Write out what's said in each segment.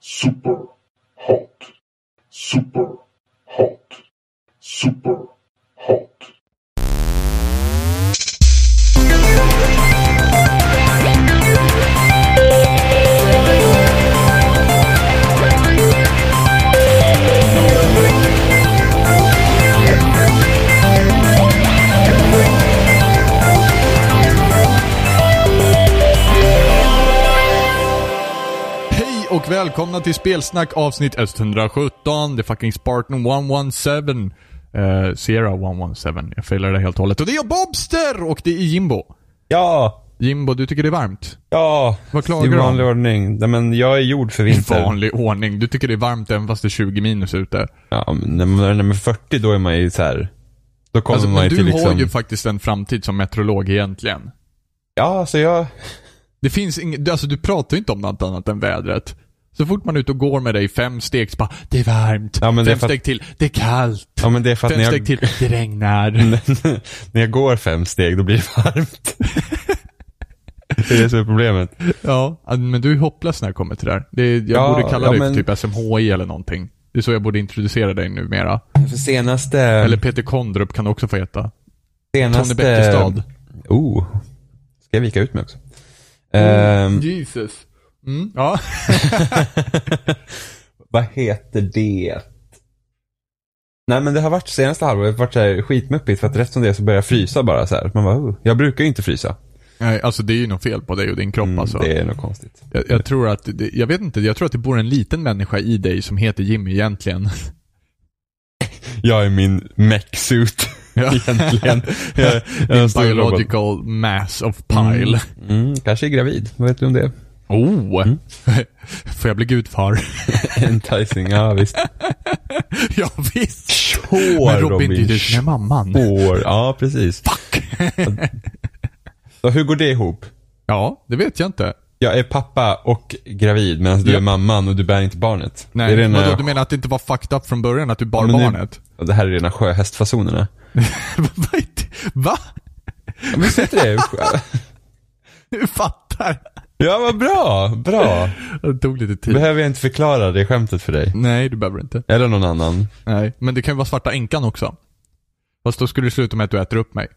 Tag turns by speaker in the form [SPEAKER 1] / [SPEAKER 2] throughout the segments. [SPEAKER 1] super hot, super hot, super hot.
[SPEAKER 2] Hej och välkomna till Spelsnack avsnitt 117. Det är fucking Spartan 117. Uh, Sierra 117. Jag failade det helt och hållet. Och det är jag, Bobster! Och det är Jimbo.
[SPEAKER 3] Ja,
[SPEAKER 2] Jimbo, du tycker det är varmt?
[SPEAKER 3] ja.
[SPEAKER 2] Vad klagar
[SPEAKER 3] I
[SPEAKER 2] du om?
[SPEAKER 3] vanlig ordning. Nej, men jag är gjord för
[SPEAKER 2] I
[SPEAKER 3] vinter.
[SPEAKER 2] vanlig ordning. Du tycker det är varmt även fast det är 20 minus ute. Alltså,
[SPEAKER 3] Ja, men när man är nummer 40 då är man ju så här. Då kommer
[SPEAKER 2] Alltså,
[SPEAKER 3] man
[SPEAKER 2] men
[SPEAKER 3] ju
[SPEAKER 2] du
[SPEAKER 3] till
[SPEAKER 2] har
[SPEAKER 3] liksom.
[SPEAKER 2] ju faktiskt en framtid som meteorolog egentligen.
[SPEAKER 3] Ja, så jag.
[SPEAKER 2] Det finns inget, du- alltså du pratar ju inte om något annat än vädret. Så fort man är ute och går med dig fem steg så bara, det är varmt.
[SPEAKER 3] Ja, men det är
[SPEAKER 2] fem
[SPEAKER 3] för att-
[SPEAKER 2] steg till, det är kallt.
[SPEAKER 3] Ja, men det är för att
[SPEAKER 2] Fem
[SPEAKER 3] när
[SPEAKER 2] steg
[SPEAKER 3] jag,
[SPEAKER 2] till, det regnar.
[SPEAKER 3] när jag går fem steg då blir det varmt. det är det som är problemet.
[SPEAKER 2] Ja, men du är hopplös när det kommer till det här. Det är, jag
[SPEAKER 3] Ja,
[SPEAKER 2] borde kalla
[SPEAKER 3] ja,
[SPEAKER 2] dig för
[SPEAKER 3] men-
[SPEAKER 2] typ SMHI eller någonting. Det är så jag borde introducera dig numera.
[SPEAKER 3] För senaste.
[SPEAKER 2] Eller Peter Kondrup kan du också få heta. Tony
[SPEAKER 3] senaste.
[SPEAKER 2] Bäckestad.
[SPEAKER 3] Oh. Ska jag vika ut mig också?
[SPEAKER 2] Oh,
[SPEAKER 3] Ehm,
[SPEAKER 2] Jesus. Mm, ja.
[SPEAKER 3] Vad heter det? Nej men det har varit senaste halvåret varit så här skitmuppigt för att rätt som det är så börjar jag frysa bara så här. Man bara, oh. Jag brukar ju inte frysa. Mm,
[SPEAKER 2] Nej, alltså det är ju något fel på dig och din kropp alltså.
[SPEAKER 3] Det är nog konstigt.
[SPEAKER 2] Jag, jag tror att, det, jag vet inte, jag tror att det bor en liten människa i dig som heter Jimmy egentligen.
[SPEAKER 3] Jag är min mech-suit
[SPEAKER 2] Ja.
[SPEAKER 3] egentligen. jag, jag är en
[SPEAKER 2] Din
[SPEAKER 3] stor robot.
[SPEAKER 2] biological mass of pile.
[SPEAKER 3] Mm, kanske är gravid. Vad vet du om det?
[SPEAKER 2] Oh! Får jag bli gudfar?
[SPEAKER 3] Enticing, ja visst.
[SPEAKER 2] ja, visst.
[SPEAKER 3] Sure,
[SPEAKER 2] Men Robin, det är du som är mamman.
[SPEAKER 3] Sure. Ja, precis.
[SPEAKER 2] Fuck!
[SPEAKER 3] Så hur går det ihop?
[SPEAKER 2] ja, det vet jag inte.
[SPEAKER 3] Jag är pappa och gravid medan du
[SPEAKER 2] Ja.
[SPEAKER 3] är mamman och du bär inte barnet.
[SPEAKER 2] Nej,
[SPEAKER 3] det, eh, är
[SPEAKER 2] vadå,
[SPEAKER 3] rena,
[SPEAKER 2] du menar att det inte var fucked up från början, att du bar
[SPEAKER 3] Men det-
[SPEAKER 2] barnet?
[SPEAKER 3] det här är rena sjöhästfasonerna.
[SPEAKER 2] Vad är det? Va?
[SPEAKER 3] Ja, Men säg det.
[SPEAKER 2] Du fattar?
[SPEAKER 3] Ja, vad bra. Bra.
[SPEAKER 2] Det tog lite tid.
[SPEAKER 3] Behöver jag inte förklara det skämtet för dig?
[SPEAKER 2] Nej, du behöver inte.
[SPEAKER 3] Eller någon annan?
[SPEAKER 2] Nej, men det kan ju vara svarta änkan också. Fast då skulle det sluta med att du äter upp mig.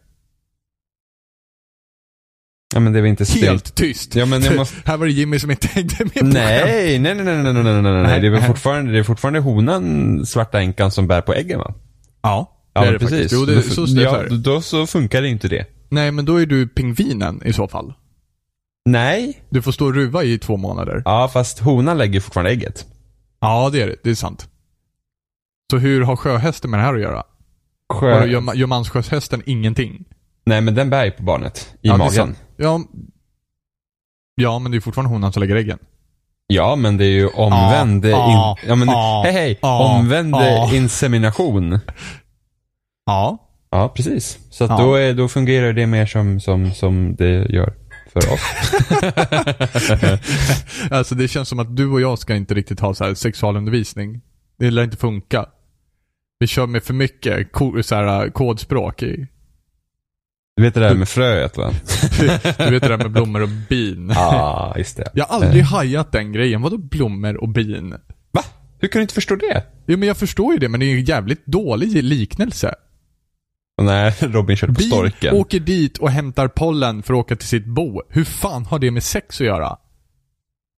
[SPEAKER 3] Ja, men det är väl inte stelt.
[SPEAKER 2] Helt tyst.
[SPEAKER 3] Ja, men jag måste-
[SPEAKER 2] Här var det Jimmy som inte hängde med på skämt.
[SPEAKER 3] Nej, nej, nej, nej, nej, nej, nej, nej, nej. Det är väl fortfarande, det är fortfarande honan, svarta änkan, som bär på äggen va?
[SPEAKER 2] Ja, det är det faktiskt. Jo, det,
[SPEAKER 3] Då-
[SPEAKER 2] så står det
[SPEAKER 3] ja,
[SPEAKER 2] för.
[SPEAKER 3] då- då så funkar det inte det.
[SPEAKER 2] Nej, men då är du pingvinen i så fall.
[SPEAKER 3] Nej.
[SPEAKER 2] Du får stå och ruva i två månader.
[SPEAKER 3] Ja, fast honan lägger fortfarande ägget.
[SPEAKER 2] Ja, det är det. Det är sant. Så hur har sjöhästen med det här att göra? Vadå,
[SPEAKER 3] Sjö...
[SPEAKER 2] Gör, ma- gör manssjöhästen ingenting?
[SPEAKER 3] Nej, men den bär ju på barnet. I
[SPEAKER 2] Ja, det är
[SPEAKER 3] magen.
[SPEAKER 2] sant. Ja, ja, men det är fortfarande honan som lägger äggen.
[SPEAKER 3] Ja, men det är ju omvänd...
[SPEAKER 2] Ja, ja,
[SPEAKER 3] in... ja, men...
[SPEAKER 2] ja,
[SPEAKER 3] hej, hej.
[SPEAKER 2] ja,
[SPEAKER 3] omvänd
[SPEAKER 2] ja.
[SPEAKER 3] insemination.
[SPEAKER 2] Ja.
[SPEAKER 3] Ja, precis. Så att
[SPEAKER 2] Ja.
[SPEAKER 3] då, är, då fungerar det mer som, som, som det gör för oss.
[SPEAKER 2] Alltså det känns som att du och jag ska inte riktigt ha så här sexualundervisning. Det lär inte funka. Vi kör med för mycket ko- så här, kodspråk i.
[SPEAKER 3] Du vet det där med fröet va?
[SPEAKER 2] Du vet det där med blommor och bin.
[SPEAKER 3] Ja, ah, just det.
[SPEAKER 2] Jag har aldrig hajat den grejen. Vadå blommor och bin?
[SPEAKER 3] Va? Hur kan du inte förstå det?
[SPEAKER 2] Jo men jag förstår ju det, men det är ju en jävligt dålig liknelse.
[SPEAKER 3] Nej, Robin körde på
[SPEAKER 2] Bin
[SPEAKER 3] storken.
[SPEAKER 2] åker dit och hämtar pollen för att åka till sitt bo. Hur fan har det med sex att göra?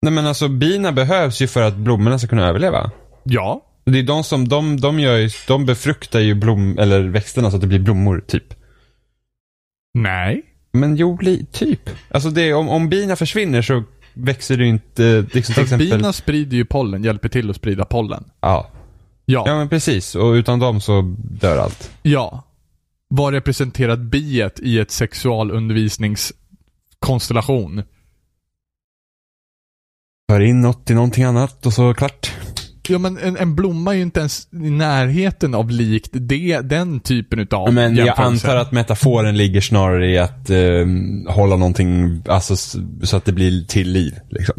[SPEAKER 3] Nej men alltså bina behövs ju för att blommorna ska kunna överleva.
[SPEAKER 2] Ja,
[SPEAKER 3] Det är de som, de, de gör ju, de befruktar ju blom, eller växterna så att det blir blommor, typ.
[SPEAKER 2] Nej.
[SPEAKER 3] Men jo, li, typ. Alltså det, är- om, om bina försvinner så växer det ju inte, liksom till exempel.
[SPEAKER 2] Bina sprider ju pollen, hjälper till att sprida pollen. Ja.
[SPEAKER 3] Ja. ja,
[SPEAKER 2] ja.
[SPEAKER 3] men precis. Och utan dem så dör allt.
[SPEAKER 2] Vad representerar biet i ett sexualundervisningskonstellation?
[SPEAKER 3] För in något till någonting annat och så klart.
[SPEAKER 2] Ja, men en, en blomma är ju inte ens i närheten av likt det, den typen utav
[SPEAKER 3] Men jag
[SPEAKER 2] jämförelse.
[SPEAKER 3] antar att metaforen ligger snarare i att eh, hålla någonting, alltså s- så att det blir till liv. Liksom.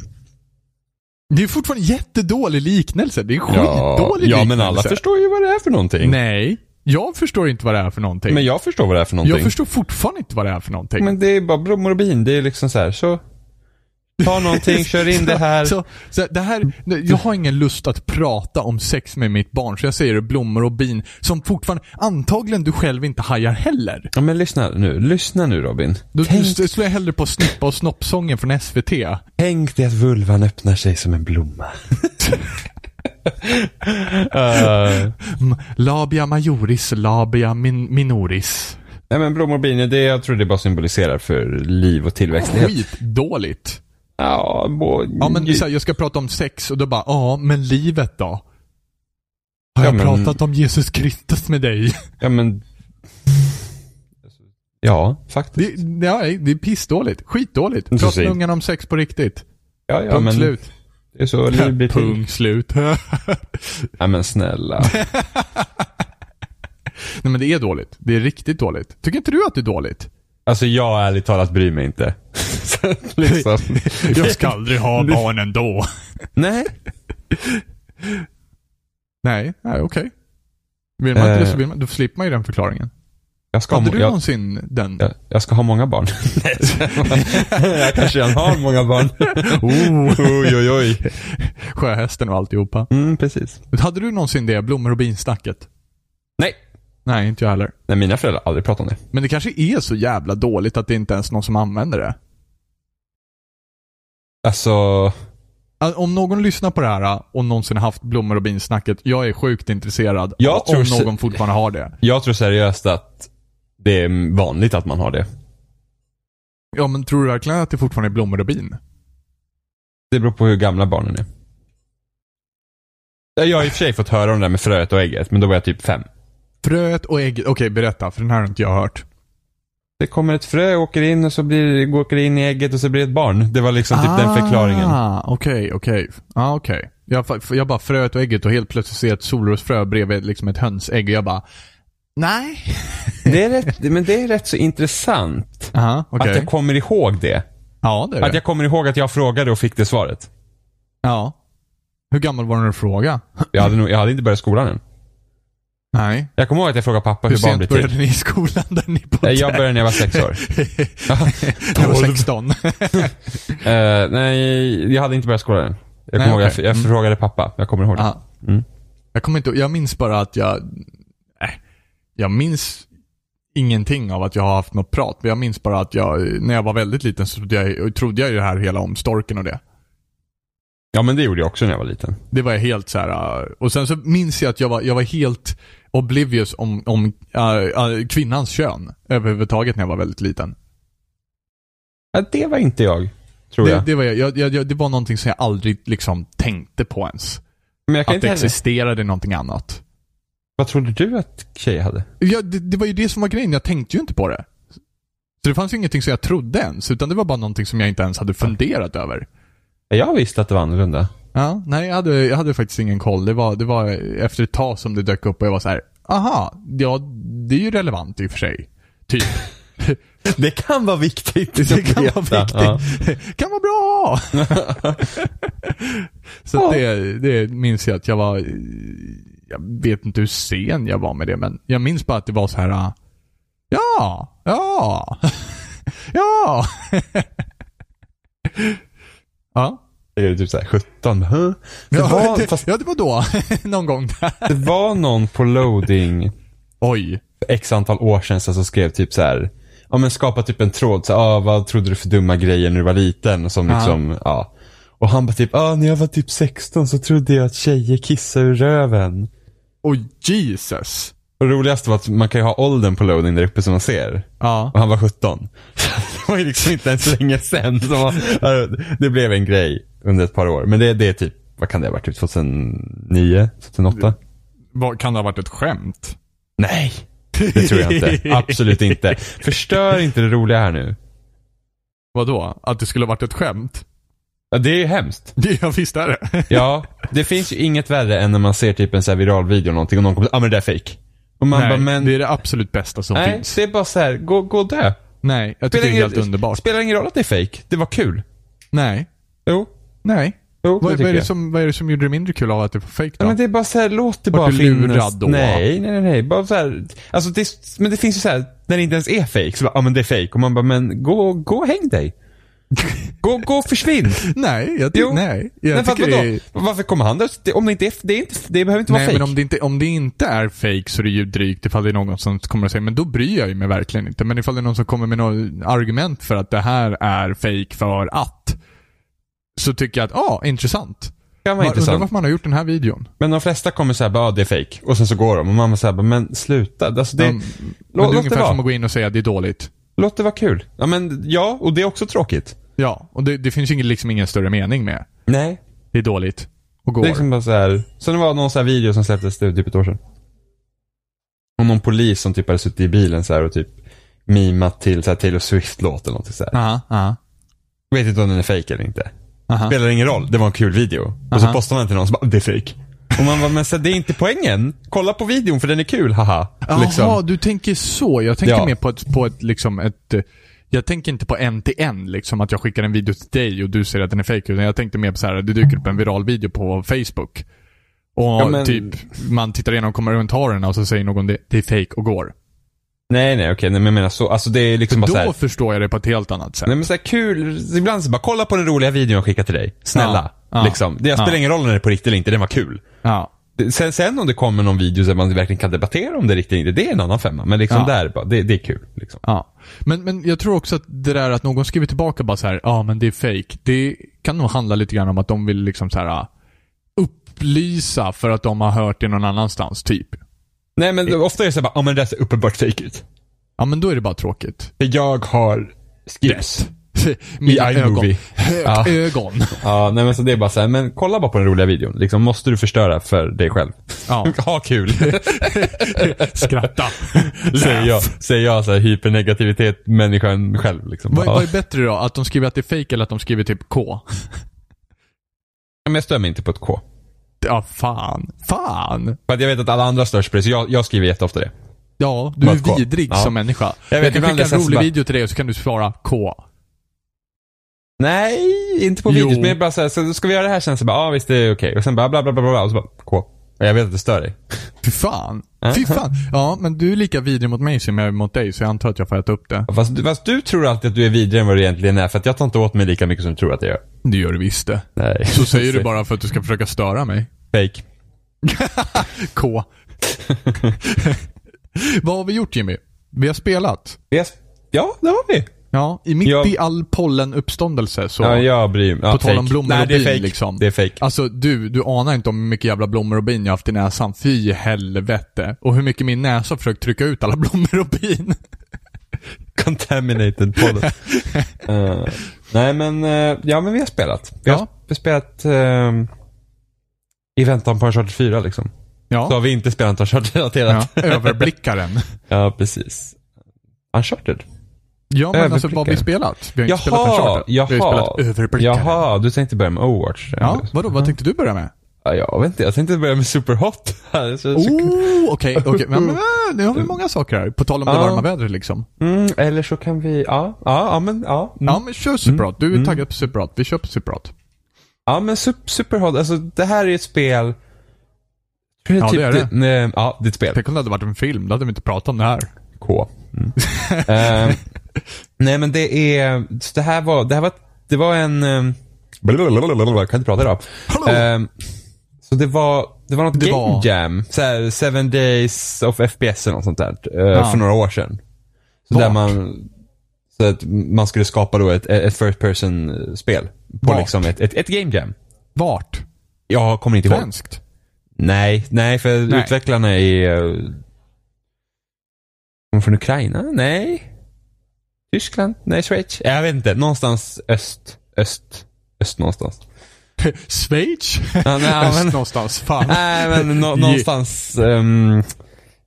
[SPEAKER 2] Det är fortfarande jättedålig liknelse. Det är en skitdålig
[SPEAKER 3] ja,
[SPEAKER 2] liknelse.
[SPEAKER 3] men alla förstår ju vad det är för någonting.
[SPEAKER 2] Nej. Jag förstår inte vad det är för någonting.
[SPEAKER 3] Men jag förstår vad det är för någonting.
[SPEAKER 2] jag förstår fortfarande inte vad det är för någonting.
[SPEAKER 3] Men det är bara blommor och bin, det är liksom så här, så. Ta någonting, kör in det här.
[SPEAKER 2] Så, så det här, jag har ingen lust att prata om sex med mitt barn, så jag säger det, blommor och bin, som fortfarande, antagligen du själv inte hajar heller.
[SPEAKER 3] Ja, men lyssna nu. Lyssna nu Robin.
[SPEAKER 2] Då
[SPEAKER 3] tänk,
[SPEAKER 2] s- slår jag hellre på snippa och snoppsången från SVT.
[SPEAKER 3] tänk dig att vulvan öppnar sig som en blomma. Eh,
[SPEAKER 2] Mm, Labia majoris, labia min, minoris.
[SPEAKER 3] nej men blommor och bin, är det, jag tror det bara symboliserar för liv och tillväxt. Det är- Mm.
[SPEAKER 2] Skitdåligt.
[SPEAKER 3] Ja, må,
[SPEAKER 2] Ja men så här, jag ska prata om sex och då bara, ja men livet då? Har
[SPEAKER 3] Ja,
[SPEAKER 2] jag
[SPEAKER 3] men-
[SPEAKER 2] pratat om Jesus Kristus med dig?
[SPEAKER 3] ja, men... Ja, faktiskt.
[SPEAKER 2] Det, nej, det är pissdåligt. Skitdåligt.
[SPEAKER 3] så
[SPEAKER 2] Prata med
[SPEAKER 3] fint.
[SPEAKER 2] ungarna om sex på riktigt.
[SPEAKER 3] Ja, ja,
[SPEAKER 2] Punkt
[SPEAKER 3] men
[SPEAKER 2] slut.
[SPEAKER 3] Det är så liv blir till.
[SPEAKER 2] Punkt slut.
[SPEAKER 3] Nej men snälla.
[SPEAKER 2] Nej men det är dåligt. Det är riktigt dåligt. Tycker inte du att det är dåligt?
[SPEAKER 3] Alltså jag ärligt talat bryr mig inte. Så, liksom.
[SPEAKER 2] Jag ska aldrig ha barn ändå.
[SPEAKER 3] Nej.
[SPEAKER 2] Nej, nej okej. Vill man inte det
[SPEAKER 3] Eh.
[SPEAKER 2] så vill man, då slipper man ju den förklaringen.
[SPEAKER 3] Jag ska, ha,
[SPEAKER 2] Hade
[SPEAKER 3] må-
[SPEAKER 2] du
[SPEAKER 3] jag,
[SPEAKER 2] någonsin den?
[SPEAKER 3] jag, jag ska ha många barn. Nej, jag- jag kanske redan har många barn.
[SPEAKER 2] Oh,
[SPEAKER 3] oj, oj, oj.
[SPEAKER 2] sjöhästen och alltihopa.
[SPEAKER 3] Mm, precis.
[SPEAKER 2] Hade du någonsin det, blommor och binsnacket?
[SPEAKER 3] Nej.
[SPEAKER 2] Nej, inte jag heller.
[SPEAKER 3] Nej, mina föräldrar har aldrig pratat om det.
[SPEAKER 2] Men det kanske är så jävla dåligt att det inte ens är någon som använder det.
[SPEAKER 3] Alltså,
[SPEAKER 2] Alltså, Om någon lyssnar på det här och någonsin haft blommor och binsnacket, jag är sjukt intresserad
[SPEAKER 3] Jag
[SPEAKER 2] av
[SPEAKER 3] tror
[SPEAKER 2] om
[SPEAKER 3] se-
[SPEAKER 2] någon fortfarande har det.
[SPEAKER 3] jag tror seriöst att det är vanligt att man har det.
[SPEAKER 2] Ja, men tror du verkligen att det fortfarande är blommor och bin?
[SPEAKER 3] Det beror på hur gamla barnen är. Jag har i och för sig fått höra om det där med fröet och ägget, men då var jag typ fem.
[SPEAKER 2] Fröet och ägget. Okej, berätta, för den här har inte jag hört.
[SPEAKER 3] Det kommer ett frö, åker in och så blir, går- åker det in i ägget och så blir det ett barn. Det var liksom typ den förklaringen.
[SPEAKER 2] Ah, Okej, okej. Ah, okej. Jag, fa- jag bara fröet och ägget och helt plötsligt ser jag ett solrosfrö bredvid liksom ett hönsägg och jag bara Nej.
[SPEAKER 3] Det är rätt, men det är rätt så intressant.
[SPEAKER 2] Aha, okej.
[SPEAKER 3] Att jag kommer ihåg det.
[SPEAKER 2] Ja, det är
[SPEAKER 3] Att
[SPEAKER 2] det.
[SPEAKER 3] jag kommer ihåg att jag frågade och fick det svaret.
[SPEAKER 2] Ja. Hur gammal var du när du frågade?
[SPEAKER 3] Jag hade, nog, jag hade inte börjat skolan än.
[SPEAKER 2] Nej.
[SPEAKER 3] Jag kommer ihåg att jag frågade pappa
[SPEAKER 2] Hur
[SPEAKER 3] hur barn blir
[SPEAKER 2] sent började
[SPEAKER 3] till.
[SPEAKER 2] ni i skolan där ni bodde?
[SPEAKER 3] Eh, Jag började när jag var sex år.
[SPEAKER 2] när jag var
[SPEAKER 3] Tolv.
[SPEAKER 2] 16.
[SPEAKER 3] Eh, nej, jag hade inte börjat skolan än. Jag
[SPEAKER 2] Nej,
[SPEAKER 3] kommer ihåg, jag,
[SPEAKER 2] okej. Mm.
[SPEAKER 3] jag frågade pappa. Jag kommer ihåg det.
[SPEAKER 2] Ja. Jag kommer inte Jag minns bara att jag... Äh, jag minns ingenting av att jag har haft något prat. Men jag minns bara att jag, när jag var väldigt liten så trodde jag, trodde jag ju det här hela om storken och det.
[SPEAKER 3] Ja, men det gjorde jag också när jag var liten.
[SPEAKER 2] Det var jag helt så här. äh, Och sen så minns jag att jag var, jag var helt oblivious om, om äh, äh, kvinnans kön överhuvudtaget när jag var väldigt liten.
[SPEAKER 3] Ja, det var inte jag, tror
[SPEAKER 2] Det,
[SPEAKER 3] jag.
[SPEAKER 2] det, var, jag, jag, jag, det var någonting som jag aldrig liksom tänkte på ens.
[SPEAKER 3] men jag kan
[SPEAKER 2] Att
[SPEAKER 3] inte
[SPEAKER 2] det
[SPEAKER 3] heller.
[SPEAKER 2] existerade någonting annat.
[SPEAKER 3] Vad trodde du att tjejer hade?
[SPEAKER 2] Ja, det, det var ju det som var grejen. Jag tänkte ju inte på det. Så det fanns ju ingenting som jag trodde ens, utan det var bara någonting som jag inte ens hade funderat över.
[SPEAKER 3] Jag visste att det var annorlunda.
[SPEAKER 2] Ja, nej, jag hade, jag hade faktiskt ingen koll. Det var, det var efter ett tag som det dök upp och jag var så här, aha, ja, det är ju relevant i och för sig. Typ.
[SPEAKER 3] Det kan vara viktigt.
[SPEAKER 2] Det kan
[SPEAKER 3] att
[SPEAKER 2] vara
[SPEAKER 3] veta.
[SPEAKER 2] viktigt.
[SPEAKER 3] Ja.
[SPEAKER 2] kan vara bra! så att det, det minns jag att jag var... Jag vet inte hur sen jag var med det, men jag minns bara att det var så här... ah, Ja, ja, ja. ja.
[SPEAKER 3] Det är typ såhär 17. Huh? Det,
[SPEAKER 2] Ja,
[SPEAKER 3] var,
[SPEAKER 2] det,
[SPEAKER 3] fast
[SPEAKER 2] ja, det var då. Någon gång där.
[SPEAKER 3] det var någon på loading
[SPEAKER 2] Oj.
[SPEAKER 3] för x antal år sedan så- som skrev typ så här. Ja men skapa typ en tråd. Så, här, ah, vad trodde du för dumma grejer när du var liten? Som
[SPEAKER 2] Ja.
[SPEAKER 3] liksom, ja. Och han bara typ, ah, när jag var typ 16 så trodde jag att tjejer kissade ur röven.
[SPEAKER 2] Oj, Jesus.
[SPEAKER 3] Och det roligaste var att man kan ju ha åldern på loading där uppe som man ser.
[SPEAKER 2] Ja.
[SPEAKER 3] Och han var 17. Så det var ju liksom inte ens länge sen. Så man, det blev en grej under ett par år. Men det, det är typ, vad kan det ha varit? Typ 2009? 2008?
[SPEAKER 2] Vad- Kan det ha varit ett skämt?
[SPEAKER 3] Nej, det tror jag inte. Absolut inte. Förstör inte det roliga här nu.
[SPEAKER 2] Vadå? Att det skulle ha varit ett skämt?
[SPEAKER 3] Ja, det är ju hemskt.
[SPEAKER 2] Det, ja, visst är det.
[SPEAKER 3] Ja, det finns ju inget värre än när man ser typ en så här viral video eller någonting och någon kommer ah, men det där är fake. Och man
[SPEAKER 2] Nej,
[SPEAKER 3] bara, men
[SPEAKER 2] det är det absolut bästa som
[SPEAKER 3] nej,
[SPEAKER 2] finns.
[SPEAKER 3] det är bara så här, gå, gå och dö.
[SPEAKER 2] Nej, jag tycker det är helt underbart.
[SPEAKER 3] spelar ingen roll att det är fake. Det var kul.
[SPEAKER 2] Nej.
[SPEAKER 3] Jo,
[SPEAKER 2] Nej.
[SPEAKER 3] jo det
[SPEAKER 2] Vad, vad,
[SPEAKER 3] tycker
[SPEAKER 2] är det
[SPEAKER 3] jag.
[SPEAKER 2] som, vad är det som gjorde det mindre kul av att det var fake då?
[SPEAKER 3] Ja, men det är bara så här, låt det
[SPEAKER 2] Vart
[SPEAKER 3] bara
[SPEAKER 2] du
[SPEAKER 3] finnas.
[SPEAKER 2] lurad då?
[SPEAKER 3] Nej, nej, nej, nej. Bara så här, alltså det, är- men det finns ju så här, när det inte ens är fake, så bara, ja men det är fake. Och man bara, men gå, gå och häng dig. Gå, gå och försvinn.
[SPEAKER 2] Nej, jag, ty-
[SPEAKER 3] Jo.
[SPEAKER 2] nej, jag
[SPEAKER 3] men fast
[SPEAKER 2] tycker
[SPEAKER 3] vadå?
[SPEAKER 2] det är-
[SPEAKER 3] Varför kommer han där? Det- Om det inte är, det, är inte, det behöver inte vara
[SPEAKER 2] Nej,
[SPEAKER 3] fejk.
[SPEAKER 2] men om det, inte, om det inte är fake så är det ju drygt ifall det är någon som kommer och säger men då bryr jag mig verkligen inte. Men ifall det är någon som kommer med något argument för att det här är fake för att. Så tycker jag att, ja, ah, intressant.
[SPEAKER 3] kan
[SPEAKER 2] Man undrar
[SPEAKER 3] vara intressant.
[SPEAKER 2] varför man har gjort den här videon.
[SPEAKER 3] Men de flesta kommer säga bara, ja det är fejk. Och sen så går de. Och man säger bara, men sluta. Alltså, det,
[SPEAKER 2] Ja, men
[SPEAKER 3] lå,
[SPEAKER 2] men det är
[SPEAKER 3] låt, det
[SPEAKER 2] ungefär
[SPEAKER 3] vara.
[SPEAKER 2] som att gå in och säga att det är dåligt.
[SPEAKER 3] låt det vara kul. Ja, men, ja, och det är också tråkigt.
[SPEAKER 2] Ja, och det, det finns ju ingen, liksom ingen större mening med.
[SPEAKER 3] Nej.
[SPEAKER 2] Det är dåligt. Och
[SPEAKER 3] Det
[SPEAKER 2] går.
[SPEAKER 3] är liksom bara så här. Sen var det någon sån här video som släpptes det, typ ett år sedan. Och någon polis som typ hade suttit i bilen så här och typ mimat till så här Taylor Swift-låt eller någonting så här.
[SPEAKER 2] Aha, aha,
[SPEAKER 3] Vet inte om den är fake eller inte.
[SPEAKER 2] aha.
[SPEAKER 3] Spelar ingen roll, det var en kul video. Och så
[SPEAKER 2] Aha.
[SPEAKER 3] postar man till någon som bara, det är fake. Och man bara, men så här, det är inte poängen. Kolla på videon för den är kul, haha.
[SPEAKER 2] Jaha,
[SPEAKER 3] Liksom.
[SPEAKER 2] du tänker så. Jag tänker
[SPEAKER 3] Ja.
[SPEAKER 2] mer på ett, på ett, liksom ett... eh, Jag tänker inte på en till en, liksom att jag skickar en video till dig och du säger att den är fake. Utan jag tänkte mer på så här, det dyker upp en viral video på Facebook. Och
[SPEAKER 3] men-
[SPEAKER 2] typ, man tittar igenom kommentarerna och så säger någon det, det är fake och går.
[SPEAKER 3] Nej, nej, okej, nej, men jag menar så. Alltså det är liksom bara så här.
[SPEAKER 2] Då förstår jag det på ett helt annat sätt.
[SPEAKER 3] Nej men så här kul, ibland så bara kolla på den roliga videon jag skickar till dig. Snälla.
[SPEAKER 2] Ja. Ja.
[SPEAKER 3] Liksom. Det spelar
[SPEAKER 2] Ja.
[SPEAKER 3] ingen roll om det är på riktigt eller inte, den var kul.
[SPEAKER 2] Ja.
[SPEAKER 3] Sen, sen om det kommer någon video där man verkligen kan debattera om det riktigt eller inte, det är en annan femma. Men liksom
[SPEAKER 2] Ja.
[SPEAKER 3] där, bara, det, det är kul. Liksom.
[SPEAKER 2] Ja. Men, men jag tror också att det där att någon skriver tillbaka bara så här, ja men det är fake. Det kan nog handla lite grann om att de vill liksom så här ah, upplysa för att de har hört det någon annanstans, typ.
[SPEAKER 3] Nej men ofta är det så här bara, ja men det där ser uppenbart fejk ut.
[SPEAKER 2] Ja men då är det bara tråkigt.
[SPEAKER 3] För jag har skills.
[SPEAKER 2] Mina
[SPEAKER 3] I
[SPEAKER 2] ögon.
[SPEAKER 3] iMovie. Ja.
[SPEAKER 2] Ögon.
[SPEAKER 3] Ja, nej men så det är bara så här, men kolla bara på den roliga videon. Liksom, måste du förstöra för dig själv?
[SPEAKER 2] Ja.
[SPEAKER 3] ha kul,
[SPEAKER 2] Skratta.
[SPEAKER 3] säger jag. Säger jag så här, hypernegativitet människan själv liksom.
[SPEAKER 2] Vad,
[SPEAKER 3] ja.
[SPEAKER 2] vad är bättre då? Att de skriver att det är fake eller att de skriver typ K?
[SPEAKER 3] Men jag stör mig inte på ett K.
[SPEAKER 2] Ja, fan. Fan.
[SPEAKER 3] För att jag vet att alla andra störs på det, så jag, jag skriver jätteofta det.
[SPEAKER 2] Ja, du
[SPEAKER 3] Bara
[SPEAKER 2] är
[SPEAKER 3] ett K.
[SPEAKER 2] vidrig
[SPEAKER 3] Ja.
[SPEAKER 2] som människa.
[SPEAKER 3] Jag
[SPEAKER 2] Jag,
[SPEAKER 3] vet,
[SPEAKER 2] kan
[SPEAKER 3] ibland
[SPEAKER 2] skicka
[SPEAKER 3] läser
[SPEAKER 2] en
[SPEAKER 3] jag så
[SPEAKER 2] rolig
[SPEAKER 3] bara-
[SPEAKER 2] video till dig och så kan du svara K.
[SPEAKER 3] Nej, inte på
[SPEAKER 2] Jo.
[SPEAKER 3] videos. Men jag bara så här, så ska vi göra det här sen? Så bara, ja ah, visst det är okej. Och sen bara bla bla bla bla bla. Och så bara, K. Och jag vet att det stör dig.
[SPEAKER 2] Fy fan. Fy fan. Ja, men du är lika vidrig mot mig som jag är mot dig, så jag antar att jag får äta upp det.
[SPEAKER 3] Fast, du- fast du tror alltid att du är vidare än vad du egentligen är. För att jag tar inte åt mig lika mycket som du tror att jag gör.
[SPEAKER 2] Det gör du visst det.
[SPEAKER 3] Nej.
[SPEAKER 2] Så säger du bara för att du ska försöka störa mig.
[SPEAKER 3] Fake.
[SPEAKER 2] K. Vad har vi gjort Jimmy? Vi har spelat.
[SPEAKER 3] Yes. Ja, det har vi.
[SPEAKER 2] Ja, i mitt
[SPEAKER 3] Jag-
[SPEAKER 2] i all pollenuppståndelse så...
[SPEAKER 3] Ja, jag bryr mig. Ja,
[SPEAKER 2] På tal om
[SPEAKER 3] fake.
[SPEAKER 2] blommor
[SPEAKER 3] Nej,
[SPEAKER 2] och
[SPEAKER 3] det är
[SPEAKER 2] bin
[SPEAKER 3] fake.
[SPEAKER 2] liksom.
[SPEAKER 3] Det är fake.
[SPEAKER 2] Alltså du, du anar inte om hur mycket jävla blommor och bin jag haft i näsan. Fy helvete. Och hur mycket min näsa har försökt trycka ut alla blommor och bin.
[SPEAKER 3] Contaminated podden. Eh, nej men, eh, ja men vi har spelat. Vi
[SPEAKER 2] Ja.
[SPEAKER 3] har sp- spelat eh, i väntan på Uncharted 4 liksom. Så
[SPEAKER 2] Ja.
[SPEAKER 3] har vi inte spelat
[SPEAKER 2] ja.
[SPEAKER 3] Uncharted-relaterat.
[SPEAKER 2] Överblickaren.
[SPEAKER 3] ja, precis. Uncharted?
[SPEAKER 2] Ja, men alltså vad har vi spelat? Vi har inte spelat Uncharted. Vi har ju spelat Överblickaren.
[SPEAKER 3] Jaha, du tänkte börja med Overwatch.
[SPEAKER 2] Ja, vadå? Vad tänkte du börja med?
[SPEAKER 3] Ja, jag vet inte, jag tänkte börja med Superhot. Så- så-
[SPEAKER 2] Oh, okej. okej. Men, men, men, nu har vi många saker här. På tal om det
[SPEAKER 3] Ja.
[SPEAKER 2] varma vädret liksom.
[SPEAKER 3] Mm, eller så kan vi, ja, ja, ja men, ja. Mm.
[SPEAKER 2] Ja, men kör Superhot. Du är taggad på Superhot. Vi kör på Superhot.
[SPEAKER 3] Ja, men Sup- Superhot, alltså det här är ett spel.
[SPEAKER 2] Ja, det är det.
[SPEAKER 3] nej, ja, det är ett spel.
[SPEAKER 2] Tänk om det hade varit en film. Då hade vi inte pratat om det här.
[SPEAKER 3] K. Mm. Eh, nej men det är, så det här var, det här var, det var en... eh, blablabla, Jag kan inte prata idag.
[SPEAKER 2] Hallå!
[SPEAKER 3] Eh, så det var, det var något
[SPEAKER 2] Det
[SPEAKER 3] game
[SPEAKER 2] var-
[SPEAKER 3] jam. Så här, seven days of FPS eller något sånt där. eh, För några år sedan. Så
[SPEAKER 2] Vart?
[SPEAKER 3] där man, så att man skulle skapa då ett, ett first person spel. På
[SPEAKER 2] Vart?
[SPEAKER 3] liksom ett, ett, ett game jam.
[SPEAKER 2] Vart?
[SPEAKER 3] Jag kommer inte ihåg.
[SPEAKER 2] Svenskt?
[SPEAKER 3] Nej, nej för
[SPEAKER 2] Nej.
[SPEAKER 3] utvecklarna är... eh, Kommer från Ukraina? Nej. Tyskland? Nej, Schweiz? Jag vet inte. Någonstans öst. Öst. Öst någonstans.
[SPEAKER 2] Schweiz?
[SPEAKER 3] Ja, nej,
[SPEAKER 2] Öst
[SPEAKER 3] men,
[SPEAKER 2] någonstans. Fan.
[SPEAKER 3] nej, men nå,
[SPEAKER 2] Ge-
[SPEAKER 3] någonstans... ehm,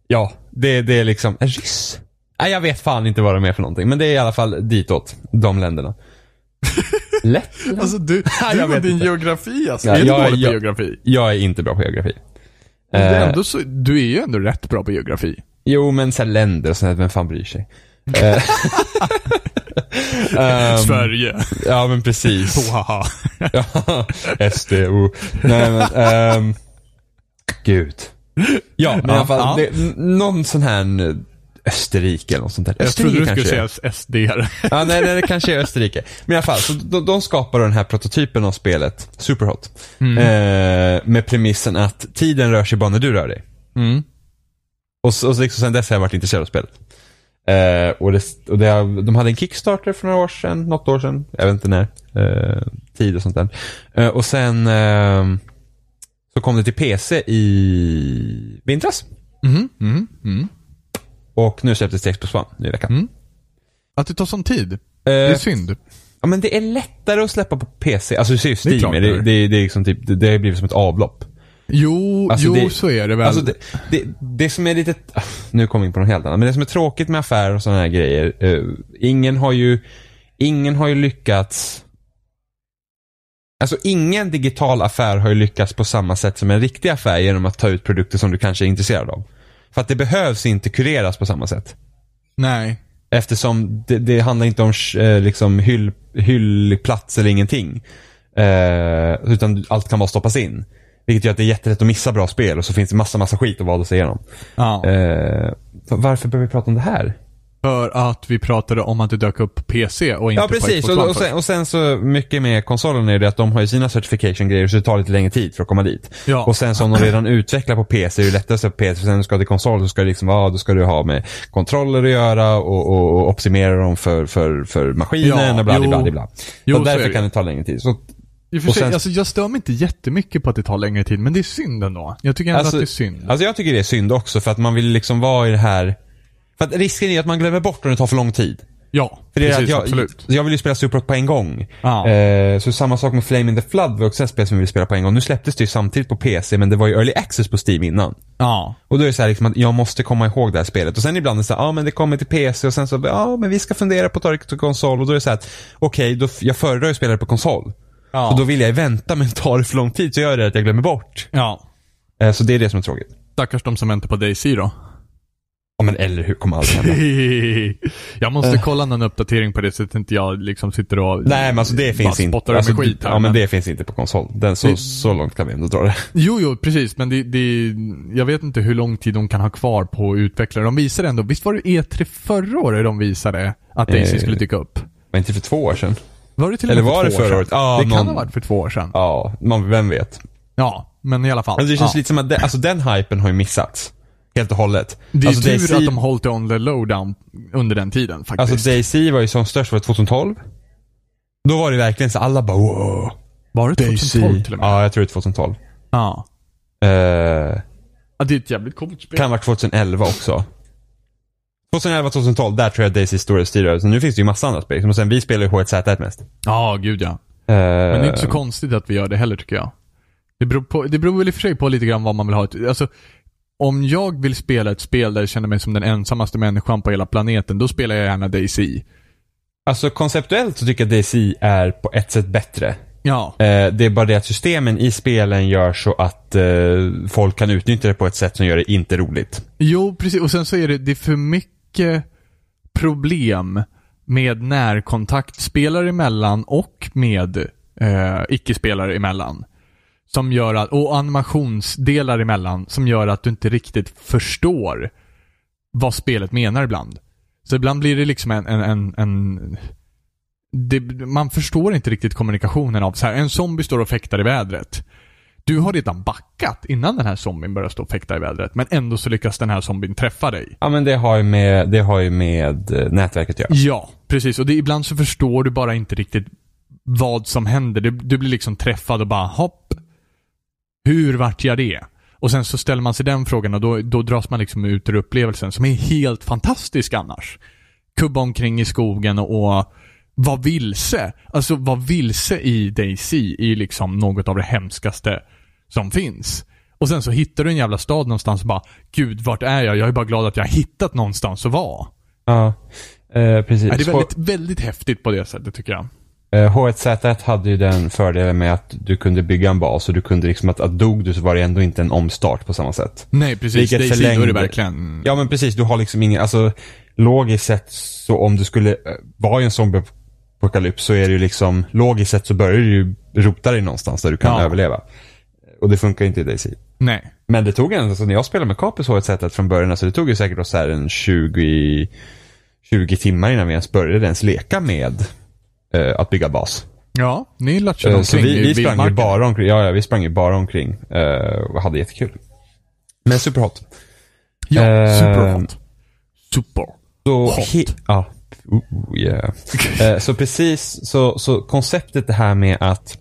[SPEAKER 3] ja, det, det är liksom... Ryss? Nej, jag vet fan inte vad de är för någonting. Men det är i alla fall ditåt. De länderna. Lettland?
[SPEAKER 2] Alltså du,
[SPEAKER 3] Jag
[SPEAKER 2] du och
[SPEAKER 3] vet
[SPEAKER 2] din
[SPEAKER 3] inte.
[SPEAKER 2] geografi alltså.
[SPEAKER 3] Ja,
[SPEAKER 2] är du
[SPEAKER 3] jag-
[SPEAKER 2] dålig på
[SPEAKER 3] jag-
[SPEAKER 2] geografi?
[SPEAKER 3] Jag är inte bra på geografi.
[SPEAKER 2] Men det är
[SPEAKER 3] Eh,
[SPEAKER 2] ändå så, du är ju ändå rätt bra på geografi.
[SPEAKER 3] Jo, men så här länder och sånt, där, vem fan bryr sig? Ehm.
[SPEAKER 2] Sverige.
[SPEAKER 3] Ja, men precis.
[SPEAKER 2] Haha.
[SPEAKER 3] Ja, SDO. Nej, men, ehm, Gud. Ja, men i alla fall,
[SPEAKER 2] Ja.
[SPEAKER 3] det, n- någon sån här Österrike eller något sånt där.
[SPEAKER 2] Jag
[SPEAKER 3] Österrike
[SPEAKER 2] trodde du
[SPEAKER 3] kanske
[SPEAKER 2] skulle
[SPEAKER 3] är.
[SPEAKER 2] säga SD.
[SPEAKER 3] Ja, nej, nej, det kanske är Österrike. Men i alla fall, så de, de skapar då den här prototypen av spelet, Superhot.
[SPEAKER 2] Mm.
[SPEAKER 3] Eh, med premissen att tiden rör sig bara när du rör dig.
[SPEAKER 2] Mm.
[SPEAKER 3] Och, så, och så liksom, sen dess har jag varit intresserad av spelet. Eh, och det, och det, har- de hade en Kickstarter för några år sedan, något år sedan, jag vet inte när. Eh, tid och sånt där. Eh, och sen ehm, så kom det till PC i vintras. Mm-hmm.
[SPEAKER 2] Mm. Mm. Mm.
[SPEAKER 3] Och nu släpptes det till Xbox One nu i veckan.
[SPEAKER 2] Att det tar sån tid. Det är
[SPEAKER 3] Eh,
[SPEAKER 2] synd.
[SPEAKER 3] Ja, men det är lättare att släppa på PC. Alltså, du ser ju
[SPEAKER 2] är
[SPEAKER 3] Steam.
[SPEAKER 2] klart
[SPEAKER 3] Det,
[SPEAKER 2] det
[SPEAKER 3] det,
[SPEAKER 2] är.
[SPEAKER 3] det, det, är liksom typ, det, det har blivit som ett avlopp.
[SPEAKER 2] Jo,
[SPEAKER 3] Alltså,
[SPEAKER 2] jo
[SPEAKER 3] det-
[SPEAKER 2] så är det väl.
[SPEAKER 3] Alltså, det, det, det som är lite... Nu kommer vi in på något helt annat. Men det som är tråkigt med affärer och sådana här grejer. eh, ingen har ju... Ingen har ju lyckats... Alltså ingen digital affär har ju lyckats på samma sätt som en riktig affär genom att ta ut produkter som du kanske är intresserad av. För att det behövs inte kureras på samma sätt.
[SPEAKER 2] Nej.
[SPEAKER 3] Eftersom det, det handlar inte om eh, liksom hyll, hyllplats eller ingenting. Eh, utan allt kan bara stoppas in. Vilket gör att det är jättelätt att missa bra spel och så finns det massa, massa skit att valda sig igenom.
[SPEAKER 2] Ja.
[SPEAKER 3] Eh, varför behöver vi prata om det här?
[SPEAKER 2] För att vi pratade om att det dök upp på PC och inte
[SPEAKER 3] Ja,
[SPEAKER 2] på
[SPEAKER 3] precis.
[SPEAKER 2] Xbox
[SPEAKER 3] Och,
[SPEAKER 2] One
[SPEAKER 3] och,
[SPEAKER 2] först.
[SPEAKER 3] sen, och sen så mycket med konsolen är det att de har ju sina certification-grejer så det tar lite längre tid för att komma dit.
[SPEAKER 2] Ja.
[SPEAKER 3] Och sen som de redan utvecklar på PC är det lättast på PC. För sen ska du till konsol så ska det liksom, ja, då ska du ha med kontroller att göra och, och, och optimera dem för, för, för maskinen
[SPEAKER 2] Ja,
[SPEAKER 3] och bla, bla,
[SPEAKER 2] jo.
[SPEAKER 3] bla, bla.
[SPEAKER 2] Jo,
[SPEAKER 3] så
[SPEAKER 2] så är
[SPEAKER 3] därför
[SPEAKER 2] det.
[SPEAKER 3] kan det ta längre tid. Så,
[SPEAKER 2] I och för
[SPEAKER 3] och
[SPEAKER 2] sig,
[SPEAKER 3] sen-
[SPEAKER 2] alltså, jag stör mig inte jättemycket på att det tar längre tid, men det är synd ändå. Jag tycker ändå att det är synd.
[SPEAKER 3] alltså jag tycker det är synd också för att man vill liksom vara i det här. För att risken är att man glömmer bort om det tar för lång tid.
[SPEAKER 2] Ja,
[SPEAKER 3] För det är
[SPEAKER 2] precis.
[SPEAKER 3] att jag,
[SPEAKER 2] absolut.
[SPEAKER 3] jag vill ju spela Superhot på en gång.
[SPEAKER 2] Ja.
[SPEAKER 3] Eh, så samma sak med Flame in the Flood var också ett spel som vi ville spela på en gång. Nu släpptes det ju samtidigt på PC men det var ju Early Access på Steam innan.
[SPEAKER 2] Ja.
[SPEAKER 3] Och då är det så här liksom att jag måste komma ihåg det här spelet. Och sen ibland är det så här, ja ah, men det kommer till PC och sen så, ja ah, men vi ska fundera på att ta det till konsol. Och då är det så här att, okej, då f- jag föredrar ju att spela det på konsol.
[SPEAKER 2] Ja.
[SPEAKER 3] Så då vill jag ju vänta men tar det för lång tid så gör det att jag glömmer bort.
[SPEAKER 2] ja.
[SPEAKER 3] Eh, så det är det som är tråkigt.
[SPEAKER 2] Stackars de som väntar på Daisy då.
[SPEAKER 3] Ja men eller hur, kommer aldrig hända.
[SPEAKER 2] jag måste kolla någon uppdatering på det så att inte jag liksom sitter och
[SPEAKER 3] Eh. Nej men alltså det finns
[SPEAKER 2] bara
[SPEAKER 3] inte.
[SPEAKER 2] spottar ur
[SPEAKER 3] Alltså,
[SPEAKER 2] mig skit här.
[SPEAKER 3] ja men
[SPEAKER 2] men-
[SPEAKER 3] det finns inte på konsol. Den, så,
[SPEAKER 2] Det-
[SPEAKER 3] så långt kan vi ändå dra det.
[SPEAKER 2] Jo, jo, precis. Men det, det, jag vet inte hur lång tid de kan ha kvar på att utveckla. De visade ändå, visst var det E3 förra året de visade att Daisy
[SPEAKER 3] Eh.
[SPEAKER 2] skulle dyka upp?
[SPEAKER 3] Men inte för två år sedan.
[SPEAKER 2] Var det till och
[SPEAKER 3] Eller
[SPEAKER 2] med
[SPEAKER 3] var
[SPEAKER 2] för
[SPEAKER 3] det
[SPEAKER 2] två år
[SPEAKER 3] förra
[SPEAKER 2] sedan?
[SPEAKER 3] året? Ja,
[SPEAKER 2] det kan
[SPEAKER 3] någon-
[SPEAKER 2] ha varit för två år sedan. Ja,
[SPEAKER 3] Ja, man, vem vet.
[SPEAKER 2] men i alla fall.
[SPEAKER 3] Alltså det känns
[SPEAKER 2] ja.
[SPEAKER 3] lite som att den, alltså den hypen har ju missats. Helt och hållet.
[SPEAKER 2] det är
[SPEAKER 3] alltså
[SPEAKER 2] tur
[SPEAKER 3] DayZ
[SPEAKER 2] att de hållit det on the lowdown under den tiden faktiskt.
[SPEAKER 3] Alltså DayZ var ju som störst var det 2012. Då var det verkligen så alla bara wow.
[SPEAKER 2] var det 2012 till och med?
[SPEAKER 3] Ja, jag tror det är 2012.
[SPEAKER 2] Ja.
[SPEAKER 3] Eh,
[SPEAKER 2] ja. Det är ett jävligt coolt spel.
[SPEAKER 3] kan ha varit 2011 också. 2011, 2012, där tror jag DayZ stora styrare. Så nu finns det ju massa andra spel. Liksom. Och sen vi spelar ju H1Z1 mest. Eh,
[SPEAKER 2] Ja, gud ja. Men det är inte så konstigt att vi gör det heller tycker jag. Det beror, på, det beror väl i och för sig på lite grann vad man vill ha. ett- Alltså, om jag vill spela ett spel där jag känner mig som den ensammaste människan på hela planeten, då spelar jag gärna DayZ.
[SPEAKER 3] Alltså konceptuellt så tycker jag DayZ är på ett sätt bättre.
[SPEAKER 2] Ja.
[SPEAKER 3] Eh, det är bara det att systemen i spelen gör så att eh, folk kan utnyttja det på ett sätt som gör det inte roligt.
[SPEAKER 2] Jo, precis. Och sen så är det, det är för mycket problem med närkontakt spelare emellan och med eh, icke-spelare emellan. Som gör att, och animationsdelar emellan som gör att du inte riktigt förstår vad spelet menar ibland. Så ibland blir det liksom en... en, en, en det, man förstår inte riktigt kommunikationen av så här. En zombie står och fäktar i vädret. Du har redan backat innan den här zombien börjar stå och fäkta i vädret. Men ändå så lyckas den här zombien träffa dig.
[SPEAKER 3] Ja men det har ju med, det har ju med eh, nätverket att göra.
[SPEAKER 2] Ja, precis. Och det, ibland så förstår du bara inte riktigt vad som händer. Du, du blir liksom träffad och bara hopp. Hur vart jag det? Och sen så ställer man sig den frågan och då, då dras man liksom ut ur upplevelsen som är helt fantastisk annars. Kubba omkring i skogen och, och vara vilse. Alltså vara vilse i DayZ är ju liksom något av det hemskaste som finns. Och sen så hittar du en jävla stad någonstans och bara Gud, vart är jag? Jag är bara glad att jag har hittat någonstans att vara.
[SPEAKER 3] Ja, eh, precis.
[SPEAKER 2] Ja, det är väldigt, väldigt häftigt på det sättet tycker jag.
[SPEAKER 3] Eh, H1Z1 hade ju den fördelen med att du kunde bygga en bas och du kunde liksom att, att dog du så var det ändå inte en omstart på samma sätt.
[SPEAKER 2] Nej, precis.
[SPEAKER 3] Vilket
[SPEAKER 2] Det är
[SPEAKER 3] förlängde-
[SPEAKER 2] sidor är verkligen...
[SPEAKER 3] Ja men precis, du har liksom ingen, alltså logiskt sett så om du skulle eh, vara i en zombieapokalyps så är det ju liksom, logiskt sett så börjar du ju rota dig någonstans där du kan
[SPEAKER 2] Ja.
[SPEAKER 3] överleva. Och det funkar ju inte i Daisy.
[SPEAKER 2] Nej.
[SPEAKER 3] Men det tog en, alltså när jag spelade med Capus HZ från början, alltså det tog ju säkert oss så här en 20, 20 timmar innan vi ens började ens leka med eh, att bygga bas.
[SPEAKER 2] Ja, ni latchade
[SPEAKER 3] Eh, så
[SPEAKER 2] omkring
[SPEAKER 3] vi,
[SPEAKER 2] i
[SPEAKER 3] vi sprang ju
[SPEAKER 2] vildmarken.
[SPEAKER 3] bara omkring, ja, ja, vi sprang ju bara omkring eh, och hade jättekul. Men superhot.
[SPEAKER 2] Ja,
[SPEAKER 3] Eh,
[SPEAKER 2] superhot. Super.
[SPEAKER 3] Så
[SPEAKER 2] Hot.
[SPEAKER 3] he- ja. Ooh, yeah. Eh, så precis, så, så konceptet det här med att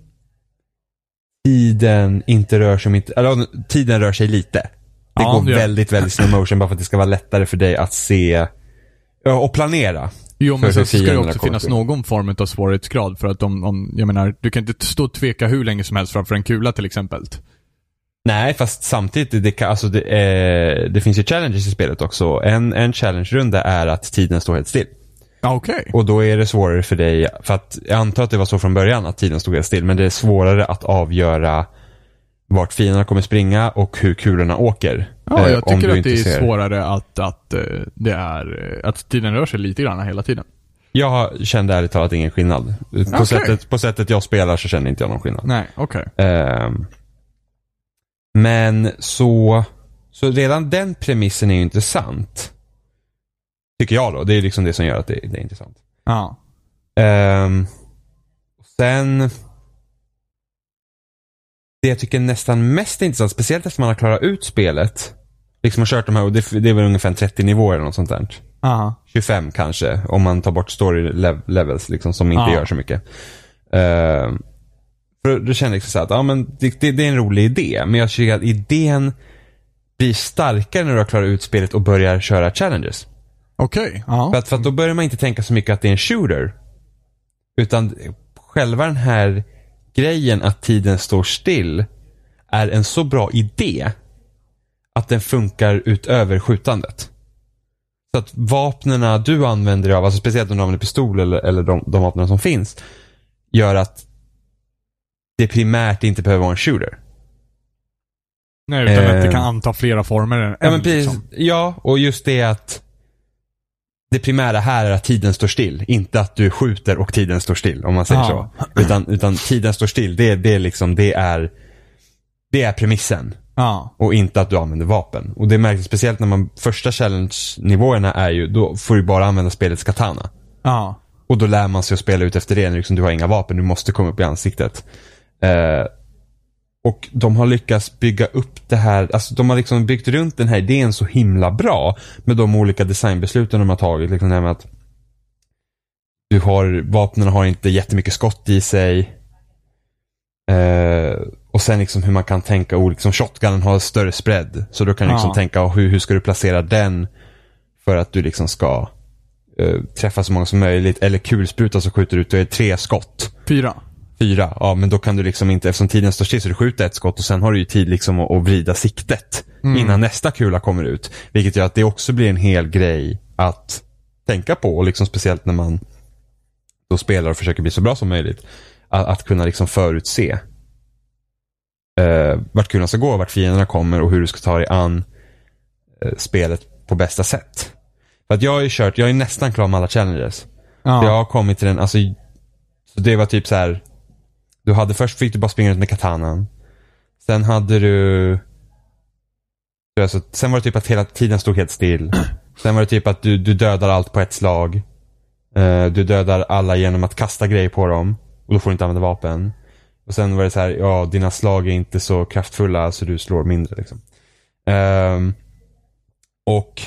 [SPEAKER 3] tiden inte rör sig, om inte, eller, tiden rör sig lite. Det
[SPEAKER 2] Ja,
[SPEAKER 3] går
[SPEAKER 2] det gör-
[SPEAKER 3] väldigt, väldigt slow motion bara för att det ska vara lättare för dig att se ja, och planera.
[SPEAKER 2] Jo, men
[SPEAKER 3] för
[SPEAKER 2] sen
[SPEAKER 3] hur
[SPEAKER 2] så ska det
[SPEAKER 3] fienderna
[SPEAKER 2] också
[SPEAKER 3] kommer
[SPEAKER 2] finnas
[SPEAKER 3] till.
[SPEAKER 2] någon form av svårighetsgrad för att om, om, jag menar, du kan inte stå och tveka hur länge som helst framför en kula till exempel.
[SPEAKER 3] Nej, fast samtidigt, det, kan, alltså det, eh, det finns ju challenges i spelet också. En, en challenge-runda är att tiden står helt still.
[SPEAKER 2] Ja, Okej.
[SPEAKER 3] Och då är det svårare för dig, för att jag antar att det var så från början att tiden stod helt still, men det är svårare att avgöra vart fienderna kommer springa och hur kulorna åker.
[SPEAKER 2] Ja,
[SPEAKER 3] eh,
[SPEAKER 2] jag
[SPEAKER 3] om
[SPEAKER 2] tycker
[SPEAKER 3] du
[SPEAKER 2] att
[SPEAKER 3] inte
[SPEAKER 2] det är
[SPEAKER 3] ser.
[SPEAKER 2] svårare att, att, eh, det är, eh, att tiden rör sig lite grann hela tiden.
[SPEAKER 3] Jag kände ärligt talat ingen skillnad. På,
[SPEAKER 2] Okej.
[SPEAKER 3] sättet, på sättet jag spelar så känner inte jag någon skillnad.
[SPEAKER 2] Nej, okej.
[SPEAKER 3] Ehm, men så, så redan den premissen är ju intressant. Tycker jag då. Det är liksom det som gör att det, det är intressant.
[SPEAKER 2] Ja.
[SPEAKER 3] Ehm, och sen... Det jag tycker är nästan mest intressant, speciellt efter man har klarat ut spelet. Liksom har kört de här, och det, det är väl ungefär 30 nivåer eller något sånt där.
[SPEAKER 2] Aha.
[SPEAKER 3] 25 kanske, om man tar bort story lev- levels liksom, som inte
[SPEAKER 2] Ja.
[SPEAKER 3] gör så mycket. Ehm, för då kände jag liksom så här att ja, men det, det, det är en rolig idé, men jag tycker att idén blir starkare när du har klarat ut spelet och börjar köra challenges.
[SPEAKER 2] Okej. Ja.
[SPEAKER 3] För att, för att då börjar man inte tänka så mycket att det är en shooter. Utan själva den här grejen att tiden står still är en så bra idé att den funkar utöver skjutandet. Så att vapnen du använder dig av, alltså speciellt om du använder pistol eller, eller de, de vapnen som finns, gör att det primärt inte behöver vara en shooter.
[SPEAKER 2] Nej, utan att det
[SPEAKER 3] eh,
[SPEAKER 2] kan anta flera former än
[SPEAKER 3] Ja,
[SPEAKER 2] en,
[SPEAKER 3] men precis.
[SPEAKER 2] liksom.
[SPEAKER 3] ja, och just det att det primära här är att tiden står still. Inte att du skjuter och tiden står still, om man säger
[SPEAKER 2] Ja.
[SPEAKER 3] så. Utan, utan tiden står still, det, det, är liksom, det, är, det är premissen.
[SPEAKER 2] Ja.
[SPEAKER 3] Och inte att du använder vapen. Och det märks speciellt när man, första challenge-nivåerna är ju, då får du bara använda spelets katana.
[SPEAKER 2] Ja.
[SPEAKER 3] Och då lär man sig att spela ut efter det. När liksom, du har inga vapen, du måste komma upp i ansiktet. Eh, och de har lyckats bygga upp det här. Alltså de har liksom byggt runt den här idén så himla bra. Med de olika designbesluten de har tagit. Liksom det här med att du har, vapnen har inte jättemycket skott i sig. Eh, och sen liksom hur man kan tänka, och liksom shotgunen har större spread. Så då kan du liksom
[SPEAKER 2] Ja.
[SPEAKER 3] tänka, hur, hur ska du placera den? För att du liksom ska eh, träffa så många som möjligt. Eller kulspruta så skjuter du ut det är tre skott.
[SPEAKER 2] Fyra.
[SPEAKER 3] Fyra, ja men då kan du liksom inte, eftersom tiden står still så du skjuter ett skott och sen har du ju tid liksom att, att vrida siktet innan nästa kula kommer ut. Vilket gör att det också blir en hel grej att tänka på och liksom speciellt när man då spelar och försöker bli så bra som möjligt. Att, att kunna liksom förutse eh, vart kulan ska gå, vart fienderna kommer och hur du ska ta dig an eh, spelet på bästa sätt. För att jag har ju kört, jag är nästan klar med alla challenges.
[SPEAKER 2] Ja.
[SPEAKER 3] För Jag har kommit till den, alltså. Så det var typ så här. Du hade först fick du bara springa runt med katanan. Sen hade du. Alltså, sen var det typ att hela tiden stod helt still. Sen var det typ att du, du dödar allt på ett slag. Eh, du dödar alla genom att kasta grejer på dem. Och då får du inte använda vapen. Och sen var det så här, ja dina slag är inte så kraftfulla så du slår mindre liksom. Ehm, och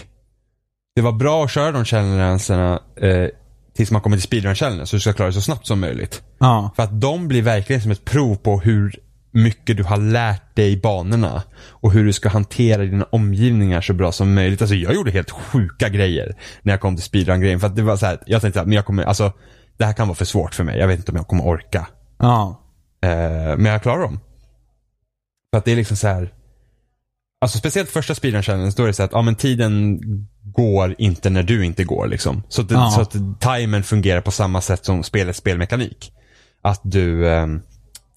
[SPEAKER 3] det var bra att köra de challengerna eh, tills man kommer till speedrun-challengen så du ska klara det så snabbt som möjligt.
[SPEAKER 2] Ja.
[SPEAKER 3] För att de blir verkligen som ett prov på hur mycket du har lärt dig i banorna. Och hur du ska hantera dina omgivningar så bra som möjligt. Alltså jag gjorde helt sjuka grejer när jag kom till speedrun-grejen. För att det var så här, jag tänkte att men jag kommer, alltså det här kan vara för svårt för mig. Jag vet inte om jag kommer orka.
[SPEAKER 2] Ja.
[SPEAKER 3] Eh, men jag klarar dem. För att det är liksom så här. Alltså speciellt första speedrun challenge, då är det så att ja, men tiden går inte när du inte går. Liksom. Så, att,
[SPEAKER 2] Ja.
[SPEAKER 3] så att timern fungerar på samma sätt som spelets spelmekanik. Att du, ehm,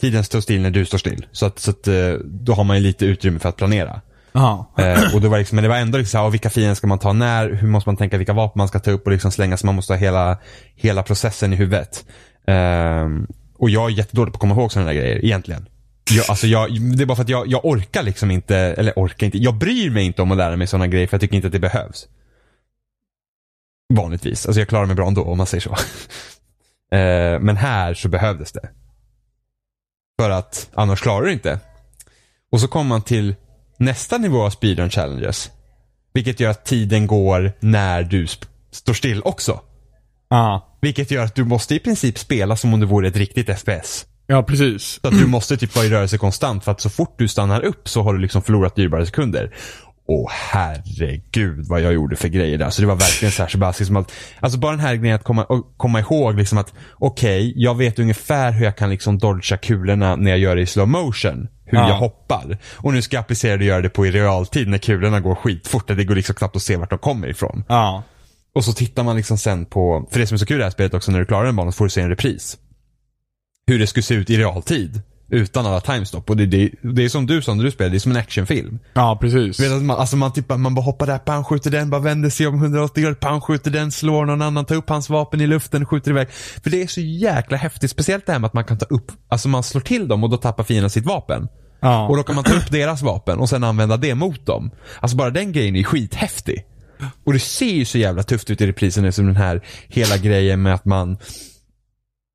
[SPEAKER 3] tiden står still när du står still. Så att, så att eh, då har man ju lite utrymme för att planera.
[SPEAKER 2] Ja.
[SPEAKER 3] Eh, och det var liksom, men det var ändå liksom, så här, ja, vilka fiender ska man ta när? Hur måste man tänka vilka vapen man ska ta upp och liksom slänga? Så man måste ha hela, hela processen i huvudet. Ehm, och jag är jättedålig på att komma ihåg sådana där grejer egentligen. Jag, alltså jag, det är bara för att jag, jag orkar liksom inte, eller orkar inte, jag bryr mig inte om att lära mig sådana grejer för jag tycker inte att det behövs. Vanligtvis. Alltså jag klarar mig bra ändå om man säger så. Eh, Men här så behövdes det. För att annars klarar du inte. Och så kommer man till nästa nivå av speedrun challenges. Vilket gör att tiden går när du sp- står still också.
[SPEAKER 2] Ja.
[SPEAKER 3] Vilket gör att du måste i princip spela som om det vore ett riktigt FPS.
[SPEAKER 2] Ja, precis.
[SPEAKER 3] Så att du måste typ vara i rörelse konstant för att så fort du stannar upp så har du liksom förlorat dyrbara sekunder. Åh herregud vad jag gjorde för grejer där. Så det var verkligen så här Sebastian som att, alltså bara den här grejen att komma, och komma ihåg liksom att okej, jag vet ungefär hur jag kan liksom dodga kulorna när jag gör det i slow motion. Hur
[SPEAKER 2] Ja.
[SPEAKER 3] jag hoppar. Och nu ska jag applicera det och göra det på i realtid när kulorna går skitfort. Det går liksom knappt att se vart de kommer ifrån.
[SPEAKER 2] Ja.
[SPEAKER 3] Och så tittar man liksom sen på, för det som är så kul i det här spelet också när du klarar en bana så får du se en repris. Hur det skulle se ut i realtid. Utan alla timestop. Och det, det, det är som du sa när du spelade, det är som en actionfilm.
[SPEAKER 2] Ja, precis.
[SPEAKER 3] Du vet att man, alltså man, typ, bara- man bara hoppar där, pang skjuter den, bara vänder sig om 180 grader, pang skjuter den, slår någon annan, tar upp hans vapen i luften, skjuter iväg. För det är så jäkla häftigt, speciellt det här med att man kan ta upp, alltså man slår till dem och då tappar fienden sitt vapen.
[SPEAKER 2] Ja.
[SPEAKER 3] Och då kan man ta upp deras vapen och sen använda det mot dem. Alltså bara den grejen är skithäftig. Och det ser ju så jävla tufft ut i reprisen eftersom den här hela grejen med att man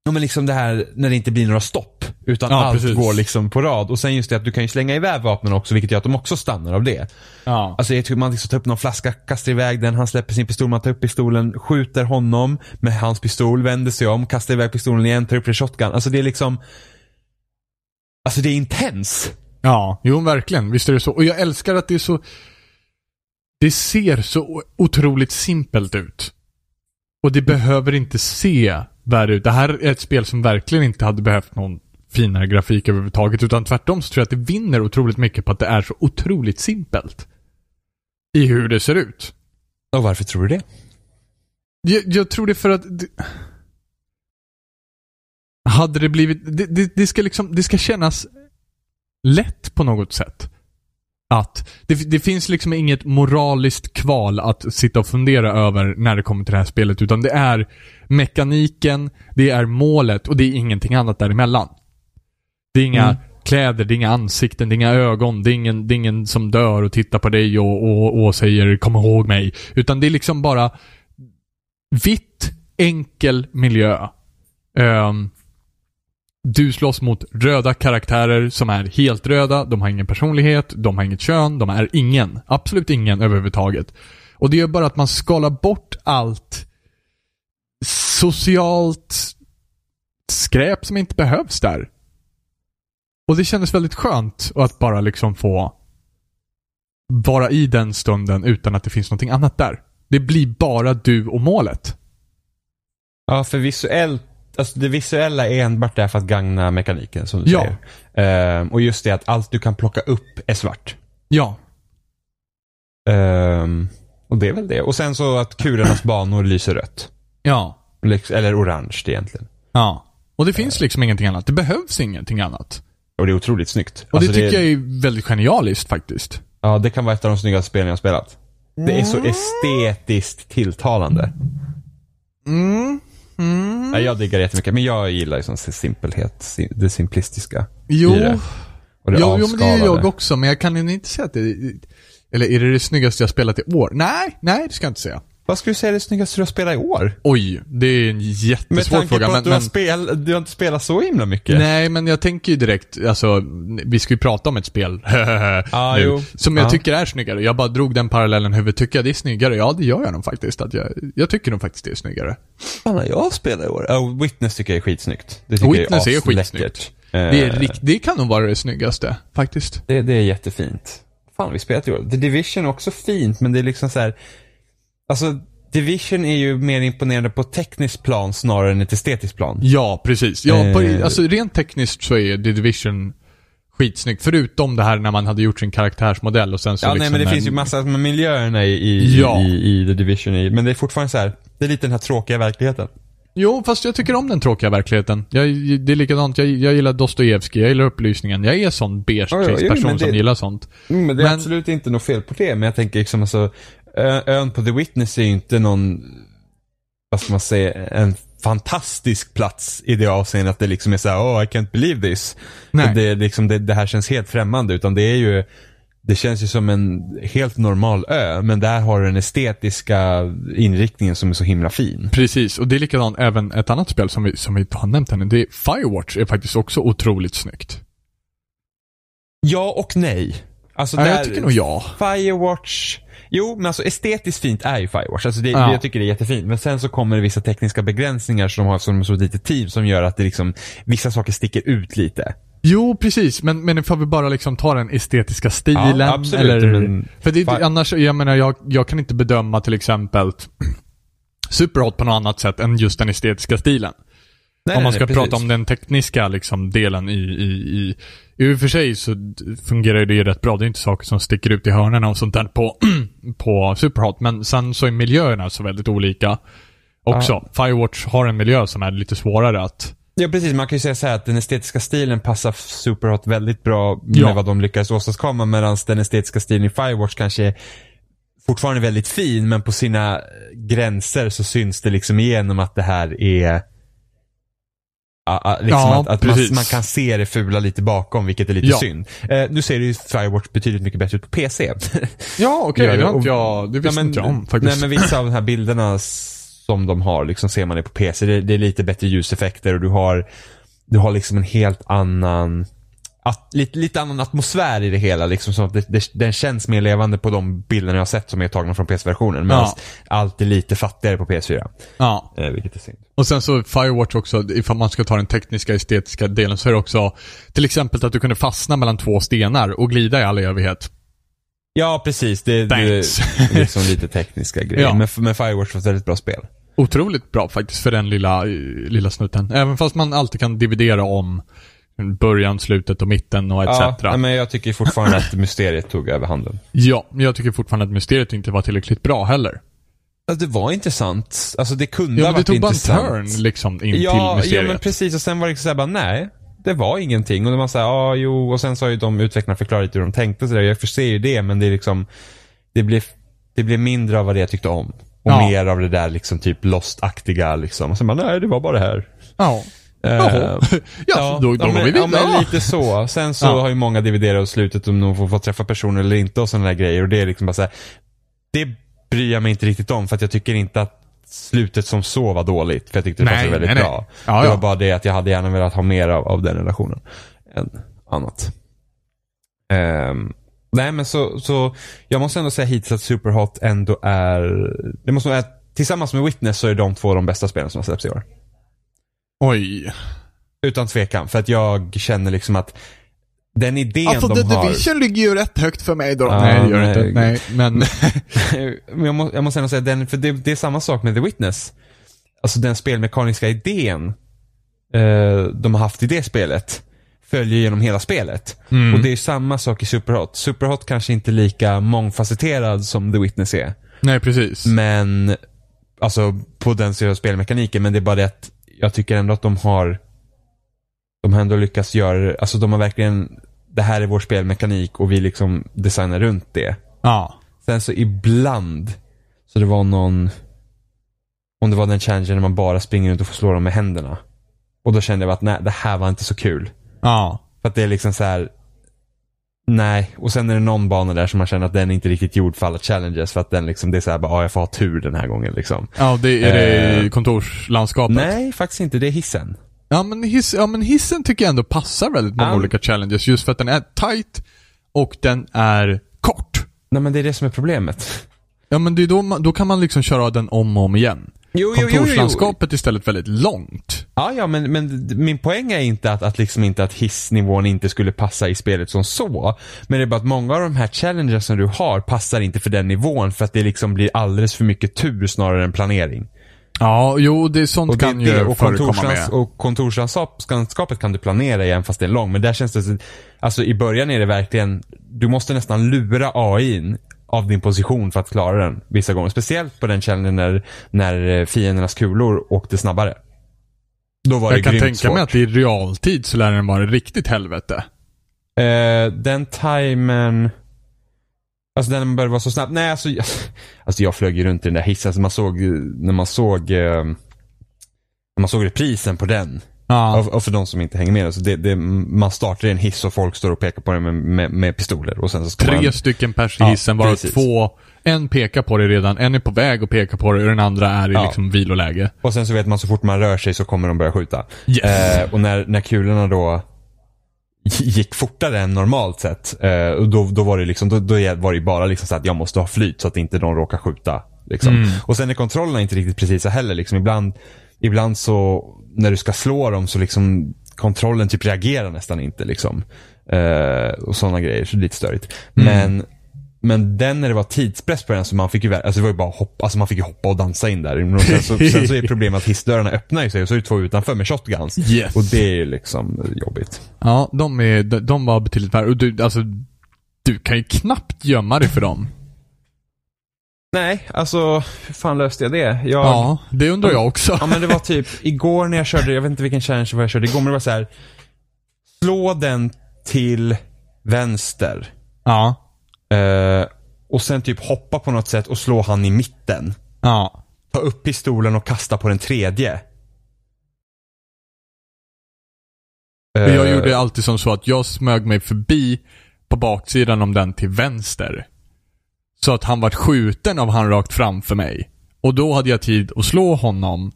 [SPEAKER 3] Ja men liksom det här när det inte blir några stopp. Utan
[SPEAKER 2] Ja,
[SPEAKER 3] allt
[SPEAKER 2] precis.
[SPEAKER 3] går liksom på rad. Och sen just det att du kan ju slänga iväg vapnen också vilket gör att de också stannar av det.
[SPEAKER 2] ja.
[SPEAKER 3] Alltså jag tycker man liksom tar upp någon flaska, kastar iväg den, han släpper sin pistol, man tar upp pistolen, skjuter honom med hans pistol, vänder sig om, kastar iväg pistolen igen, tar upp det shotgun. Alltså det är liksom Alltså det är intens.
[SPEAKER 2] Ja, jo verkligen. Visst är det så. Och jag älskar att det är så... Det ser så otroligt simpelt ut. Och det behöver inte se värre ut. Det här är ett spel som verkligen inte hade behövt någon finare grafik överhuvudtaget. Utan tvärtom så tror jag att det vinner otroligt mycket på att det är så otroligt simpelt. I hur det ser ut.
[SPEAKER 3] Och varför tror du det?
[SPEAKER 2] Jag, jag tror det är för att... Det... Hade det blivit... Det, det, det ska liksom... Det ska kännas lätt på något sätt. Att det, det finns liksom inget moraliskt kval att sitta och fundera över när det kommer till det här spelet. Utan det är mekaniken, det är målet och det är ingenting annat däremellan. Det är inga kläder, det är inga ansikten, det är inga ögon, det är ingen, det är ingen som dör och tittar på dig och, och, och säger kom ihåg mig. Utan det är liksom bara vitt, enkel miljö. Ehm, du slåss mot röda karaktärer som är helt röda, de har ingen personlighet, de har inget kön, de är ingen. Absolut ingen överhuvudtaget. Och det gör bara att man skalar bort allt socialt skräp som inte behövs där. Och det kändes väldigt skönt att bara liksom få vara i den stunden utan att det finns någonting annat där. Det blir bara du och målet.
[SPEAKER 3] Ja, för visuellt, alltså det visuella är enbart där för att gagna mekaniken som du
[SPEAKER 2] Ja.
[SPEAKER 3] säger. Ehm, och just det att allt du kan plocka upp är svart.
[SPEAKER 2] Ja.
[SPEAKER 3] Ehm, och det är väl det. Och sen så att kulornas banor lyser rött.
[SPEAKER 2] Ja.
[SPEAKER 3] Liks- Eller orange egentligen.
[SPEAKER 2] Ja. Och det finns liksom ingenting annat. Det behövs ingenting annat.
[SPEAKER 3] Och det är otroligt snyggt.
[SPEAKER 2] Och det tycker jag är väldigt genialiskt faktiskt.
[SPEAKER 3] Ja, det kan vara ett av de snyggaste spelen jag har spelat. Det
[SPEAKER 2] Mm.
[SPEAKER 3] är så estetiskt tilltalande.
[SPEAKER 2] Mm.
[SPEAKER 3] Ja, jag diggar det jättemycket, men jag gillar liksom simpelhet, sim- det simplistiska.
[SPEAKER 2] Jo.
[SPEAKER 3] I det. Och det
[SPEAKER 2] Jo, jo, men det är
[SPEAKER 3] avskalade.
[SPEAKER 2] jag också, men jag kan ju inte säga att det Eller är det det snyggaste jag spelat i år? Nej, nej det ska jag inte säga.
[SPEAKER 3] Vad skulle du säga är det snyggaste du har spelat i år?
[SPEAKER 2] Oj, det är en
[SPEAKER 3] Med
[SPEAKER 2] jättesvår
[SPEAKER 3] tanke
[SPEAKER 2] fråga.
[SPEAKER 3] på
[SPEAKER 2] men,
[SPEAKER 3] att du,
[SPEAKER 2] men,
[SPEAKER 3] har spel, du har inte spelat så himla mycket.
[SPEAKER 2] Nej, men jag tänker ju direkt, alltså, vi ska ju prata om ett spel
[SPEAKER 3] Ah,
[SPEAKER 2] nu,
[SPEAKER 3] jo.
[SPEAKER 2] som jag
[SPEAKER 3] Ah.
[SPEAKER 2] tycker är snyggare. Jag bara drog den parallellen huvudet. Tycker jag det är snyggare? Ja, det gör jag nog faktiskt. Att jag, jag tycker nog faktiskt det är snyggare.
[SPEAKER 3] Fan har jag spelat i år? Oh, Witness tycker jag är skitsnyggt. Det tycker
[SPEAKER 2] Witness
[SPEAKER 3] jag
[SPEAKER 2] är
[SPEAKER 3] asläckert.
[SPEAKER 2] skitsnyggt.
[SPEAKER 3] Eh,
[SPEAKER 2] Det, är rikt, det kan nog vara det snyggaste, faktiskt.
[SPEAKER 3] det, det är jättefint. Fan har vi spelat i år. The Division är också fint, men det är liksom så här. Alltså, Division är ju mer imponerande på tekniskt plan snarare än ett estetiskt plan.
[SPEAKER 2] Ja, precis. Ja,
[SPEAKER 3] Eh.
[SPEAKER 2] på, alltså, rent tekniskt så är The Division skitsnyggt. Förutom det här när man hade gjort sin karaktärsmodell och sen så
[SPEAKER 3] Ja, nej
[SPEAKER 2] liksom
[SPEAKER 3] men det
[SPEAKER 2] en-
[SPEAKER 3] finns ju massa med miljöerna i, i,
[SPEAKER 2] Ja.
[SPEAKER 3] i, i, i The Division. i- Men det är fortfarande så här. det är lite den här tråkiga verkligheten.
[SPEAKER 2] Jo, fast jag tycker om den tråkiga verkligheten. Jag, det är likadant. Jag, jag gillar Dostojevskij, jag gillar upplysningen. Jag är sån beige
[SPEAKER 3] Ja, ja, jo,
[SPEAKER 2] person
[SPEAKER 3] men det-
[SPEAKER 2] som gillar sånt.
[SPEAKER 3] Mm, men det är
[SPEAKER 2] Men-
[SPEAKER 3] absolut inte något fel på det, men jag tänker liksom alltså, ö- ön på The Witness är ju inte någon, vad ska man säga, en fantastisk plats i det avseendet att det liksom är så här, oh I can't believe this.
[SPEAKER 2] Nej.
[SPEAKER 3] Och Det, är liksom, det, det här känns helt främmande utan det är ju det känns ju som en helt normal ö, men där har du den estetiska inriktningen som är så himla fin.
[SPEAKER 2] Precis, och det är likadant även ett annat spel som vi, som vi inte har nämnt ännu. Det är Firewatch är faktiskt också otroligt snyggt.
[SPEAKER 3] Ja och nej. Alltså
[SPEAKER 2] Ja,
[SPEAKER 3] där,
[SPEAKER 2] jag tycker nog ja.
[SPEAKER 3] Firewatch. Jo, men alltså estetiskt fint är ju Firewatch. Alltså det,
[SPEAKER 2] Ja.
[SPEAKER 3] Jag tycker det är jättefint. Men sen så kommer det vissa tekniska begränsningar som har som så lite team som gör att det liksom, vissa saker sticker ut lite.
[SPEAKER 2] Jo, precis. Men, men får vi bara liksom ta den estetiska stilen?
[SPEAKER 3] Ja, absolut,
[SPEAKER 2] eller,
[SPEAKER 3] men-
[SPEAKER 2] för det,
[SPEAKER 3] Fan.
[SPEAKER 2] annars, jag menar, jag, jag kan inte bedöma till exempel Superhot på något annat sätt än just den estetiska stilen.
[SPEAKER 3] Nej,
[SPEAKER 2] om man
[SPEAKER 3] nej,
[SPEAKER 2] ska
[SPEAKER 3] nej,
[SPEAKER 2] prata
[SPEAKER 3] precis.
[SPEAKER 2] om den tekniska liksom, delen i, i, i... I och för sig så d- fungerar det ju rätt bra. Det är inte saker som sticker ut i hörnen och sånt där på, på Superhot. Men sen så är miljöerna så väldigt olika också. Firewatch har en miljö som är lite svårare att...
[SPEAKER 3] Ja precis, man kan ju säga så här att den estetiska stilen passar Superhot väldigt bra med
[SPEAKER 2] Ja.
[SPEAKER 3] vad de lyckades åstadkomma medan den estetiska stilen i Firewatch kanske är fortfarande väldigt fin men på sina eh, gränser så syns det liksom igenom att det här är Ja, ja, liksom
[SPEAKER 2] Ja,
[SPEAKER 3] att, att man,
[SPEAKER 2] precis.
[SPEAKER 3] man kan se det fula lite bakom vilket är lite
[SPEAKER 2] Ja.
[SPEAKER 3] synd. Eh, nu ser det ju Firewatch betydligt mycket bättre ut på PC.
[SPEAKER 2] Ja, okej.
[SPEAKER 3] Ja,
[SPEAKER 2] det har
[SPEAKER 3] och-
[SPEAKER 2] inte jag... Det visste
[SPEAKER 3] Nej, men-
[SPEAKER 2] inte jag om faktiskt.
[SPEAKER 3] Nej, men vissa av de här bilderna som de har liksom ser man det på PC. Det, det är lite bättre ljuseffekter och du har, du har liksom en helt annan att, lite, lite annan atmosfär i det hela. Liksom, så att det, det, den känns mer levande på de bilderna jag har sett som är tagna från PS-versionen. Medan
[SPEAKER 2] Ja.
[SPEAKER 3] allt är lite fattigare på PS4.
[SPEAKER 2] Ja.
[SPEAKER 3] Eh, vilket är synd.
[SPEAKER 2] Och sen så Firewatch också, ifall man ska ta den tekniska estetiska delen så är det också till exempel att du kunde fastna mellan två stenar och glida i all evighet.
[SPEAKER 3] Ja, precis. Det, det
[SPEAKER 2] Thanks.
[SPEAKER 3] är liksom lite tekniska grejer.
[SPEAKER 2] Ja.
[SPEAKER 3] Men, men Firewatch var ett väldigt bra spel.
[SPEAKER 2] Otroligt bra faktiskt för den lilla, eh, lilla snutten. Även fast man alltid kan dividera om början, slutet och mitten och etc.
[SPEAKER 3] Ja,
[SPEAKER 2] Ja,
[SPEAKER 3] nej, men jag tycker fortfarande att mysteriet tog överhanden.
[SPEAKER 2] men jag tycker fortfarande att mysteriet inte var tillräckligt bra heller.
[SPEAKER 3] Ja, Alltså, det var intressant. Alltså det kunde
[SPEAKER 2] Ja, men
[SPEAKER 3] ha
[SPEAKER 2] det
[SPEAKER 3] varit
[SPEAKER 2] tog bara en
[SPEAKER 3] intressant.
[SPEAKER 2] turn liksom in till
[SPEAKER 3] ja, ja,
[SPEAKER 2] mysteriet.
[SPEAKER 3] men precis. Och sen var det liksom såhär bara, nej. Det var ingenting. Och då var man såhär, ja, jo. Och sen så har ju de utvecklarna förklarat lite hur de tänkte och sådär. Jag förstår ju det, men det är liksom, det blir, det blir mindre av vad det jag tyckte om. Och
[SPEAKER 2] Ja.
[SPEAKER 3] mer av det där liksom typ lost-aktiga liksom. Och sen bara, nej, det var bara det här.
[SPEAKER 2] Ja. Jaha.
[SPEAKER 3] Eh,
[SPEAKER 2] Ja, då, då går
[SPEAKER 3] men,
[SPEAKER 2] vi
[SPEAKER 3] ja,
[SPEAKER 2] vidare.
[SPEAKER 3] men lite så. Sen så
[SPEAKER 2] Ja.
[SPEAKER 3] har ju många dividerat åt slutet om de får, får träffa personer eller inte och sådana där grejer. Och det är liksom bara så här, det bryr jag mig inte riktigt om för att jag tycker inte att slutet som så var dåligt. För jag tyckte det
[SPEAKER 2] Nej,
[SPEAKER 3] passade väldigt
[SPEAKER 2] nej, nej.
[SPEAKER 3] bra.
[SPEAKER 2] Ja,
[SPEAKER 3] det
[SPEAKER 2] ja.
[SPEAKER 3] var bara det att jag hade gärna velat ha mer av, av den relationen än annat. Ehm, nej men så, så, jag måste ändå säga hittills att Superhot ändå är, det måste vara, tillsammans med Witness så är de två de bästa spelen som har släppts i år.
[SPEAKER 2] Oj.
[SPEAKER 3] Utan tvekan. För att jag känner liksom att den idén
[SPEAKER 2] Alltså,
[SPEAKER 3] de
[SPEAKER 2] The
[SPEAKER 3] har.
[SPEAKER 2] Division ligger ju rätt högt för mig då.
[SPEAKER 3] Ja,
[SPEAKER 2] nej, det gör det
[SPEAKER 3] nej.
[SPEAKER 2] inte. Nej, men...
[SPEAKER 3] Men jag, må, jag måste ändå säga den, för det, det är samma sak med The Witness. Alltså den spelmekaniska idén eh, de har haft i det spelet följer genom hela spelet.
[SPEAKER 2] Mm.
[SPEAKER 3] Och det är samma sak i Superhot. Superhot kanske inte är lika mångfacetterad som The Witness är.
[SPEAKER 2] Nej, precis.
[SPEAKER 3] Men, alltså på den seriösa spelmekaniken, men det är bara det att jag tycker ändå att de har, de har ändå lyckats göra, alltså de har verkligen, det här är vår spelmekanik och vi liksom designar runt det.
[SPEAKER 2] Ja.
[SPEAKER 3] Sen så ibland, så det var någon, om det var den challengen när man bara springer runt och får slå dem med händerna. Och då kände jag att nej, det här var inte så kul.
[SPEAKER 2] Ja.
[SPEAKER 3] För att det är liksom så här. Nej, och sen är det någon bana där som man känner att den är inte riktigt gjord för alla challenges. För att den liksom, det är så här bara, ja jag får ha tur den här gången liksom.
[SPEAKER 2] Ja, det är det i
[SPEAKER 3] Eh,
[SPEAKER 2] kontorslandskapet.
[SPEAKER 3] Nej, faktiskt inte. Det är hissen.
[SPEAKER 2] Ja men, hiss, ja, men hissen tycker jag ändå passar väldigt många
[SPEAKER 3] Ja.
[SPEAKER 2] olika challenges just för att den är tight och den är kort.
[SPEAKER 3] Nej men det är det som är problemet.
[SPEAKER 2] Ja men det är då, man, då kan man liksom köra den om och om igen.
[SPEAKER 3] Jo,
[SPEAKER 2] Kontorslandskapet är istället väldigt långt.
[SPEAKER 3] Ja, ja, men, men min poäng är inte att, att, liksom inte att hissnivån inte skulle passa i spelet som så. Men det är bara att många av de här challenges som du har passar inte för den nivån för att det liksom blir alldeles för mycket tur snarare än planering.
[SPEAKER 2] Ja, jo det är sånt
[SPEAKER 3] Och, det,
[SPEAKER 2] kan ju
[SPEAKER 3] det, och,
[SPEAKER 2] förekomma
[SPEAKER 3] kontorslands,
[SPEAKER 2] med.
[SPEAKER 3] och kontorslandskapet kan du planera igen fast det är lång. Men där känns det, så- alltså i början är det verkligen, du måste nästan lura AIn av din position för att klara den vissa gånger. Speciellt på den challengen när, när eh, fiendernas kulor åkte snabbare. Då var det
[SPEAKER 2] Jag kan
[SPEAKER 3] grymt
[SPEAKER 2] tänka
[SPEAKER 3] svårt.
[SPEAKER 2] mig att i realtid så lär den vara riktigt helvete.
[SPEAKER 3] Eh, den timern... Alltså den började vara så snabb. Nej, alltså, jag- alltså jag flög ju runt i den där hissen. Så man såg, ju- när man såg eh, Man såg reprisen på den.
[SPEAKER 2] Ja.
[SPEAKER 3] Och, och för de som inte hänger med, så det, det, man startar i en hiss och folk står och pekar på den med, med, med pistoler. Och sen så ska man,
[SPEAKER 2] Tre stycken pers i
[SPEAKER 3] Ja,
[SPEAKER 2] hissen, varav
[SPEAKER 3] precis.
[SPEAKER 2] två, en pekar på dig redan, en är på väg att peka på dig och den andra är i
[SPEAKER 3] Ja.
[SPEAKER 2] liksom viloläge.
[SPEAKER 3] och sen så vet man så fort man rör sig så kommer de börja skjuta.
[SPEAKER 2] Yes.
[SPEAKER 3] Eh, och när, när kulorna då gick fortare än normalt sett, eh, och då, då var det liksom, då, då var det ju bara liksom så att jag måste ha flyt så att inte de råkar skjuta. Liksom. Och sen är kontrollerna inte riktigt precisa heller. Liksom. Ibland, ibland så, när du ska slå dem så liksom kontrollen typ reagerar nästan inte. Liksom. Eh, och sådana grejer, så det är lite störigt. Men, men den när det var tidspress på den så man fick ju, ver- alltså det var ju bara hoppa, alltså man fick ju hoppa och dansa in där. Men Sen så, sen så är problemet att hissdörrarna öppnar ju sig och så är det två utanför med shotguns.
[SPEAKER 2] Yes.
[SPEAKER 3] Och det är ju liksom jobbigt.
[SPEAKER 2] Ja, de, är, de, de var betydligt värre. Och du, alltså, du kan ju knappt gömma dig för dem.
[SPEAKER 3] Nej, alltså hur fan löste jag det? Jag,
[SPEAKER 2] Ja, det undrar jag också.
[SPEAKER 3] Ja men det var typ igår när jag körde, jag vet inte vilken challenge det var jag körde igår, men det var så här. Slå den till vänster.
[SPEAKER 2] Ja.
[SPEAKER 3] Eh, och sen typ hoppa på något sätt och slå han i mitten.
[SPEAKER 2] Ja.
[SPEAKER 3] Ta upp pistolen och kasta på den tredje.
[SPEAKER 2] Men jag
[SPEAKER 3] Eh,
[SPEAKER 2] gjorde alltid som så att jag smög mig förbi på baksidan om den till vänster. Så att han vart skjuten av han rakt framför mig. Och då hade jag tid att slå honom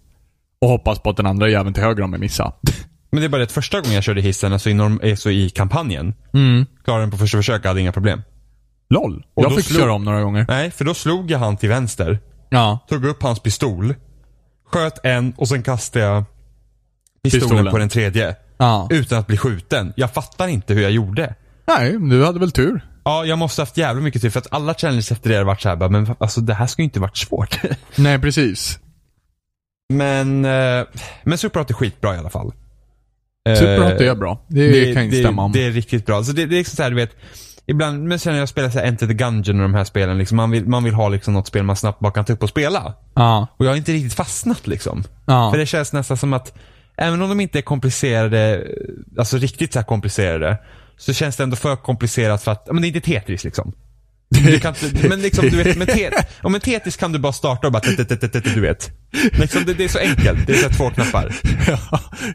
[SPEAKER 2] och hoppas på att den andra jäveln till höger om mig missade.
[SPEAKER 3] Men det är bara det att första gången jag körde hissen, alltså i, norm- alltså i kampanjen. Klarade den på första försök, hade inga problem.
[SPEAKER 2] LOL.
[SPEAKER 3] Och
[SPEAKER 2] jag
[SPEAKER 3] då
[SPEAKER 2] fick
[SPEAKER 3] slog-
[SPEAKER 2] köra om några gånger.
[SPEAKER 3] Nej, för då slog jag han till vänster.
[SPEAKER 2] Ja.
[SPEAKER 3] tog upp hans pistol, sköt en och sen kastade jag pistolen,
[SPEAKER 2] Pistolen.
[SPEAKER 3] på den tredje.
[SPEAKER 2] ja.
[SPEAKER 3] Utan att bli skjuten. Jag fattar inte hur jag gjorde.
[SPEAKER 2] Nej, men du hade väl tur.
[SPEAKER 3] Ja, jag måste haft jävla mycket tur för att alla challenges efter det har varit så här, bara, men alltså det här ska ju inte varit svårt.
[SPEAKER 2] Nej, precis.
[SPEAKER 3] men, eh, men Superhot är skitbra i alla fall. Eh,
[SPEAKER 2] Superhot är bra. Eh, Det, kan jag instämma om.
[SPEAKER 3] Det är riktigt bra. Alltså det, det är liksom så här, du vet. Ibland, men sen när jag spelar så här Enter the Gungeon och de här spelen, liksom, man, vill, man vill ha liksom något spel man snabbt bara kan ta upp och spela.
[SPEAKER 2] ja.
[SPEAKER 3] Och jag har inte riktigt fastnat liksom.
[SPEAKER 2] Ja.
[SPEAKER 3] För det känns nästan som att, även om de inte är komplicerade, alltså riktigt så här komplicerade, så känns det ändå för komplicerat för att, ja, men det är inte Tetris liksom. Du kan inte, men liksom du vet, med, te, ja, men Tetris kan du bara starta och bara, tet- tet- tet- tet- du vet. Liksom, det, det är så enkelt, det är så här två knappar.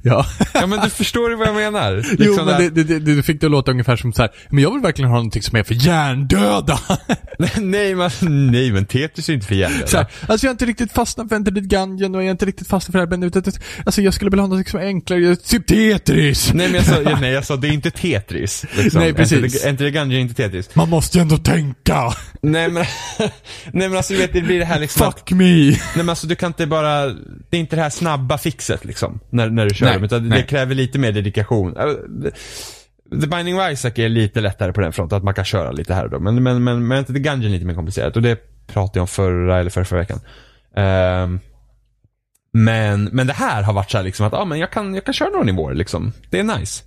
[SPEAKER 2] ja.
[SPEAKER 3] Ja men du förstår ju vad jag menar. Liksom
[SPEAKER 2] Jo,
[SPEAKER 3] där-
[SPEAKER 2] men det, det, det, det fick det att låta ungefär som så här. men jag vill verkligen ha någonting som är för hjärndöda.
[SPEAKER 3] nej, men, nej men Tetris är ju inte för jävla.
[SPEAKER 2] Så här, alltså jag är inte riktigt fastnat för Enter the Gungeon och jag är inte riktigt fastnat för det här men utan- Alltså jag skulle vilja ha något som är enklare, typ Tetris.
[SPEAKER 3] Nej men jag sa, ja, nej, jag sa det är inte Tetris. Liksom.
[SPEAKER 2] Nej, precis.
[SPEAKER 3] Enter the- Enter the Gungeon är inte Tetris.
[SPEAKER 2] Man måste ju ändå tänka.
[SPEAKER 3] Nej men, nej men alltså du vet det blir det här liksom att-
[SPEAKER 2] Fuck me.
[SPEAKER 3] Nej men alltså du kan inte bara, det är inte det här snabba fixet liksom. När, när du kör
[SPEAKER 2] Nej,
[SPEAKER 3] dem, utan
[SPEAKER 2] nej.
[SPEAKER 3] det kräver lite mer dedikation. Äh, The Binding of Isaac är lite lättare på den fronten, att man kan köra lite här och då. Men, men, men, men inte The Gungeon är lite mer komplicerat och det pratade jag om förra eller förra, förra veckan. Ehm, men, men det här har varit så här liksom att, ja ah, men jag kan, jag kan köra några nivåer liksom. Det är nice.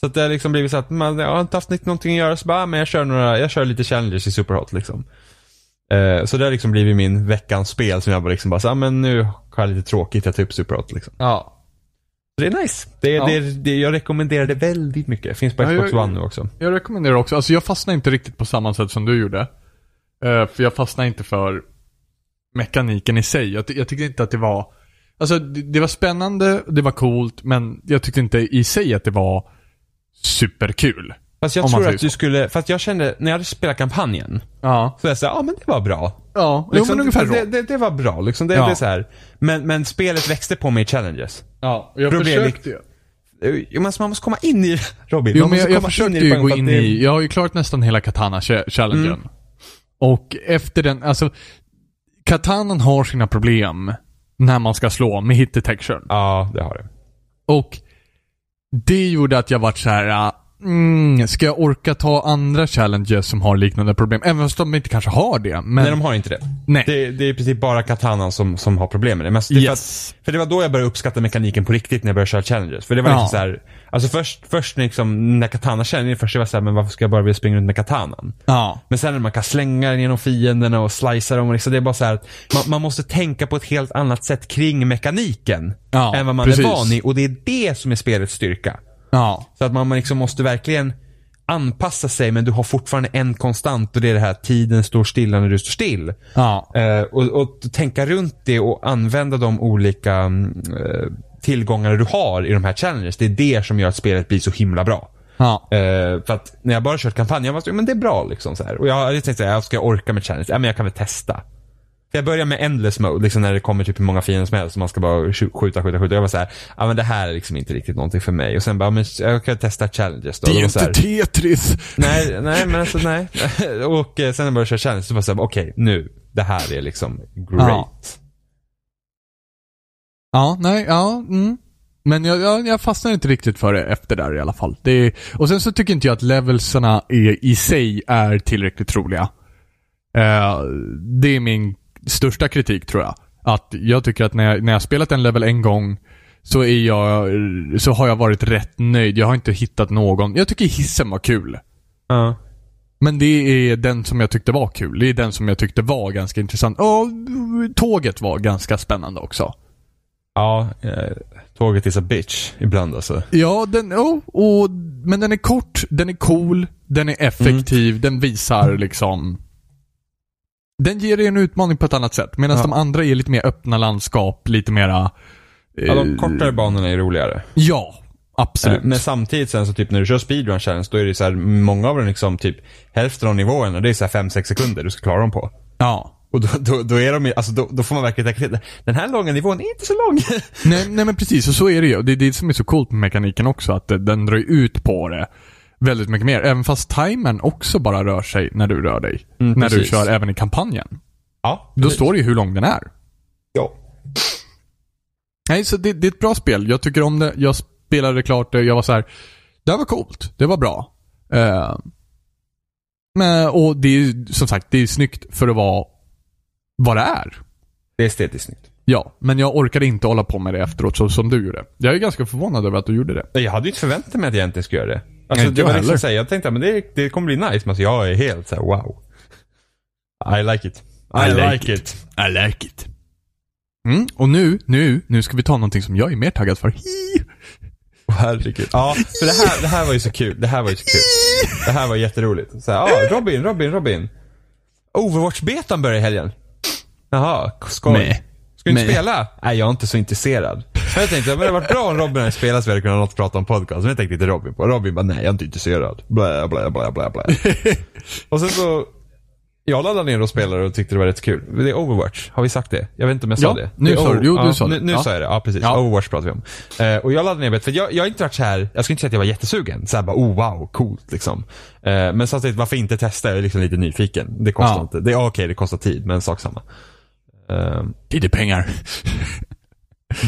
[SPEAKER 3] Så att det har liksom blivit så att man, jag har inte haft någonting att göra så bara, ah, men jag kör några, jag kör lite challenges i Superhot liksom. Eh, Så det har liksom blivit min veckans spel som jag bara liksom bara så, ah, men nu har jag lite tråkigt, jag tar upp Superhot liksom.
[SPEAKER 2] Ja.
[SPEAKER 3] Så det är nice. Det, är-
[SPEAKER 2] Ja.
[SPEAKER 3] det, är- det, jag rekommenderar det väldigt mycket. Finns på
[SPEAKER 2] Ja,
[SPEAKER 3] Xbox
[SPEAKER 2] jag-
[SPEAKER 3] One nu också.
[SPEAKER 2] Jag rekommenderar också, alltså jag fastnade inte riktigt på samma sätt som du gjorde. Eh, för jag fastnade inte för mekaniken i sig. Jag, ty- jag tyckte inte att det var, alltså det, det var spännande, det var coolt, men jag tyckte inte i sig att det var superkul.
[SPEAKER 3] Fast jag
[SPEAKER 2] Om man
[SPEAKER 3] tror
[SPEAKER 2] säger
[SPEAKER 3] att du skulle, fast jag kände, när jag hade spelat kampanjen,
[SPEAKER 2] Ja.
[SPEAKER 3] så jag sa, ja ah, men det var bra. Liksom,
[SPEAKER 2] Ja, jo, men ungefär så.
[SPEAKER 3] det, det, det var bra liksom. Det,
[SPEAKER 2] Ja.
[SPEAKER 3] det är så här. Men, men spelet växte på mig i challenges.
[SPEAKER 2] Ja, jag
[SPEAKER 3] Problem-
[SPEAKER 2] försökte ju.
[SPEAKER 3] Eh, Man, man måste komma in i Robin.
[SPEAKER 2] Jo,
[SPEAKER 3] man
[SPEAKER 2] men
[SPEAKER 3] måste
[SPEAKER 2] jag, jag
[SPEAKER 3] komma
[SPEAKER 2] försökte
[SPEAKER 3] det
[SPEAKER 2] ju
[SPEAKER 3] på
[SPEAKER 2] gå
[SPEAKER 3] något
[SPEAKER 2] in
[SPEAKER 3] sätt. Det- Mm.
[SPEAKER 2] i, jag har ju klart nästan hela Katana-challengen. Och efter den, alltså, Katanan har sina problem när man ska slå med hit detection.
[SPEAKER 3] Ja, det har det.
[SPEAKER 2] Och det gjorde att jag vart så här. ah, Mm, ska jag orka ta andra challenges som har liknande problem? Även fast de inte kanske har det. Men
[SPEAKER 3] Nej, de har inte det.
[SPEAKER 2] Nej.
[SPEAKER 3] Det, det är i princip bara katanan som, som har problem med det. Men det är för,
[SPEAKER 2] Yes.
[SPEAKER 3] att, för det var då jag började uppskatta mekaniken på riktigt när jag började köra challenges. För det var
[SPEAKER 2] Ja.
[SPEAKER 3] liksom så här, alltså först, först liksom, när katana känner först det var så här, men varför ska jag bara vilja springa runt med katanan?
[SPEAKER 2] ja.
[SPEAKER 3] Men sen när man kan slänga den genom fienderna och slicea dem och liksom, det är bara så här att man, man måste tänka på ett helt annat sätt kring mekaniken.
[SPEAKER 2] Ja,
[SPEAKER 3] än vad man
[SPEAKER 2] precis.
[SPEAKER 3] är van i och det är det som är spelets styrka.
[SPEAKER 2] Ja.
[SPEAKER 3] Så att man, man liksom måste verkligen anpassa sig men du har fortfarande en konstant och det är det här att tiden står stilla när du står still.
[SPEAKER 2] Ja.
[SPEAKER 3] Eh, och, och tänka runt det och använda de olika mm, eh, tillgångarna du har i de här challenges. Det är det som gör att spelet blir så himla bra.
[SPEAKER 2] Ja.
[SPEAKER 3] Eh, för att när jag bara kört kampanj, jag var så, "Ja, men det är bra liksom så här. Och jag hade tänkt så här, "Ja, ska jag orka med challenge? Ja, men jag kan väl testa. Jag börjar med endless mode, liksom när det kommer typ hur många fiender som helst och man ska bara skj- skjuta, skjuta, skjuta. Jag var så här, ja men det här är liksom inte riktigt någonting för mig. Och sen bara, "Ja, men jag kan testa challenges då.
[SPEAKER 2] Det är
[SPEAKER 3] Och
[SPEAKER 2] ju
[SPEAKER 3] var så
[SPEAKER 2] inte
[SPEAKER 3] här,
[SPEAKER 2] Tetris.
[SPEAKER 3] Nej, nej men alltså nej. och eh, sen när jag började köra challenge så var jag såhär, okej nu, det här är liksom great.
[SPEAKER 2] Ja. Ja, nej, ja. Mm. Men jag, jag, jag fastnar inte riktigt för det efter där i alla fall. Det är, och sen så tycker inte jag att levelsarna är, i sig är tillräckligt roliga. Eh, det är min största kritik tror jag. Att jag tycker att när jag, när jag spelat en level en gång så, är jag, så har jag varit rätt nöjd. Jag har inte hittat någon. Jag tycker hissen var kul.
[SPEAKER 3] Ja.
[SPEAKER 2] Men det är den som jag tyckte var kul. Det är den som jag tyckte var ganska intressant. Ja, tåget var ganska spännande också.
[SPEAKER 3] Ja, eh, tåget is a bitch ibland alltså.
[SPEAKER 2] Ja, den, oh, och, men den är kort, den är cool, den är effektiv,
[SPEAKER 3] Mm.
[SPEAKER 2] den visar liksom... Den ger dig en utmaning på ett annat sätt. Medan
[SPEAKER 3] Ja.
[SPEAKER 2] de andra är lite mer öppna landskap, lite mera... eh,
[SPEAKER 3] Ja, de kortare banorna är roligare.
[SPEAKER 2] ja, absolut.
[SPEAKER 3] Eh, Men samtidigt sen så typ när du kör speedrun challenge då är det så här, många av dem liksom typ hälften av nivåerna det är så här 5-6 sekunder du ska klara dem på.
[SPEAKER 2] ja.
[SPEAKER 3] Och då, då, då är de ju- alltså då, då får man verkligen tänka till. Den här långa nivån är inte så lång.
[SPEAKER 2] Nej, nej men precis, och så är det ju. Och Det är det som är så coolt med mekaniken också, att eh, den drar ju ut på det väldigt mycket mer. Även fast timern också bara rör sig när du rör dig.
[SPEAKER 3] Mm,
[SPEAKER 2] när du
[SPEAKER 3] precis.
[SPEAKER 2] kör även i kampanjen.
[SPEAKER 3] ja,
[SPEAKER 2] Då står det ju hur lång den är.
[SPEAKER 3] ja.
[SPEAKER 2] Nej, så det, det är ett bra spel. Jag tycker om det. Jag spelade klart det. Jag var så här. Det här var coolt. Det var bra. Eh, men, och det är ju, som sagt, det är ju snyggt för att vara vad det är.
[SPEAKER 3] Det är estetiskt snyggt.
[SPEAKER 2] Ja, men jag orkade inte hålla på med det efteråt så som du gjorde. Jag är ganska förvånad över att du gjorde det.
[SPEAKER 3] Jag hade ju inte förväntat mig att jag egentligen skulle göra det. Alltså,
[SPEAKER 2] inte
[SPEAKER 3] det var
[SPEAKER 2] jag heller.
[SPEAKER 3] liksom så här, jag tänkte att det, det kommer bli nice, men alltså, jag är helt så här, wow. I like it. I, like, it.
[SPEAKER 2] I like it. Mm, och nu, nu, nu ska vi ta någonting som jag är mer taggad för. Hi!
[SPEAKER 3] Åh, Herregud. Ja, för det här, det här var ju så kul. Det här var ju så kul. Det här var jätteroligt. Så här, ah, Robin, Robin, Robin. Overwatch-betan börjar i helgen. Jaha, skoj.
[SPEAKER 2] Nej.
[SPEAKER 3] Ska du inte
[SPEAKER 2] Nej.
[SPEAKER 3] spela? Nej, jag är inte så intresserad. Men jag tänkte, men det hade varit bra om Robin hade spelat så vi hade kunnat ha något att prata om podcast. Men jag tänkte inte Robin på. Robin bara, nej jag är inte intresserad. Blä, blä, blä, blä, blä. och sen så, jag laddade ner och spelade och tyckte det var rätt kul. Det är Overwatch, har vi sagt det? Jag vet inte om jag
[SPEAKER 2] Ja,
[SPEAKER 3] sa det.
[SPEAKER 2] nu
[SPEAKER 3] det är
[SPEAKER 2] sa
[SPEAKER 3] Over-
[SPEAKER 2] du- jo, du
[SPEAKER 3] ja,
[SPEAKER 2] sa
[SPEAKER 3] nu,
[SPEAKER 2] det.
[SPEAKER 3] Nu
[SPEAKER 2] Ja.
[SPEAKER 3] sa jag det, ja precis.
[SPEAKER 2] Ja.
[SPEAKER 3] Overwatch pratar vi om. Eh, och jag laddade ner det, för jag, jag har inte varit så här. jag ska inte säga att jag var jättesugen. Så här bara, oh wow, coolt liksom. Eh, men samtidigt, varför inte testa? Jag är liksom lite nyfiken. Det kostar
[SPEAKER 2] Ja.
[SPEAKER 3] inte, det är okej, det kostar tid, men sak samma. Eh,
[SPEAKER 2] Tid är pengar.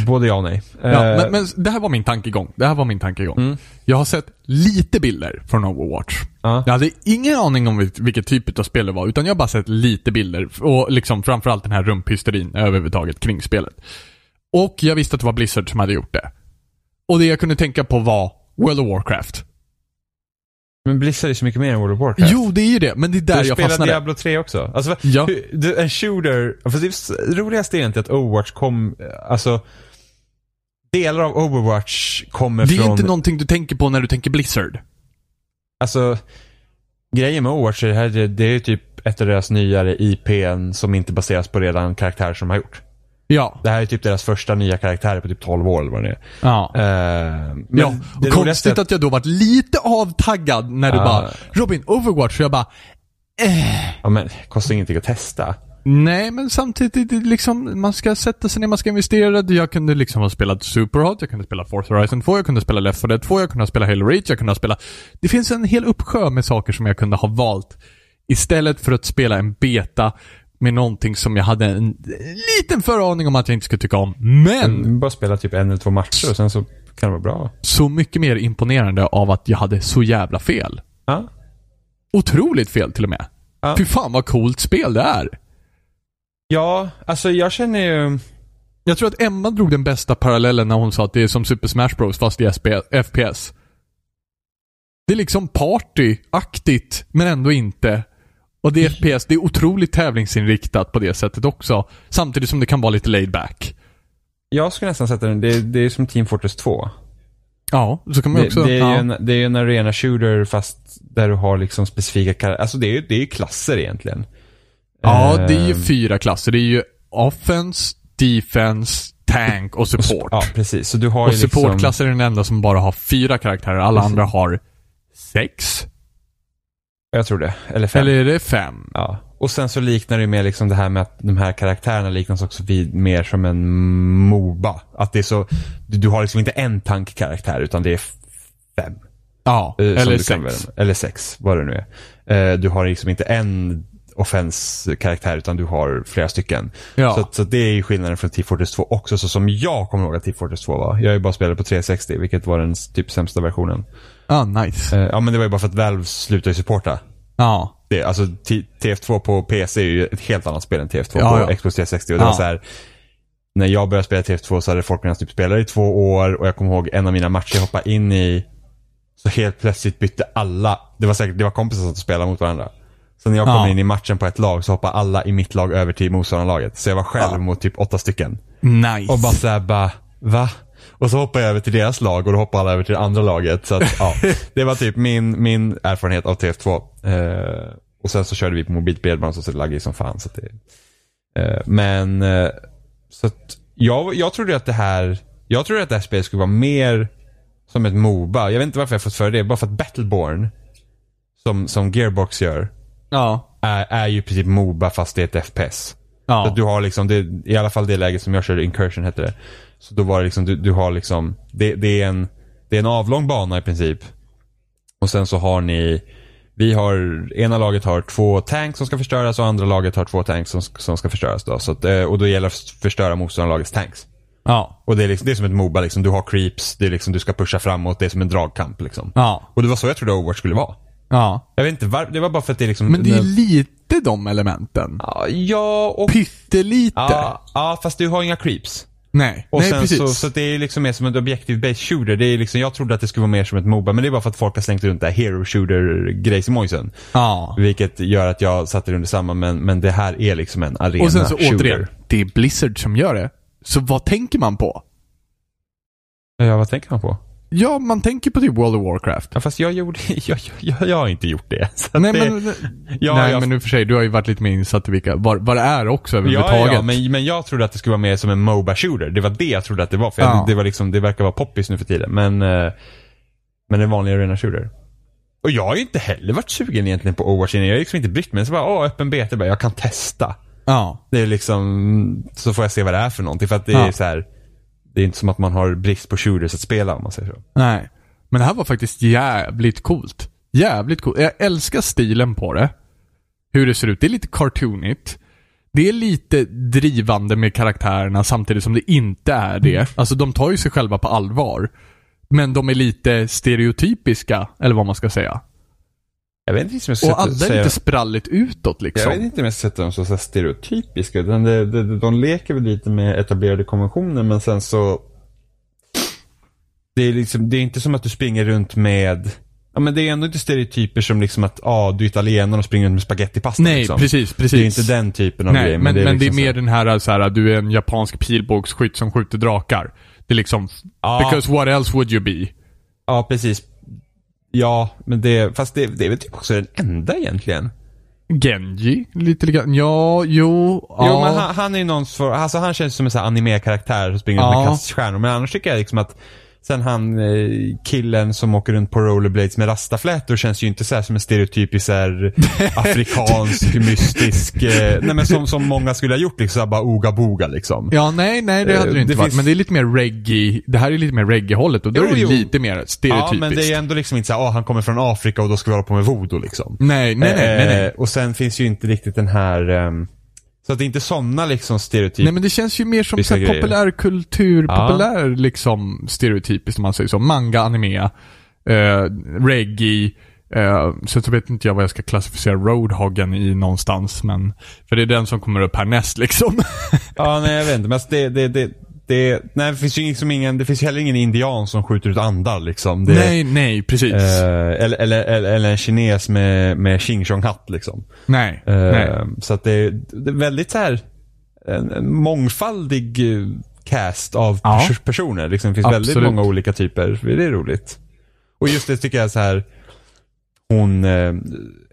[SPEAKER 3] Både ja och nej.
[SPEAKER 2] Ja,
[SPEAKER 3] Eh, Mm.
[SPEAKER 2] men, men det här var min tankegång. Det här var min tankegång. Jag har sett lite bilder från Overwatch.
[SPEAKER 3] Ja.
[SPEAKER 2] Jag hade ingen aning om vil- vilket typ av spel det var, utan jag har bara sett lite bilder. Och liksom framförallt den här rumphysterin överhuvudtaget kring spelet. Och jag visste att det var Blizzard som hade gjort det. Och det jag kunde tänka på var World of Warcraft.
[SPEAKER 3] men Blizzard är så mycket mer än World of Warcraft.
[SPEAKER 2] Jo, det är ju det, men det är där
[SPEAKER 3] du
[SPEAKER 2] jag
[SPEAKER 3] spelar
[SPEAKER 2] fastnade.
[SPEAKER 3] Diablo 3 också. Alltså, va-
[SPEAKER 2] Ja.
[SPEAKER 3] hur- du, en shooter, fast det s- roligaste är egentligen att Overwatch kom, alltså delar av Overwatch kommer
[SPEAKER 2] Det är
[SPEAKER 3] från,
[SPEAKER 2] inte någonting du tänker på när du tänker Blizzard.
[SPEAKER 3] alltså grejen med Overwatch är det här, det, det är ju typ ett av deras nyare IPn som inte baseras på redan karaktärer som de har gjort.
[SPEAKER 2] Ja.
[SPEAKER 3] Det här är typ deras första nya karaktärer på typ 12 år eller vad det är.
[SPEAKER 2] Ja.
[SPEAKER 3] Eh, men
[SPEAKER 2] Ja,
[SPEAKER 3] det
[SPEAKER 2] och
[SPEAKER 3] roligaste är
[SPEAKER 2] konstigt att jag då varit lite avtaggad när du
[SPEAKER 3] Ja.
[SPEAKER 2] bara Robin, Overwatch. Och jag bara
[SPEAKER 3] ja, men, kostar ingenting att testa.
[SPEAKER 2] Nej, men samtidigt det är liksom, man ska sätta sig ner, man ska investera. Jag kunde liksom ha spelat Superhot, jag kunde spela Forza Horizon 2, jag kunde spela Left 4 Dead 2, jag kunde ha spelat Halo Reach, jag kunde ha spelat... Det finns en hel uppsjö med saker som jag kunde ha valt. Istället för att spela en beta med någonting som jag hade en liten föraning om att jag inte skulle tycka om. Men!
[SPEAKER 3] Bara spela typ en eller två matcher och sen så kan det vara bra.
[SPEAKER 2] Så mycket mer imponerande av att jag hade så jävla fel.
[SPEAKER 3] Ja.
[SPEAKER 2] Otroligt fel till och med.
[SPEAKER 3] Ja.
[SPEAKER 2] Fy fan vad coolt spel det är.
[SPEAKER 3] Ja, alltså jag känner ju...
[SPEAKER 2] Jag tror att Emma drog den bästa parallellen när hon sa att det är som Super Smash Bros fast i SP, FPS. Det är liksom party-aktigt, men ändå inte. Och det är FPS, det är otroligt tävlingsinriktat på det sättet också. Samtidigt som det kan vara lite laid back.
[SPEAKER 3] Jag skulle nästan sätta den, det, det är som Team Fortress 2.
[SPEAKER 2] Ja, så kan man ju
[SPEAKER 3] Det,
[SPEAKER 2] också...
[SPEAKER 3] det, är
[SPEAKER 2] ja.
[SPEAKER 3] ju en, det är ju en arena shooter fast där du har liksom specifika karaktärer. Alltså det är ju det är ju klasser egentligen.
[SPEAKER 2] ja, det är ju
[SPEAKER 3] Ehm,
[SPEAKER 2] fyra klasser. Det är ju offense, defense, tank och support.
[SPEAKER 3] Ja, precis. Så du har
[SPEAKER 2] Och
[SPEAKER 3] ju liksom...
[SPEAKER 2] supportklassen är den enda som bara har fyra karaktärer. Alla andra har sex.
[SPEAKER 3] Jag tror det. Eller fem.
[SPEAKER 2] Eller är det fem?
[SPEAKER 3] Ja. Och sen så liknar det ju mer liksom det här med att de här karaktärerna liknas också vid mer som en Moba. Att det är så, du, du har liksom inte en tankkaraktär utan det är f- fem.
[SPEAKER 2] Ja,
[SPEAKER 3] eh, som
[SPEAKER 2] eller
[SPEAKER 3] du
[SPEAKER 2] sex.
[SPEAKER 3] kan välja. Eller sex, vad det nu är. Eh, du har liksom inte en offenskaraktär utan du har flera stycken.
[SPEAKER 2] Ja.
[SPEAKER 3] Så, att- så att det är ju skillnaden från Team Fortress 2 också, så som jag kommer ihåg att Team Fortress 2 var. Jag har ju bara spelat på 360, vilket var den s- typ sämsta versionen.
[SPEAKER 2] Ah, nice.
[SPEAKER 3] Eh, ja, men det var ju bara för att Valve slutade supporta.
[SPEAKER 2] Ja.
[SPEAKER 3] Det, alltså T- TF2 på PC är ju ett helt annat spel än TF2
[SPEAKER 2] Ja,
[SPEAKER 3] på
[SPEAKER 2] ja.
[SPEAKER 3] Xbox 360. Och det
[SPEAKER 2] Ja.
[SPEAKER 3] var så här, när jag började spela TF2 så hade folk redan typ spelat i två år och jag kommer ihåg en av mina matcher jag hoppade in i. Så helt plötsligt bytte alla, det var säkert det var kompisar som spelade mot varandra. Så när jag kom
[SPEAKER 2] Ja.
[SPEAKER 3] in i matchen på ett lag så hoppade alla i mitt lag över till motståndarlaget. Så jag var själv mot typ åtta stycken.
[SPEAKER 2] Nice.
[SPEAKER 3] Och bara såhär bara, va? Och så hoppar jag över till deras lag och då hoppar alla över till det andra laget. Så att, ja, det var typ min, min erfarenhet av TF2. Eh, och sen så körde vi på mobilt bredband så så det laggade ju som fan. Så att det, eh, men, eh, så att jag, jag trodde att det här, jag trodde att det här spelet skulle vara mer som ett Moba. Jag vet inte varför jag fått för det, bara för att Battleborn, som, som Gearbox gör,
[SPEAKER 2] ja.
[SPEAKER 3] är, är ju precis Moba fast det är ett FPS. Så
[SPEAKER 2] Ja.
[SPEAKER 3] att du har liksom, det, i alla fall det läget som jag körde, Incursion hette det. Så då var det liksom, du, du har liksom, det, det, är en, det är en avlång bana i princip. Och sen så har ni, vi har, ena laget har två tanks som ska förstöras och andra laget har två tanks som, som ska förstöras då. Så att, eh, och då gäller det att förstöra motståndarlagets tanks.
[SPEAKER 2] Ja.
[SPEAKER 3] Och det är, liksom, det är som ett Moba liksom, du har creeps, det är liksom, du ska pusha framåt, det är som en dragkamp liksom.
[SPEAKER 2] Ja.
[SPEAKER 3] Och det var så jag trodde Overwatch skulle vara.
[SPEAKER 2] Ja.
[SPEAKER 3] Jag vet inte varför, det var bara för att det är liksom...
[SPEAKER 2] Men det är lite de elementen.
[SPEAKER 3] Ja, och...
[SPEAKER 2] Pyttelite.
[SPEAKER 3] Ja, ja, fast du har inga creeps.
[SPEAKER 2] Nej.
[SPEAKER 3] Och
[SPEAKER 2] Nej,
[SPEAKER 3] sen
[SPEAKER 2] precis.
[SPEAKER 3] Så, så att det är liksom mer som ett objektiv based shooter. Det är liksom, jag trodde att det skulle vara mer som ett Moba, men det är bara för att folk har slängt runt det här hero shooter grejsimojsen.
[SPEAKER 2] ja.
[SPEAKER 3] Vilket gör att jag satte det under samma, men, men det här är liksom en arena
[SPEAKER 2] Och sen så
[SPEAKER 3] shooter.
[SPEAKER 2] återigen, det är Blizzard som gör det. Så vad tänker man på?
[SPEAKER 3] Ja, vad tänker man på?
[SPEAKER 2] Ja, man tänker på typ World of Warcraft.
[SPEAKER 3] Ja, fast jag gjorde, jag, jag, jag har inte gjort det. Så att
[SPEAKER 2] Nej,
[SPEAKER 3] det,
[SPEAKER 2] men,
[SPEAKER 3] ja,
[SPEAKER 2] nej
[SPEAKER 3] jag-
[SPEAKER 2] men nu för sig, du har ju varit lite mer insatt i vilka, vad, vad det är också
[SPEAKER 3] Ja,
[SPEAKER 2] överhuvudtaget.
[SPEAKER 3] ja men, men jag trodde att det skulle vara mer som en Moba shooter. Det var det jag trodde att det var. För
[SPEAKER 2] Ja.
[SPEAKER 3] jag, det, var liksom, det verkar vara poppis nu för tiden. Men, eh, men en vanlig arena shooter. Och jag har ju inte heller varit sugen egentligen på Overwatch innan. Jag har liksom inte brytt mig. Så bara, åh, öppen beta. Bara, Jag kan testa.
[SPEAKER 2] ja.
[SPEAKER 3] Det är liksom, så får jag se vad det är för någonting. För att det är
[SPEAKER 2] Ja.
[SPEAKER 3] så här, det är inte som att man har brist på shooters att spela om man säger så.
[SPEAKER 2] Nej. Men det här var faktiskt jävligt coolt. Jävligt coolt. Jag älskar stilen på det. Hur det ser ut. Det är lite cartoonigt. Det är lite drivande med karaktärerna samtidigt som det inte är
[SPEAKER 3] Mm.
[SPEAKER 2] det. Alltså de tar ju sig själva på allvar. Men de är lite stereotypiska, eller vad man ska säga.
[SPEAKER 3] Jag vet inte om jag ska
[SPEAKER 2] Och alla är lite spralligt utåt
[SPEAKER 3] Jag
[SPEAKER 2] liksom.
[SPEAKER 3] vet inte om jag ska sätta dem så, så här stereotypiska. Utan det, det, de leker väl lite med etablerade konventioner men sen så... Det är, liksom, det är inte som att du springer runt med... Ja, men det är ändå inte stereotyper som liksom att ah, du är italienare och springer runt med spagettipasta.
[SPEAKER 2] Nej,
[SPEAKER 3] liksom.
[SPEAKER 2] precis, precis.
[SPEAKER 3] Det är inte den typen av
[SPEAKER 2] Nej,
[SPEAKER 3] grej.
[SPEAKER 2] men, men, det, är
[SPEAKER 3] liksom
[SPEAKER 2] mer
[SPEAKER 3] så-
[SPEAKER 2] den här, så här, du är en japansk pilbågsskytt som skjuter drakar. Det är liksom,
[SPEAKER 3] Ja.
[SPEAKER 2] because what else would you be?
[SPEAKER 3] Ja, precis. Ja, men det, fast det, det är väl typ också den enda egentligen.
[SPEAKER 2] Genji? Lite grann. Ja, jo, ja.
[SPEAKER 3] Jo, men han, han är ju någon för, alltså han känns som en sån här anime-karaktär som springer runt
[SPEAKER 2] Ja.
[SPEAKER 3] med kaststjärnor. Men annars tycker jag liksom att sen han eh, killen som åker runt på rollerblades med rastaflätor känns ju inte så här som en stereotypisk så här, afrikansk, mystisk, eh, nej men som, som många skulle ha gjort liksom, så här bara oga-boga liksom.
[SPEAKER 2] Ja, nej, nej, det hade
[SPEAKER 3] Eh,
[SPEAKER 2] det inte
[SPEAKER 3] det
[SPEAKER 2] varit.
[SPEAKER 3] finns-
[SPEAKER 2] Men det är lite mer reggae. Det här är lite mer reggae-hållet och då
[SPEAKER 3] Jo,
[SPEAKER 2] är det
[SPEAKER 3] jo.
[SPEAKER 2] lite mer
[SPEAKER 3] Ja,
[SPEAKER 2] stereotypiskt.
[SPEAKER 3] men det är ändå liksom inte så här, ah, han kommer från Afrika och då ska vi hålla på med voodoo liksom.
[SPEAKER 2] Nej, nej, nej, nej,
[SPEAKER 3] Eh,
[SPEAKER 2] nej.
[SPEAKER 3] och sen finns ju inte riktigt den här, ehm, så att det är inte sådana liksom stereotyper.
[SPEAKER 2] Nej men det känns ju mer som
[SPEAKER 3] Vissa
[SPEAKER 2] så här
[SPEAKER 3] grejer.
[SPEAKER 2] populärkultur,
[SPEAKER 3] Ja.
[SPEAKER 2] populär liksom stereotypiskt om man säger så. Manga, anime, eh, reggae. Eh, så jag vet inte jag vad jag ska klassificera Roadhoggen i någonstans men... För det är den som kommer upp härnäst liksom.
[SPEAKER 3] Ja, nej jag vet inte. Men alltså det, det, det, det, nej, det finns ju liksom ingen, det finns heller ingen indian som skjuter ut andar liksom. Det,
[SPEAKER 2] nej, nej, precis.
[SPEAKER 3] Eh, eller, eller, eller, eller en kines med, med Xing Chong hatt liksom.
[SPEAKER 2] nej,
[SPEAKER 3] Eh,
[SPEAKER 2] nej.
[SPEAKER 3] Så att det, det är väldigt så här en, en mångfaldig eh, cast av
[SPEAKER 4] Ja.
[SPEAKER 3] pers- personer. Liksom, det finns väldigt
[SPEAKER 2] Absolut.
[SPEAKER 3] många olika typer. Det är roligt. Och just det tycker jag är så här. Hon, eh,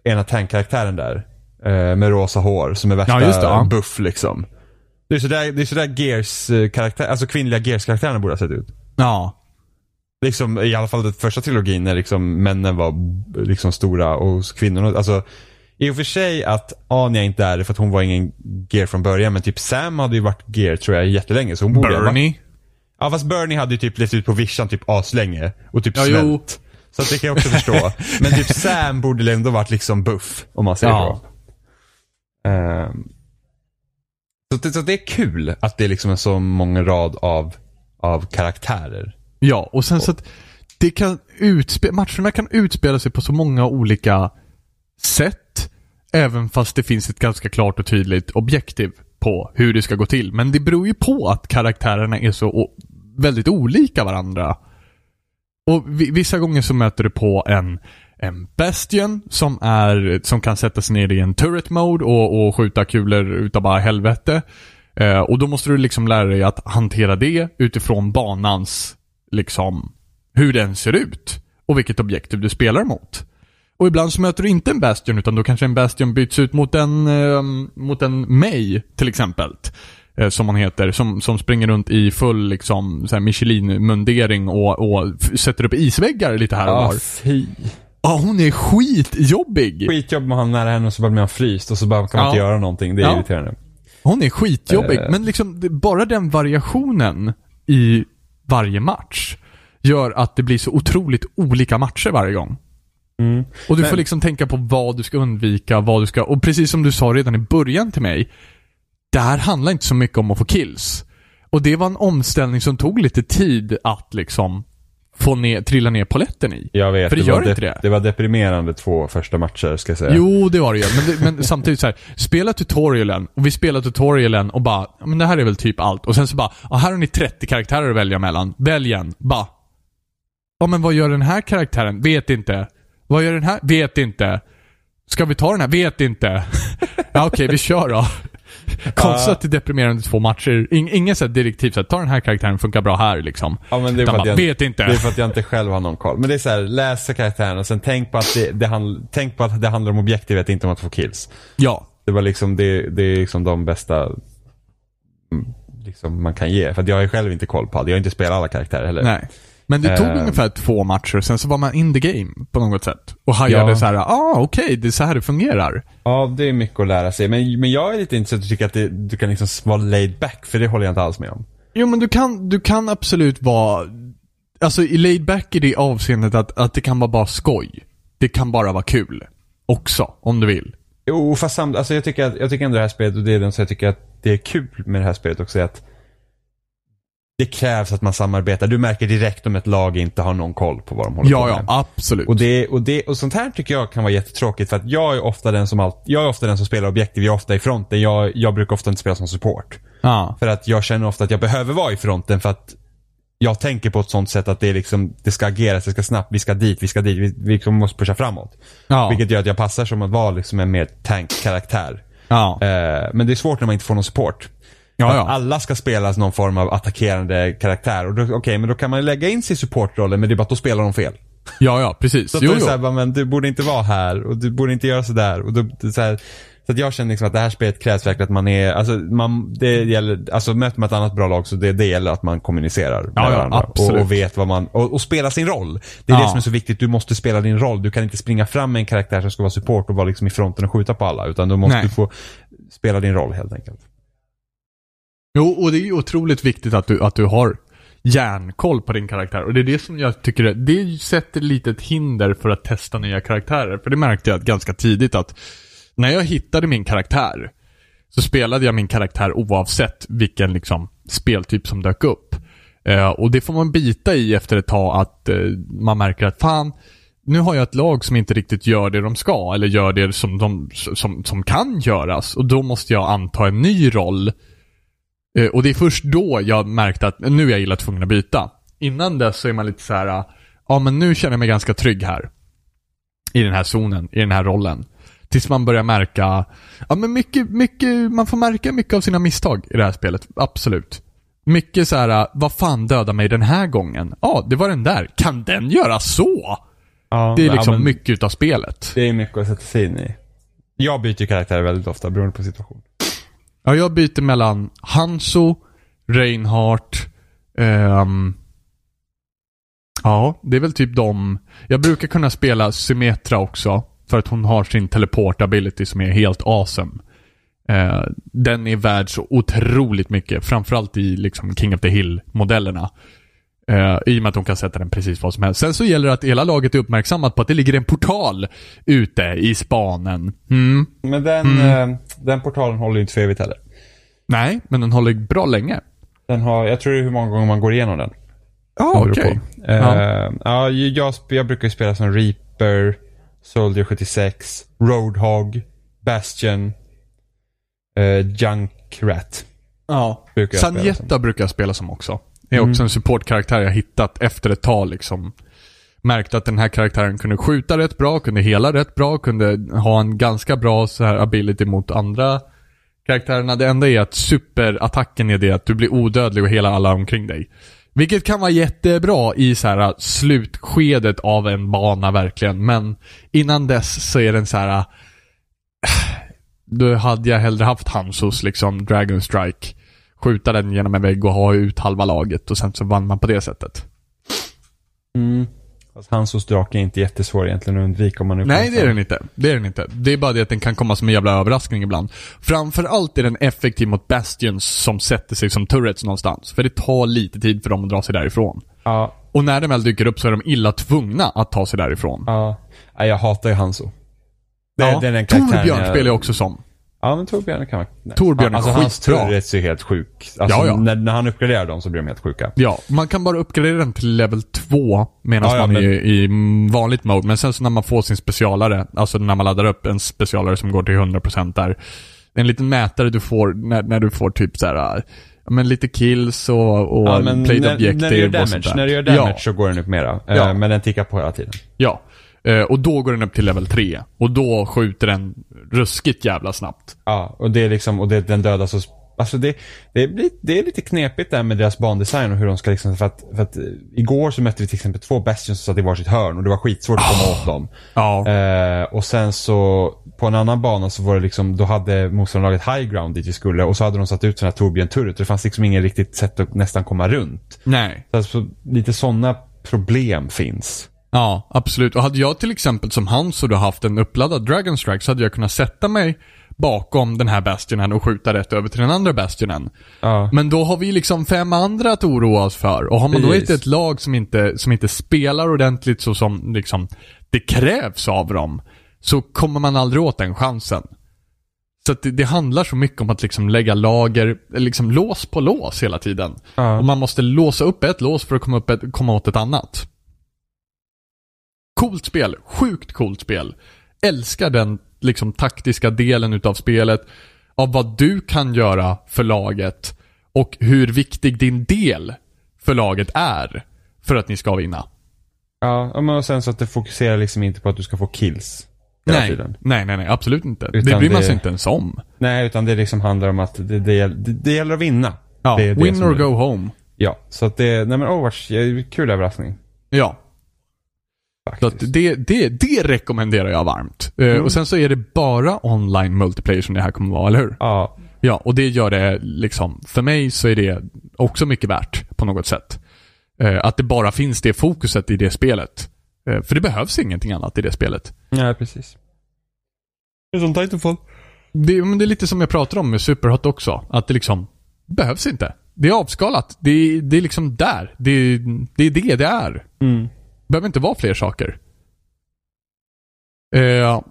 [SPEAKER 3] ena tankkaraktären där. Eh, med rosa hår som är värsta
[SPEAKER 2] Ja, just det, ja.
[SPEAKER 3] buff liksom. Det är sådär, det är sådär gears eh, karaktär, alltså kvinnliga Gears-karaktärerna borde ha sett ut.
[SPEAKER 2] Ja.
[SPEAKER 3] Liksom, I alla fall den första trilogin när liksom, männen var liksom, stora och kvinnorna, alltså i och för sig att Anja inte är det för att hon var ingen gear från början men typ Sam hade ju varit gear tror jag jättelänge så hon borde ha varit-
[SPEAKER 2] Bernie.
[SPEAKER 3] Ja fast Bernie hade ju typ levt ut på vischan typ aslänge och typ
[SPEAKER 2] Ja,
[SPEAKER 3] svält.
[SPEAKER 2] jo.
[SPEAKER 3] Så att det kan jag också förstå. Men typ Sam borde ändå varit liksom buff om man säger
[SPEAKER 2] Ja.
[SPEAKER 3] så. Ehm, så, det, så det är kul att det är liksom en så många rad av, av karaktärer.
[SPEAKER 2] Ja, och sen så att det kan utspe- matcherna kan utspela sig på så många olika sätt. Även fast det finns ett ganska klart och tydligt objektiv på hur det ska gå till. Men det beror ju på att karaktärerna är så o- väldigt olika varandra. Och vi- vissa gånger så möter du på en, en Bastion som, är, som kan sätta sig ner i en turret mode och, och skjuta kulor utav bara helvete. Eh, och då måste du liksom lära dig att hantera det utifrån banans, liksom, hur den ser ut. Och vilket objektiv du spelar mot. Och ibland så möter du inte en Bastion utan då kanske en Bastion byts ut mot en, eh, mot en May till exempel. Eh, som man heter. Som, som springer runt i full liksom, så här Michelin-mundering och, och f- sätter upp isväggar lite här och var.
[SPEAKER 3] fy.
[SPEAKER 2] Ja, hon är skitjobbig.
[SPEAKER 3] Skitjobb med han nära henne och så blir man fryst och så bara kan man
[SPEAKER 2] Ja.
[SPEAKER 3] inte göra någonting. Det är
[SPEAKER 2] Ja.
[SPEAKER 3] irriterande.
[SPEAKER 2] Hon är skitjobbig,
[SPEAKER 3] Eh.
[SPEAKER 2] men liksom det- bara den variationen i varje match gör att det blir så otroligt olika matcher varje gång. Och du får liksom tänka på vad du ska undvika, vad du ska... Och precis som du sa redan i början till mig, det här handlar inte så mycket om att få kills. Och det var en omställning som tog lite tid att liksom få ner, trilla ner poletten i.
[SPEAKER 3] Jag vet.
[SPEAKER 2] För det
[SPEAKER 3] var
[SPEAKER 2] gör inte
[SPEAKER 3] dep-
[SPEAKER 2] det.
[SPEAKER 3] Det var deprimerande två första matcher ska jag säga.
[SPEAKER 2] Jo, det var det ju. Men, det- men samtidigt så här, spela tutorialen och vi spelar tutorialen och bara, "Ja, men det här är väl typ allt. Och sen så bara, ja, här har ni 30 karaktärer att välja mellan. Välj en. Bara. Ja, men vad gör den här karaktären? Vet inte. Vad gör den här? Vet inte. Ska vi ta den här? Vet inte. Ja, okej, vi kör då. Konstigt att det är deprimerande två matcher. In, ingen så här direktiv så här, ta den här karaktären, funkar bra här liksom.
[SPEAKER 3] Ja, men det är,
[SPEAKER 2] Utan
[SPEAKER 3] för att
[SPEAKER 2] bara,
[SPEAKER 3] jag,
[SPEAKER 2] vet inte.
[SPEAKER 3] det är för att jag inte själv har någon koll. Men det är så här, läsa karaktären och sen tänk på att det, det, handl- tänk på att det handlar om objektivet, inte om att få kills.
[SPEAKER 2] Ja.
[SPEAKER 3] Det var liksom, det, det är liksom de bästa mm, liksom, man kan ge. För att jag har ju själv inte koll på allt. Jag har inte spelat alla karaktärer heller.
[SPEAKER 2] Nej. Men det tog
[SPEAKER 3] Eh.
[SPEAKER 2] ungefär två matcher, sen så var man in the game på något sätt. Och hajade
[SPEAKER 3] Ja.
[SPEAKER 2] så här, ah okej, det är så här det fungerar.
[SPEAKER 3] Ja, det är mycket att lära sig. Men, men jag är lite intresserad och tycker att det, du kan liksom vara laid back, för det håller jag inte alls med om.
[SPEAKER 2] Jo men du kan, du kan absolut vara, alltså i laid back i det avseendet att, att det kan vara bara skoj. Det kan bara vara kul. Också, om du vill.
[SPEAKER 3] Jo, fast samt, alltså jag, tycker att, jag tycker ändå det här spelet, och det är den som jag tycker att det är kul med det här spelet också, är att det krävs att man samarbetar. Du märker direkt om ett lag inte har någon koll på vad de håller på
[SPEAKER 2] Ja,
[SPEAKER 3] med.
[SPEAKER 2] ja, absolut.
[SPEAKER 3] Och, det, och, det, och sånt här tycker jag kan vara jättetråkigt för att jag är ofta den som, allt, jag är ofta den som spelar objektiv, jag är ofta i fronten. Jag, jag brukar ofta inte spela som support.
[SPEAKER 2] ja.
[SPEAKER 3] För att jag känner ofta att jag behöver vara i fronten för att jag tänker på ett sånt sätt att det, är liksom, det ska ageras, det ska snabbt, vi ska dit, vi ska dit, vi, vi liksom måste pusha framåt.
[SPEAKER 2] Ja.
[SPEAKER 3] Vilket gör att jag passar som att vara liksom en mer tankkaraktär.
[SPEAKER 2] ja.
[SPEAKER 3] Eh, men det är svårt när man inte får någon support.
[SPEAKER 2] ja,
[SPEAKER 3] För att
[SPEAKER 2] ja.
[SPEAKER 3] Alla ska spela någon form av attackerande karaktär. Och då- Okej, men då kan man ju lägga in sig i supportrollen, men det är bara att då spelar de fel.
[SPEAKER 2] Ja, ja, precis.
[SPEAKER 3] Så att
[SPEAKER 2] Jo,
[SPEAKER 3] då är det
[SPEAKER 2] jo.
[SPEAKER 3] så här, bara, men du borde inte vara här och du borde inte göra sådär. Och då, det är så, här, så att jag känner liksom att det här spelet krävs verkligen att man är, alltså, man, det gäller, alltså möter man ett annat bra lag så det, det gäller att man kommunicerar med
[SPEAKER 2] Ja, ja,
[SPEAKER 3] varandra. Och,
[SPEAKER 2] absolut.
[SPEAKER 3] och vet vad man, och, och spela sin roll. Det är
[SPEAKER 2] Ja.
[SPEAKER 3] det som är så viktigt, du måste spela din roll. Du kan inte springa fram med en karaktär som ska vara support och vara liksom i fronten och skjuta på alla. Utan du måste
[SPEAKER 2] Nej.
[SPEAKER 3] du få spela din roll helt enkelt.
[SPEAKER 2] Jo, och det är ju otroligt viktigt att du, att du har järnkoll på din karaktär. Och det är det som jag tycker, är- det sätter lite ett hinder för att testa nya karaktärer. För det märkte jag ganska tidigt att när jag hittade min karaktär så spelade jag min karaktär oavsett vilken liksom, speltyp som dök upp. Eh, och det får man bita i efter ett tag att eh, man märker att fan, nu har jag ett lag som inte riktigt gör det de ska eller gör det som, de, som, som kan göras. Och då måste jag anta en ny roll Eh, Och det är först då jag märkte att nu är jag illa tvungen att byta. Innan dess så är man lite så här, ah, ja men nu känner jag mig ganska trygg här. I den här zonen, i den här rollen. Tills man börjar märka, ja men mycket, mycket, man får märka mycket av sina misstag i det här spelet. Absolut. Mycket så här, ah, vad fan dödar mig den här gången? Ja, det var den där. Kan den göra så?
[SPEAKER 3] Ja,
[SPEAKER 2] Det är liksom
[SPEAKER 3] ja, men
[SPEAKER 2] mycket utav spelet.
[SPEAKER 3] Det är mycket att sätta sig in i. Jag byter ju karaktär väldigt ofta beroende på situation.
[SPEAKER 2] Ja, jag byter mellan Hanso, Reinhardt, ehm, Ja, det är väl typ de. Jag brukar kunna spela Symmetra också. För att hon har sin teleport ability som är helt awesome. Eh, den är värd så otroligt mycket. Framförallt i liksom King of the Hill-modellerna. Eh, I och med att hon kan sätta den precis vad som helst. Sen så gäller det att hela laget är uppmärksammat på att det ligger en portal ute i spanen. Mm.
[SPEAKER 3] Men den, eh, den portalen håller ju inte för evigt heller.
[SPEAKER 2] Nej, men den håller bra länge.
[SPEAKER 3] Den har, jag tror det är hur många gånger man går igenom den.
[SPEAKER 2] Ja,
[SPEAKER 3] Det beror
[SPEAKER 2] Ah, okej.
[SPEAKER 3] på. Eh, ja. ju- jag, sp- jag brukar ju spela som Reaper, Soldier 76, Roadhog, Bastion, eh, Junkrat.
[SPEAKER 2] Ja.
[SPEAKER 3] Brukar jag spela Mm.
[SPEAKER 2] Sanjetta brukar jag spela som också. Det är också en supportkaraktär jag hittat efter ett tag liksom. Märkte att den här karaktären kunde skjuta rätt bra, kunde hela rätt bra, kunde ha en ganska bra så här ability mot andra karaktärerna. Det enda är att superattacken är det att du blir odödlig och hela alla omkring dig. Vilket kan vara jättebra i så här slutskedet av en bana verkligen. Men innan dess så är den så här. äh, Då hade jag hellre haft Hansos liksom Dragon Strike. Skjuta den genom en vägg och ha ut halva laget och sen så vann man på det sättet.
[SPEAKER 3] Fast Hansos drake är inte jättesvår egentligen att undvika om man är
[SPEAKER 2] Nej, det är
[SPEAKER 3] uppmärksam.
[SPEAKER 2] den inte. Det är den inte. Det är bara det att den kan komma som en jävla överraskning ibland. Framförallt är den effektiv mot Bastions som sätter sig som turrets någonstans. För det tar lite tid för dem att dra sig därifrån.
[SPEAKER 3] Ja,
[SPEAKER 2] Och när de väl dyker upp så är de illa tvungna att ta sig därifrån.
[SPEAKER 3] ja. Nej, jag hatar ju Hanso. Det, det är den karaktären
[SPEAKER 2] Torbjörn spelar jag också som.
[SPEAKER 3] Ja, men Torbjörn kan man... Nej.
[SPEAKER 2] Torbjörn är
[SPEAKER 3] alltså, hans
[SPEAKER 2] skitbra.
[SPEAKER 3] turrets är ju helt sjuk. Alltså,
[SPEAKER 2] Ja, ja.
[SPEAKER 3] När, när han uppgraderar dem så blir de helt sjuka.
[SPEAKER 2] Ja, man kan bara uppgradera den till level 2 medan
[SPEAKER 3] Ja, ja,
[SPEAKER 2] man är
[SPEAKER 3] men-
[SPEAKER 2] i vanligt mode. Men sen så när man får sin specialare, alltså när man laddar upp en specialare som går till 100% där. En liten mätare du får när, när du får typ så här, äh, ja, men lite kills och, och
[SPEAKER 3] Ja, men
[SPEAKER 2] played
[SPEAKER 3] när, när du gör
[SPEAKER 2] objective och sånt där.
[SPEAKER 3] damage, när du gör damage
[SPEAKER 2] ja,
[SPEAKER 3] så går den upp mera. Eh,
[SPEAKER 2] Ja.
[SPEAKER 3] Men den tickar på hela tiden.
[SPEAKER 2] ja. Eh, Och då går den upp till level 3. Och då skjuter den ruskigt jävla snabbt.
[SPEAKER 3] Ja, och det är liksom, och det, den dödar så... Alltså det, det, blir, det är lite knepigt där med deras bandesign och hur de ska liksom, för att, för att eh, igår så mötte vi till exempel två Bastions som satt i varsitt hörn och det var skitsvårt att komma åt dem.
[SPEAKER 2] Ja.
[SPEAKER 3] Eh, och sen så på en annan bana så var det liksom, då hade motståndarlaget high ground dit vi skulle och så hade de satt ut sån här Torbjörn-turret och det fanns liksom ingen riktigt sätt att nästan komma runt.
[SPEAKER 2] Nej.
[SPEAKER 3] Så alltså, lite sådana problem finns.
[SPEAKER 2] Ja, absolut. Och hade jag till exempel som han så då haft en uppladdad Dragon Strike så hade jag kunnat sätta mig bakom den här bastionen och skjuta rätt över till den andra bastionen.
[SPEAKER 3] Ja.
[SPEAKER 2] Men då har vi liksom fem andra att oroa oss för. Och har man då
[SPEAKER 3] Precis.
[SPEAKER 2] inte ett lag som inte, som inte spelar ordentligt så som liksom det krävs av dem, så kommer man aldrig åt den chansen. Så att det, det handlar så mycket om att liksom lägga lager, liksom lås på lås hela tiden.
[SPEAKER 3] Ja.
[SPEAKER 2] Och man måste låsa upp ett lås för att komma, upp ett, komma åt ett annat. Coolt spel. Sjukt coolt spel. Älskar den liksom taktiska delen utav spelet. Av vad du kan göra för laget. Och hur viktig din del för laget är. För att ni ska vinna.
[SPEAKER 3] Ja, men och sen så att det fokuserar liksom inte på att du ska få kills. hela
[SPEAKER 2] Nej,
[SPEAKER 3] tiden.
[SPEAKER 2] nej, nej, nej, absolut inte. det
[SPEAKER 3] Utan
[SPEAKER 2] bryr man
[SPEAKER 3] det-
[SPEAKER 2] sig inte ens om.
[SPEAKER 3] Nej, utan det liksom handlar om att det, det, gäll- det, det gäller att vinna.
[SPEAKER 2] Ja,
[SPEAKER 3] det är det
[SPEAKER 2] win
[SPEAKER 3] som
[SPEAKER 2] or
[SPEAKER 3] är-
[SPEAKER 2] go home.
[SPEAKER 3] Ja, så att det, nej men Overwatch, ja, kul överraskning.
[SPEAKER 2] Ja. Så
[SPEAKER 3] Faktiskt.
[SPEAKER 2] att det, det, det rekommenderar jag varmt. Eh, Och sen så är det bara online multiplayer som det här kommer vara, eller hur?
[SPEAKER 3] Ja,
[SPEAKER 2] Ja, och det gör det liksom, för mig så är det också mycket värt på något sätt. Eh, att det bara finns det fokuset i det spelet. Eh, för det behövs ingenting annat i det spelet.
[SPEAKER 3] ja precis. Det är som Titanfall.
[SPEAKER 2] Det, men det är lite som jag pratar om med Superhot också. Att det liksom behövs inte. Det är avskalat. Det, det är liksom där. Det, det är det det är.
[SPEAKER 3] Mm.
[SPEAKER 2] behöver inte vara fler saker. Eh,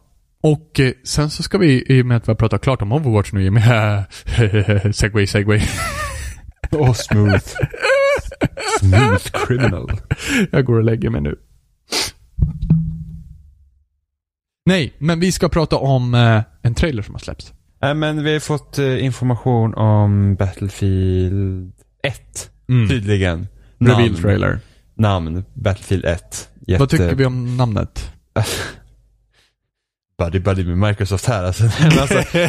[SPEAKER 2] och eh, sen så ska vi, i och med att vi har pratat klart om Overwatch nu Jimmy, segway, segway.
[SPEAKER 3] Åh, smooth. smooth criminal.
[SPEAKER 2] Jag går och lägger mig nu. Nej, men vi ska prata om eh, en trailer som har släppts.
[SPEAKER 3] Nej, men vi har fått eh, information om Battlefield 1. Tydligen.
[SPEAKER 2] Mm. Typ Reveal
[SPEAKER 3] Mm. namn,
[SPEAKER 2] trailer.
[SPEAKER 3] eh, namn, Battlefield 1. Jätte...
[SPEAKER 2] Vad tycker vi om namnet?
[SPEAKER 3] buddy buddy med Microsoft här alltså. Men alltså eh,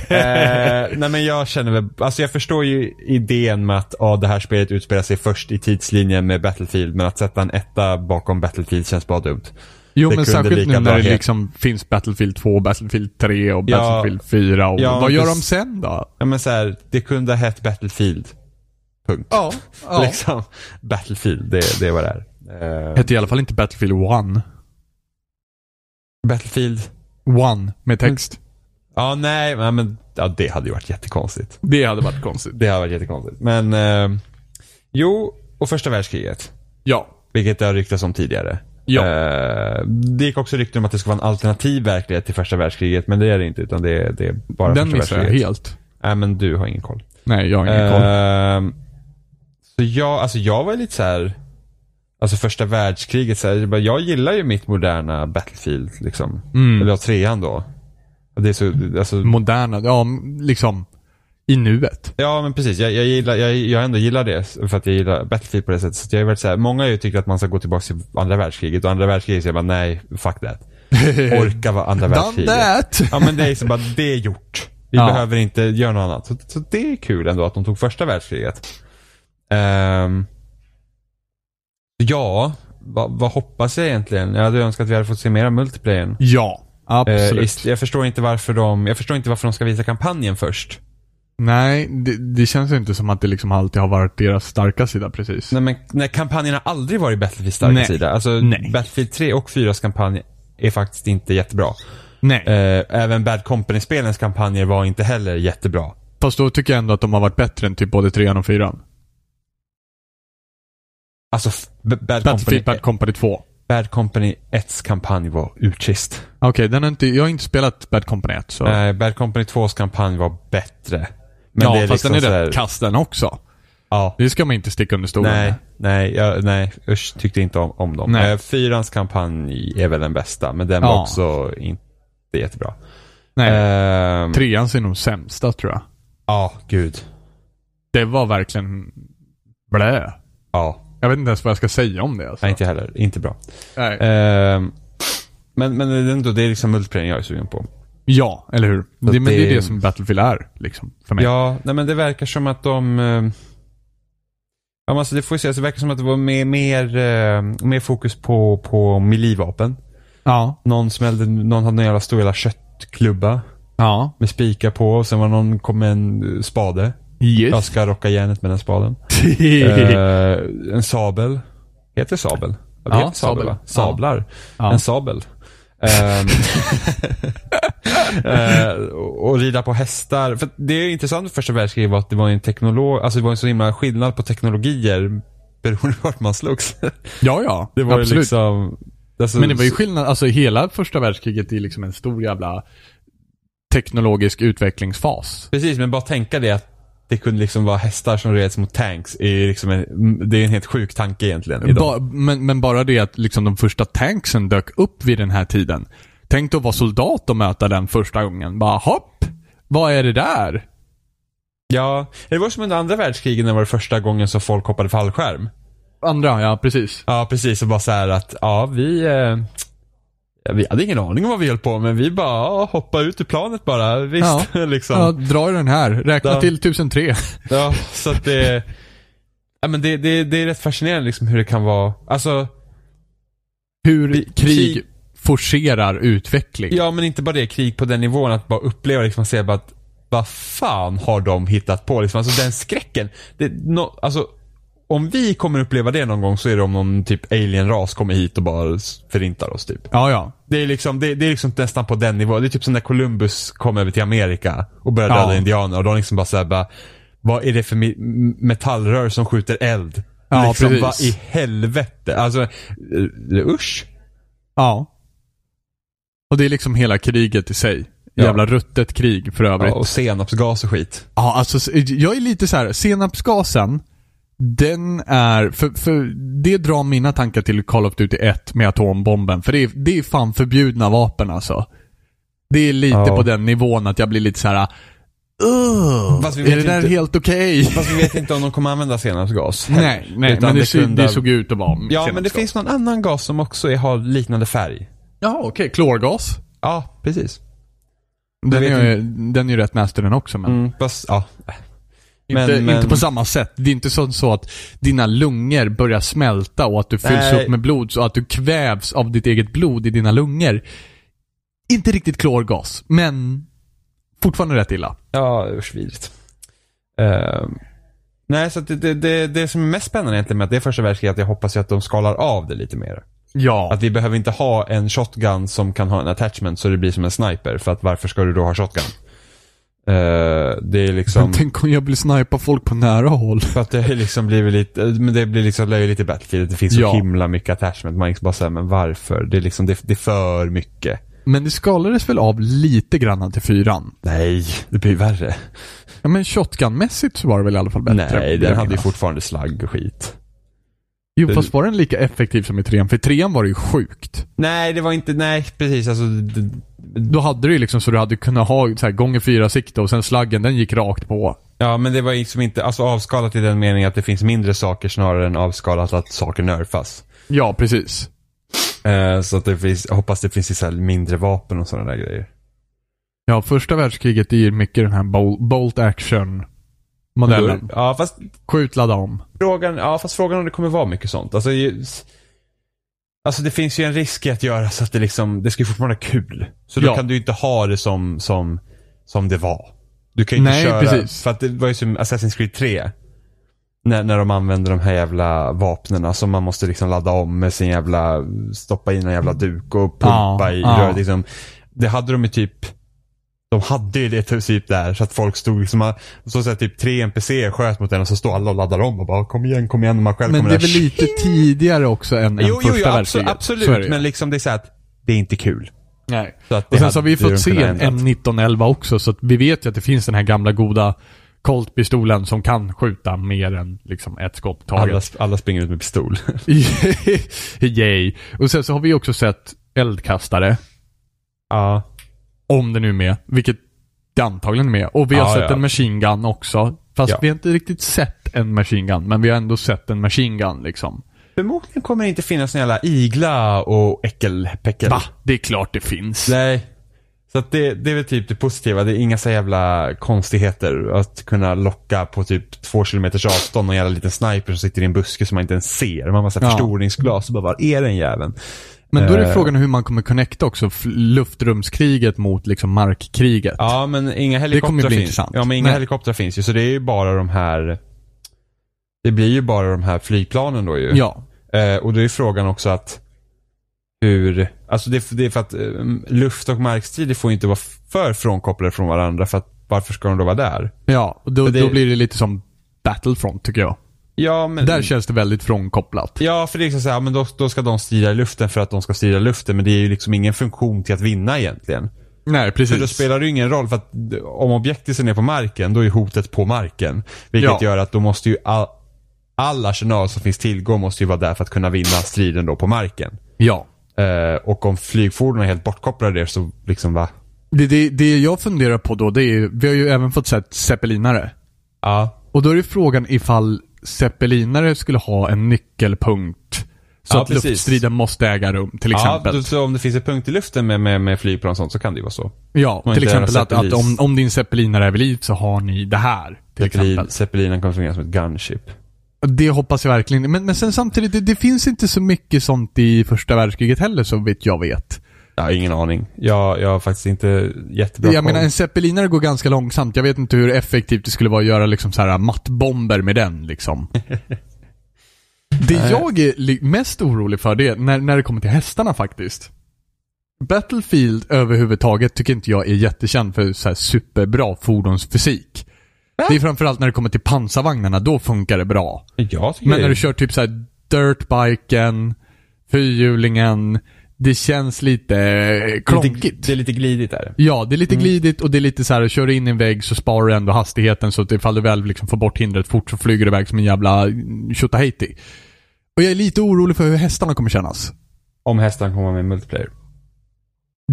[SPEAKER 3] nej men jag känner väl, alltså jag förstår ju idén med att ah, det här spelet utspelar sig först i tidslinjen med Battlefield men att sätta en etta bakom Battlefield känns bara dumt.
[SPEAKER 2] Jo,
[SPEAKER 3] Det
[SPEAKER 2] men
[SPEAKER 3] kunde
[SPEAKER 2] särskilt
[SPEAKER 3] lika
[SPEAKER 2] nu
[SPEAKER 3] bra
[SPEAKER 2] när det
[SPEAKER 3] helt-
[SPEAKER 2] liksom finns Battlefield 2, Battlefield 3 och
[SPEAKER 3] Ja.
[SPEAKER 2] Battlefield 4. Och
[SPEAKER 3] Ja,
[SPEAKER 2] vad gör de
[SPEAKER 3] precis.
[SPEAKER 2] sen då?
[SPEAKER 3] Ja men så här, det kunde ha hett Battlefield. Punkt.
[SPEAKER 2] Ja, ja.
[SPEAKER 3] Liksom, Battlefield, det, det är vad det är. Eh,
[SPEAKER 2] Hette i alla fall inte Battlefield 1.
[SPEAKER 3] Battlefield,
[SPEAKER 2] One med text.
[SPEAKER 3] ja nej, nej, men ja, det hade ju varit jättekonstigt.
[SPEAKER 2] Det hade varit konstigt.
[SPEAKER 3] Det hade varit jättekonstigt. Men eh, jo, och första världskriget.
[SPEAKER 2] Ja.
[SPEAKER 3] Vilket det har ryktats om tidigare.
[SPEAKER 2] Ja.
[SPEAKER 3] Eh, det gick också rykten om att det skulle vara en alternativ verklighet till första världskriget, men det är det inte. Utan det är, det är bara
[SPEAKER 2] Den
[SPEAKER 3] första
[SPEAKER 2] missade jag
[SPEAKER 3] världskriget.
[SPEAKER 2] helt.
[SPEAKER 3] Nej, men du har ingen koll.
[SPEAKER 2] Nej, jag har ingen koll.
[SPEAKER 3] Ehm, så jag, alltså jag var lite så här. Alltså första världskriget, så här, jag bara, jag gillar ju mitt moderna Battlefield. Liksom.
[SPEAKER 2] Mm.
[SPEAKER 3] Eller ja, trean då. Det är så, alltså,
[SPEAKER 2] Moderna, ja m- liksom i nuet.
[SPEAKER 3] ja men precis, jag, jag, gillar, jag, jag ändå gillar det för att jag gillar Battlefield på det sättet. Så att jag har varit så här, många har ju tyckt att man ska gå tillbaka till andra världskriget och andra världskriget, så jag bara nej, fuck that.
[SPEAKER 2] Eh,
[SPEAKER 3] Orka vara andra
[SPEAKER 2] Done
[SPEAKER 3] världskriget.
[SPEAKER 2] that!
[SPEAKER 3] Ja men det är så bara, det är gjort. Vi
[SPEAKER 2] Ja.
[SPEAKER 3] behöver inte göra något annat. Så, så det är kul ändå att de tog första världskriget. Ehm, ja, vad, vad hoppas jag egentligen? Jag hade önskat att vi hade fått se mera multiplayern.
[SPEAKER 2] Ja,
[SPEAKER 3] Eh,
[SPEAKER 2] absolut.
[SPEAKER 3] ist- jag, förstår inte varför de, jag förstår inte varför de ska visa kampanjen först.
[SPEAKER 2] Nej, det, det känns ju inte som att det liksom alltid har varit deras starka sida precis.
[SPEAKER 3] Nej, men, nej, kampanjen har aldrig varit Battlefield starka
[SPEAKER 2] Nej.
[SPEAKER 3] sida. Alltså,
[SPEAKER 2] Nej.
[SPEAKER 3] Battlefield 3 och 4s kampanj är faktiskt inte jättebra.
[SPEAKER 2] Nej.
[SPEAKER 3] Eh, även Bad Company-spelens kampanjer var inte heller jättebra.
[SPEAKER 2] Fast då tycker jag ändå att de har varit bättre än typ både trean och fyran.
[SPEAKER 3] Alltså, f- B- Bad Company
[SPEAKER 2] Battlefield Bad Company 2.
[SPEAKER 3] Bad Company 1s kampanj var urtrist.
[SPEAKER 2] Okej, den har inte, jag har inte spelat Bad Company 1 så.
[SPEAKER 3] Nej, Bad Company 2s kampanj var bättre. Men
[SPEAKER 2] ja,
[SPEAKER 3] det är
[SPEAKER 2] fast
[SPEAKER 3] liksom
[SPEAKER 2] den är
[SPEAKER 3] så här-
[SPEAKER 2] rätt kass den också.
[SPEAKER 3] Ja.
[SPEAKER 2] Det ska man inte sticka under stolen
[SPEAKER 3] Nej,
[SPEAKER 2] med.
[SPEAKER 3] nej, jag, nej, usch, tyckte inte om, om dem.
[SPEAKER 2] Nej.
[SPEAKER 3] Eh, Fyrans kampanj är väl den bästa, men den
[SPEAKER 2] Ja.
[SPEAKER 3] var också inte jättebra.
[SPEAKER 2] Nej.
[SPEAKER 3] Ehm,
[SPEAKER 2] Trean är nog sämsta tror jag.
[SPEAKER 3] Ja, gud.
[SPEAKER 2] Det var verkligen blä.
[SPEAKER 3] Ja,
[SPEAKER 2] Jag vet inte ens vad jag ska säga om det alltså.
[SPEAKER 3] nej, inte heller. Inte bra.
[SPEAKER 2] Nej.
[SPEAKER 3] Ehm, men, men det är ändå, det är liksom multiplayer jag är sugen på.
[SPEAKER 2] Ja, eller hur? Det, men det
[SPEAKER 3] det-
[SPEAKER 2] är det som Battlefield är, liksom, för mig.
[SPEAKER 3] Ja, nej men det verkar som att de... eh, Ja, men alltså det får vi se. Alltså det verkar som att det var mer, mer, eh, mer fokus på, på melee-vapen.
[SPEAKER 2] Ja.
[SPEAKER 3] Någon smällde, någon hade en jävla stor jävla köttklubba
[SPEAKER 2] Ja.
[SPEAKER 3] med spikar på och sen var någon kom med en eh, spade. Jag
[SPEAKER 2] Yes.
[SPEAKER 3] ska rocka järnet med den spaden. Eh, en sabel. Heter det sabel? Ja, det
[SPEAKER 2] Ja,
[SPEAKER 3] heter sabel,
[SPEAKER 2] sabel.
[SPEAKER 3] va? Sablar.
[SPEAKER 2] Ja.
[SPEAKER 3] En sabel. Ehm, eh, och och rida på hästar. För att det är ju intressant med första världskriget var att det var en teknolog, alltså det var en så himla skillnad på teknologier beroende på vart man slogs.
[SPEAKER 2] ja, ja.
[SPEAKER 3] Det var ju
[SPEAKER 2] Absolut.
[SPEAKER 3] liksom... alltså,
[SPEAKER 2] Men det var ju skillnad, alltså hela första världskriget är liksom en stor jävla teknologisk utvecklingsfas.
[SPEAKER 3] Precis, men bara tänka det att det kunde liksom vara hästar som reds mot tanks. Är ju liksom en, det är en helt sjuk tanke egentligen. idag.
[SPEAKER 2] Ba, men, men bara det att liksom de första tanksen dök upp vid den här tiden. Tänk att vara soldat och möta den första gången. Bara hopp! Vad är det där?
[SPEAKER 3] Ja, det var som under andra världskriget när det var det första gången som folk hoppade fallskärm.
[SPEAKER 2] Andra, ja precis.
[SPEAKER 3] Ja, precis. Och bara så här att, ja, vi... Eh, ja, vi hade ingen aning om vad vi höll på med. Vi bara ja, hoppa ut ur planet bara. Visst, liksom.
[SPEAKER 2] Ja,
[SPEAKER 3] Ja,
[SPEAKER 2] dra i den här. Räkna
[SPEAKER 3] Ja.
[SPEAKER 2] till 1003.
[SPEAKER 3] så att det... Ja, men det, det, det är rätt fascinerande liksom hur det kan vara. Alltså,
[SPEAKER 2] Hur krig
[SPEAKER 3] krig-
[SPEAKER 2] forcerar utveckling.
[SPEAKER 3] ja men inte bara det. Krig på den nivån att bara uppleva liksom och se bara att vad fan har de hittat på? Liksom, alltså den skräcken. Det, no, alltså, om vi kommer uppleva det någon gång så är det om någon typ alien-ras kommer hit och bara förintar oss typ.
[SPEAKER 2] Ja, ja.
[SPEAKER 3] Det är, liksom, det, det är liksom nästan på den nivån. Det är typ som när Columbus kom över till Amerika och började
[SPEAKER 2] Ja.
[SPEAKER 3] döda indianer. Och de liksom bara såhär bara, vad är det för mi- m- metallrör som skjuter eld?
[SPEAKER 2] Ja,
[SPEAKER 3] liksom,
[SPEAKER 2] precis.
[SPEAKER 3] vad i helvete? Alltså, eh, usch.
[SPEAKER 2] Ja. Och det är liksom hela kriget i sig.
[SPEAKER 3] Ja.
[SPEAKER 2] Jävla ruttet krig för övrigt.
[SPEAKER 3] Ja,
[SPEAKER 2] Ja,
[SPEAKER 3] och senapsgas och skit.
[SPEAKER 2] alltså s- jag är lite så här. senapsgasen, den är, för, för det drar mina tankar till Call of Duty 1 med atombomben. För det är, det är fan förbjudna vapen alltså. Det är lite
[SPEAKER 3] Ja.
[SPEAKER 2] på den nivån att jag blir lite så här. "Ugh,
[SPEAKER 3] Fast vi
[SPEAKER 2] är
[SPEAKER 3] vet
[SPEAKER 2] det där
[SPEAKER 3] inte-
[SPEAKER 2] helt okej?
[SPEAKER 3] Fast vi vet inte om de kommer använda senapsgas. heller.
[SPEAKER 2] Nej, nej,
[SPEAKER 3] Utan
[SPEAKER 2] men det, ser-
[SPEAKER 3] kunde-
[SPEAKER 2] det såg ut att vara
[SPEAKER 3] Ja, men det
[SPEAKER 2] senapsgas.
[SPEAKER 3] finns någon annan gas som också är, har liknande färg.
[SPEAKER 2] Ja, okej. Klorgas.
[SPEAKER 3] Ja, precis.
[SPEAKER 2] Den
[SPEAKER 3] vet
[SPEAKER 2] är, ju- den är ju rätt nasty den också, men...
[SPEAKER 3] Mm, fast, ja. Men-
[SPEAKER 2] inte,
[SPEAKER 3] Mm, men-
[SPEAKER 2] inte på samma sätt. Det är inte så, så att dina lungor börjar smälta och att du fylls
[SPEAKER 3] Nej.
[SPEAKER 2] upp med blod så att du kvävs av ditt eget blod i dina lungor. Inte riktigt klorgas, men fortfarande rätt illa.
[SPEAKER 3] Ja, usch vidrigt. Ehm, nej, så att det, det, det, det som är mest spännande egentligen med att det är första världskriget är att jag hoppas ju att de skalar av det lite mer.
[SPEAKER 2] Ja.
[SPEAKER 3] Att vi behöver inte ha en shotgun som kan ha en attachment så det blir som en sniper. För att varför ska du då ha shotgun? Ehm, det är liksom...
[SPEAKER 2] Tänk om jag blir snipa folk på nära håll.
[SPEAKER 3] För att det har liksom blivit lite, men det blir liksom löjligt i Battlefield. Det finns
[SPEAKER 2] Ja.
[SPEAKER 3] så himla mycket attachment. Man liksom bara säger men varför? Det är liksom, det, det är för mycket.
[SPEAKER 2] Men det skalades väl av lite grann till fyran?
[SPEAKER 3] Nej, det blir värre.
[SPEAKER 2] Ja, men shotgun-mässigt så var det väl i alla fall bättre.
[SPEAKER 3] Nej,
[SPEAKER 2] vill jag
[SPEAKER 3] den hade ju
[SPEAKER 2] minnas.
[SPEAKER 3] fortfarande slagg och skit.
[SPEAKER 2] Jo, fast var den lika effektiv som i trean? För i trean var det ju sjukt.
[SPEAKER 3] Nej, det var inte, nej precis alltså. Det,
[SPEAKER 2] Då hade du ju liksom så du hade kunnat ha så här, gånger fyra sikte och sen slaggen, den gick rakt på.
[SPEAKER 3] ja, men det var liksom inte, alltså avskalat i den meningen att det finns mindre saker snarare än avskalat att saker nerfas.
[SPEAKER 2] Ja, precis.
[SPEAKER 3] Eh, så att det finns, jag hoppas det finns i så här mindre vapen och sådana där grejer.
[SPEAKER 2] Ja, första världskriget är ju mycket den här bol- bolt action modellen.
[SPEAKER 3] Ja, fast
[SPEAKER 2] Skjut, ladda om.
[SPEAKER 3] Frågan, ja fast frågan om det kommer vara mycket sånt. Alltså, ju, alltså det finns ju en risk i att göra så att det liksom, det ska ju fortfarande vara kul. Så då
[SPEAKER 2] Ja.
[SPEAKER 3] kan du ju inte ha det som, som, som det var. Du kan ju
[SPEAKER 2] Nej,
[SPEAKER 3] inte köra,
[SPEAKER 2] precis.
[SPEAKER 3] för att det var ju som Assassin's Creed 3. När, när de använder de här jävla vapnena som man måste liksom ladda om med sin jävla, stoppa in en jävla duk och pumpa
[SPEAKER 2] Ja,
[SPEAKER 3] i
[SPEAKER 2] ja.
[SPEAKER 3] röret. Liksom. Det hade de ju typ, de hade ju det typ där så att folk stod liksom, så att typ tre NPC sköt mot en och så står alla och laddar om och bara kom igen, kom igen och man själv
[SPEAKER 2] Men
[SPEAKER 3] kommer
[SPEAKER 2] det är
[SPEAKER 3] där,
[SPEAKER 2] väl lite tidigare också än, än
[SPEAKER 3] Jo, jo,
[SPEAKER 2] första
[SPEAKER 3] jo absolut,
[SPEAKER 2] världskriget. Så är det
[SPEAKER 3] absolut
[SPEAKER 2] ju.
[SPEAKER 3] men liksom det är så här att det är inte kul.
[SPEAKER 2] Nej.
[SPEAKER 3] Så att det
[SPEAKER 2] Och sen
[SPEAKER 3] hade
[SPEAKER 2] så har vi
[SPEAKER 3] de
[SPEAKER 2] fått se en
[SPEAKER 3] kunnat ändra.
[SPEAKER 2] M1911 också, så att vi vet ju att det finns den här gamla goda Colt-pistolen som kan skjuta mer än liksom ett skott
[SPEAKER 3] alla,
[SPEAKER 2] taget.
[SPEAKER 3] sp- alla springer ut med pistol.
[SPEAKER 2] Yay. Och sen så har vi också sett eldkastare,
[SPEAKER 3] ja.
[SPEAKER 2] om det nu är med, vilket det antagligen är med. Och vi har
[SPEAKER 3] Ja,
[SPEAKER 2] sett
[SPEAKER 3] ja.
[SPEAKER 2] en machine gun också. Fast
[SPEAKER 3] Ja.
[SPEAKER 2] vi har inte riktigt sett en machine gun, men vi har ändå sett en machine gun liksom.
[SPEAKER 3] Förmodligen kommer det inte finnas någon jävla igla och äckelpäckel.
[SPEAKER 2] Va? Det är klart det finns.
[SPEAKER 3] Nej. Så att det, det är väl typ det positiva. Det är inga så jävla konstigheter. Att kunna locka på typ två kilometers avstånd och jävla liten sniper som sitter i en buske som man inte ens ser. Man har massa
[SPEAKER 2] Ja.
[SPEAKER 3] förstoringsglas och bara, var är den jäveln?
[SPEAKER 2] Men då är det
[SPEAKER 3] Eh.
[SPEAKER 2] frågan hur man kommer connecta också f- luftrumskriget mot liksom markkriget.
[SPEAKER 3] Ja, men inga
[SPEAKER 2] kommer bli
[SPEAKER 3] helikoptrar finns.
[SPEAKER 2] intressant.
[SPEAKER 3] Ja, men inga
[SPEAKER 2] Nej.
[SPEAKER 3] helikoptrar finns ju. Så det är ju bara de här Det blir ju bara de här flygplanen då ju.
[SPEAKER 2] Ja.
[SPEAKER 3] Eh, och då är frågan också att hur, alltså det, det är för att eh, luft och markstrider får ju inte vara för frånkopplade från varandra för att varför ska de då vara där?
[SPEAKER 2] Ja, och då,
[SPEAKER 3] det-
[SPEAKER 2] då blir det lite som Battlefront tycker jag.
[SPEAKER 3] Ja, men...
[SPEAKER 2] Där känns det väldigt frånkopplat.
[SPEAKER 3] Mm. Ja, för det är liksom så här, men då, då ska de strida i luften för att de ska strida i luften. Men det är ju liksom ingen funktion till att vinna egentligen.
[SPEAKER 2] Nej,
[SPEAKER 3] För då
[SPEAKER 2] precis.
[SPEAKER 3] spelar det ju ingen roll för att d- om objektet är på marken, då är hotet på marken. Vilket
[SPEAKER 2] Ja.
[SPEAKER 3] gör att då måste ju all, all arsenal som finns tillgång måste ju vara där för att kunna vinna striden då på marken.
[SPEAKER 2] Ja.
[SPEAKER 3] Eh, och om flygfordon är helt bortkopplade där så liksom va?
[SPEAKER 2] Det, det, det jag funderar på då, det är ju- vi har ju även fått sett zeppelinare.
[SPEAKER 3] Ja.
[SPEAKER 2] Och då är det frågan ifall zeppelinare skulle ha en nyckelpunkt. Så
[SPEAKER 3] Ja,
[SPEAKER 2] att
[SPEAKER 3] precis.
[SPEAKER 2] luftstriden måste äga rum, till
[SPEAKER 3] Ja,
[SPEAKER 2] exempel.
[SPEAKER 3] då- så om det finns en punkt i luften med, med, med flygplan och sånt så kan det ju vara så.
[SPEAKER 2] Ja,
[SPEAKER 3] Man
[SPEAKER 2] till
[SPEAKER 3] inte
[SPEAKER 2] exempel
[SPEAKER 3] göra
[SPEAKER 2] att, att
[SPEAKER 3] zeppelis.
[SPEAKER 2] om, om din zeppelinare är vid liv så har ni det här. Till exempel.
[SPEAKER 3] Zeppelin, Zeppelinen kommer fungera som ett gunship.
[SPEAKER 2] Det hoppas jag verkligen. Men, men sen samtidigt, det, det finns inte så mycket sånt i första världskriget heller så vitt jag vet.
[SPEAKER 3] Jag har ingen aning. Jag, jag har faktiskt inte jättebra
[SPEAKER 2] jag
[SPEAKER 3] koll.
[SPEAKER 2] menar en zeppelinare går ganska långsamt. Jag vet inte hur effektivt det skulle vara att göra liksom så här mattbomber med den liksom. det jag är li- mest orolig för det är när, när det kommer till hästarna faktiskt. Battlefield överhuvudtaget tycker inte jag är jättekänd för så här superbra fordonsfysik. Det är framförallt när det kommer till pansarvagnarna, då funkar det bra.
[SPEAKER 3] Jag tycker
[SPEAKER 2] Men
[SPEAKER 3] det
[SPEAKER 2] när
[SPEAKER 3] är-
[SPEAKER 2] du kör typ såhär dirtbiken, fyrhjulingen, det känns lite eh, klonkigt.
[SPEAKER 3] Det är lite glidigt där.
[SPEAKER 2] Ja, det är lite glidigt och det är lite så här, kör du in i en vägg så sparar du ändå hastigheten så att ifall du väl liksom får bort hindret fort så flyger du iväg som en jävla mm, tjottahejti. Och jag är lite orolig för hur hästarna kommer kännas.
[SPEAKER 3] Om hästarna kommer med multiplayer.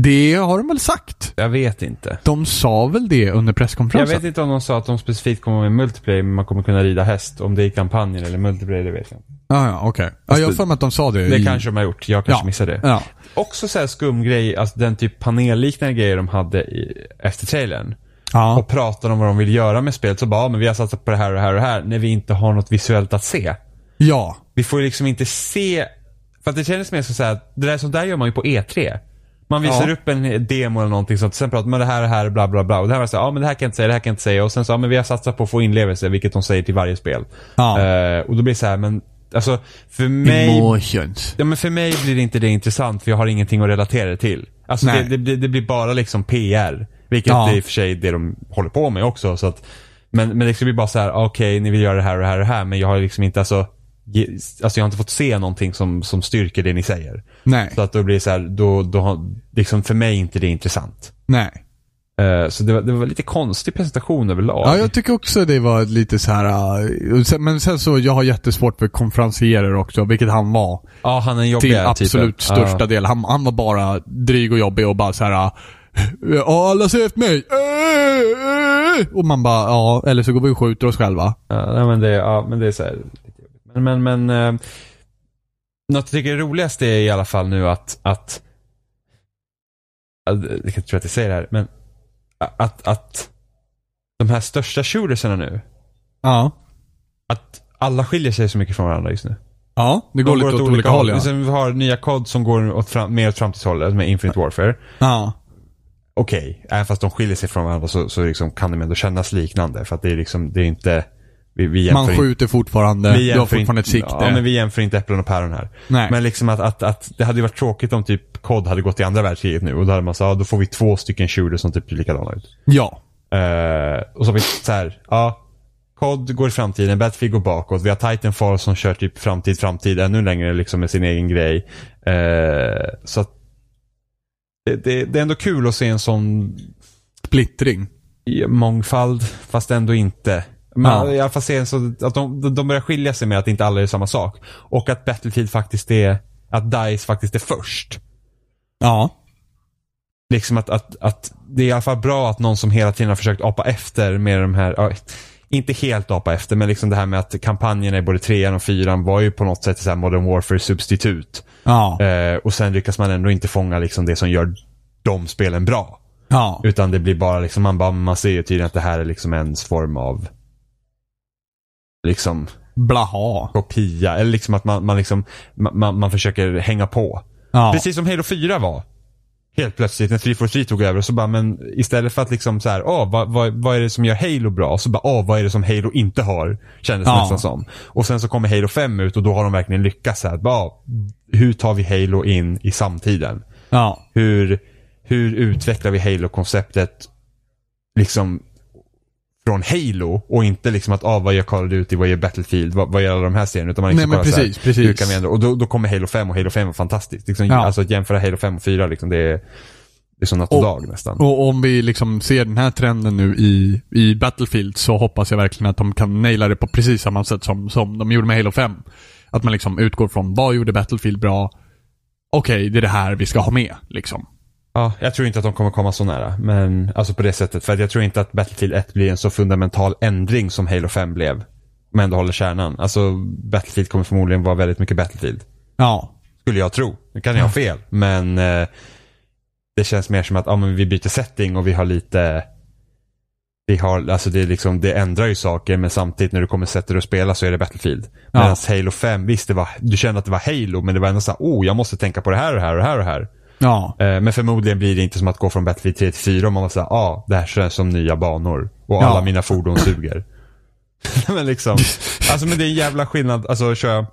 [SPEAKER 2] Det har de väl sagt?
[SPEAKER 3] Jag vet inte.
[SPEAKER 2] De sa väl det under
[SPEAKER 3] Jag
[SPEAKER 2] presskonferensen?
[SPEAKER 3] vet inte om de sa att de specifikt kommer med multiplayer, men man kommer kunna rida häst. Om det är i kampanjen eller multiplayer, det vet jag inte.
[SPEAKER 2] Ja, Ah, ja, okej. Ja,
[SPEAKER 3] Fast
[SPEAKER 2] jag har
[SPEAKER 3] det-
[SPEAKER 2] för mig att de sa det.
[SPEAKER 3] Det
[SPEAKER 2] i-
[SPEAKER 3] kanske de har gjort. Jag kanske
[SPEAKER 2] Ja.
[SPEAKER 3] missade det.
[SPEAKER 2] Ja.
[SPEAKER 3] Också så här skum grej, alltså den typ panelliknande grejer de hade i, efter trailern.
[SPEAKER 2] Ja.
[SPEAKER 3] Och pratar om vad de vill göra med spelet. Så bara, ja, men vi har satsat på det här och det här och det här. När vi inte har något visuellt att se.
[SPEAKER 2] ja.
[SPEAKER 3] Vi får ju liksom inte se. För att det kändes mer som så här, att det där, sånt där gör man ju på E3. Man visar
[SPEAKER 2] Ja.
[SPEAKER 3] upp en demo eller någonting sånt. Sen pratar man om det här och det här bla bla bla. Och det här var så här, ja men det här kan jag inte säga, det här kan jag inte säga. Och sen så, ja men vi har satsat på att få inlevelse, vilket de säger till varje spel.
[SPEAKER 2] Ja.
[SPEAKER 3] Eh, och då blir det så här, men alltså för mig
[SPEAKER 2] Emotions.
[SPEAKER 3] Ja, men för mig blir det inte det intressant för jag har ingenting att relatera det till. Alltså det,
[SPEAKER 2] Nej.
[SPEAKER 3] det, blir- det blir bara liksom PR. Vilket
[SPEAKER 2] Ja.
[SPEAKER 3] är i och för sig det de håller på med också. Så att, men, men det skulle bli bara så här: okej ni vill göra det här och det här och det här men jag har liksom inte alltså, ge, alltså jag har inte fått se någonting som, som styrker det ni säger.
[SPEAKER 2] Nej.
[SPEAKER 3] Så att då blir det så här, då, då har, liksom för mig inte det intressant.
[SPEAKER 2] Nej.
[SPEAKER 3] Eh, så det var, det var lite konstig presentation överlag.
[SPEAKER 2] Ja, jag tycker också det var lite så här. äh, och sen- Men sen så, jag har jättesvårt för konferencierer också, vilket han var.
[SPEAKER 3] Ja, han är typ. en
[SPEAKER 2] Till
[SPEAKER 3] jobbiga
[SPEAKER 2] absolut
[SPEAKER 3] typen.
[SPEAKER 2] största del. Han, han var bara dryg och jobbig och bara så här. äh, Ja, alla ser efter mig. Äh, äh. Och man bara, ja, eller så går vi och skjuter oss själva.
[SPEAKER 3] Ja, nej, men det, ja, men det är så här. lite jobbigt. Men, men, men eh, något jag tycker är roligast är i alla fall nu att, att ja, det- jag tror att jag säger det här, men att, att de här största shootersarna nu,
[SPEAKER 2] Ja.
[SPEAKER 3] att alla skiljer sig så mycket från varandra just nu.
[SPEAKER 2] Ja, det går
[SPEAKER 3] De
[SPEAKER 2] lite åt olika håll ja.
[SPEAKER 3] Sen Liksom, vi har nya kod som går åt fram, mer åt framtidshållet med Infinite Warfare.
[SPEAKER 2] Ja.
[SPEAKER 3] Okej, även fast de skiljer sig från varandra så, så liksom kan de ändå kännas liknande. För att det är liksom, det är inte, vi, vi jämför
[SPEAKER 2] Man
[SPEAKER 3] inte-
[SPEAKER 2] skjuter fortfarande.
[SPEAKER 3] Vi
[SPEAKER 2] Du har
[SPEAKER 3] jämför
[SPEAKER 2] fortfarande ett
[SPEAKER 3] inte-
[SPEAKER 2] sikte.
[SPEAKER 3] Ja, men vi jämför inte äpplen och päron här.
[SPEAKER 2] Nej.
[SPEAKER 3] Men liksom att, att, att det hade ju varit tråkigt om typ kod hade gått i andra världskriget nu och då hade man sagt, ja, då får vi två stycken shooters som typ är likadana ut.
[SPEAKER 2] Ja.
[SPEAKER 3] Eh, och så har vi så här, ja, kod går i framtiden, Battlefield går bakåt, vi har Titanfall som kör typ framtid, framtid ännu längre liksom med sin egen grej. Eh, så att det, det, det är ändå kul att se en sån
[SPEAKER 2] Splittring.
[SPEAKER 3] i mångfald, fast ändå inte. Men
[SPEAKER 2] Ja.
[SPEAKER 3] I alla fall ser en så att de, de börjar skilja sig med att inte alla är samma sak. Och att Battlefield faktiskt är, att DICE faktiskt är först.
[SPEAKER 2] Ja.
[SPEAKER 3] Liksom att, att, att det är i alla fall bra att någon som hela tiden har försökt apa efter med de här, ja, inte helt apa efter, men liksom det här med att kampanjerna i både trean och fyran var ju på något sätt så här Modern Warfare substitut.
[SPEAKER 2] Ja.
[SPEAKER 3] Eh, och sen lyckas man ändå inte fånga liksom det som gör de spelen bra.
[SPEAKER 2] Ja.
[SPEAKER 3] Utan det blir bara liksom, man bara, man ser ju tydligen att det här är liksom ens form av liksom
[SPEAKER 2] Blaha.
[SPEAKER 3] kopia. Eller liksom att man, man liksom, man, man- man försöker hänga på.
[SPEAKER 2] Ja.
[SPEAKER 3] Precis som Halo 4 var. Helt plötsligt när 343 tog över så bara, men istället för att liksom så här, åh, vad, vad, vad är det som gör Halo bra? Så bara, åh, vad är det som Halo inte har? Kändes
[SPEAKER 2] Ja.
[SPEAKER 3] nästan som. Och sen så kommer Halo 5 ut och då har de verkligen lyckats så här, bara, "Ah, hur tar vi Halo in i samtiden?
[SPEAKER 2] Ja.
[SPEAKER 3] hur, hur utvecklar vi Halo-konceptet liksom från Halo och inte liksom att ah, vad gör Call of Duty, vad gör Battlefield, vad, vad gör alla de här serierna. Utan man liksom
[SPEAKER 2] Nej, men
[SPEAKER 3] kollar så här,
[SPEAKER 2] precis, precis.
[SPEAKER 3] Hur kan vi ändra? Och då, då kommer Halo 5 och Halo 5 var fantastiskt. Liksom,
[SPEAKER 2] Ja.
[SPEAKER 3] Alltså att jämföra Halo 5 och 4, liksom, det, är, det är som natt och,
[SPEAKER 2] Och-
[SPEAKER 3] dag nästan.
[SPEAKER 2] Och om vi liksom ser den här trenden nu i, i Battlefield så hoppas jag verkligen att de kan naila det på precis samma sätt som, som de gjorde med Halo 5. Att man liksom utgår från vad gjorde Battlefield bra? Okej, det är det här vi ska ha med liksom.
[SPEAKER 3] Ja, jag tror inte att de kommer komma så nära. Men alltså på det sättet. För att jag tror inte att Battlefield 1 blir en så fundamental ändring som Halo 5 blev. Men ändå håller kärnan. Alltså Battlefield kommer förmodligen vara väldigt mycket Battlefield.
[SPEAKER 2] Ja.
[SPEAKER 3] Skulle jag tro. Nu kan jag ha fel. Men eh, det känns mer som att ah, men vi byter setting och vi har lite vi har, alltså det, är liksom, det ändrar ju saker men samtidigt när du kommer sätta dig och spela så är det Battlefield.
[SPEAKER 2] Ja.
[SPEAKER 3] Medan Halo 5, visst det var, du kände att det var Halo men det var ändå så här, oh jag måste tänka på det här och det här och det här och det här.
[SPEAKER 2] Ja.
[SPEAKER 3] Eh, men förmodligen blir det inte som att gå från Battlefield 3 till 4 om man var såhär, ah, det här känns som nya banor. Och alla
[SPEAKER 2] Ja.
[SPEAKER 3] mina fordon suger. Nej, men liksom, alltså men det är en jävla skillnad, alltså kör jag,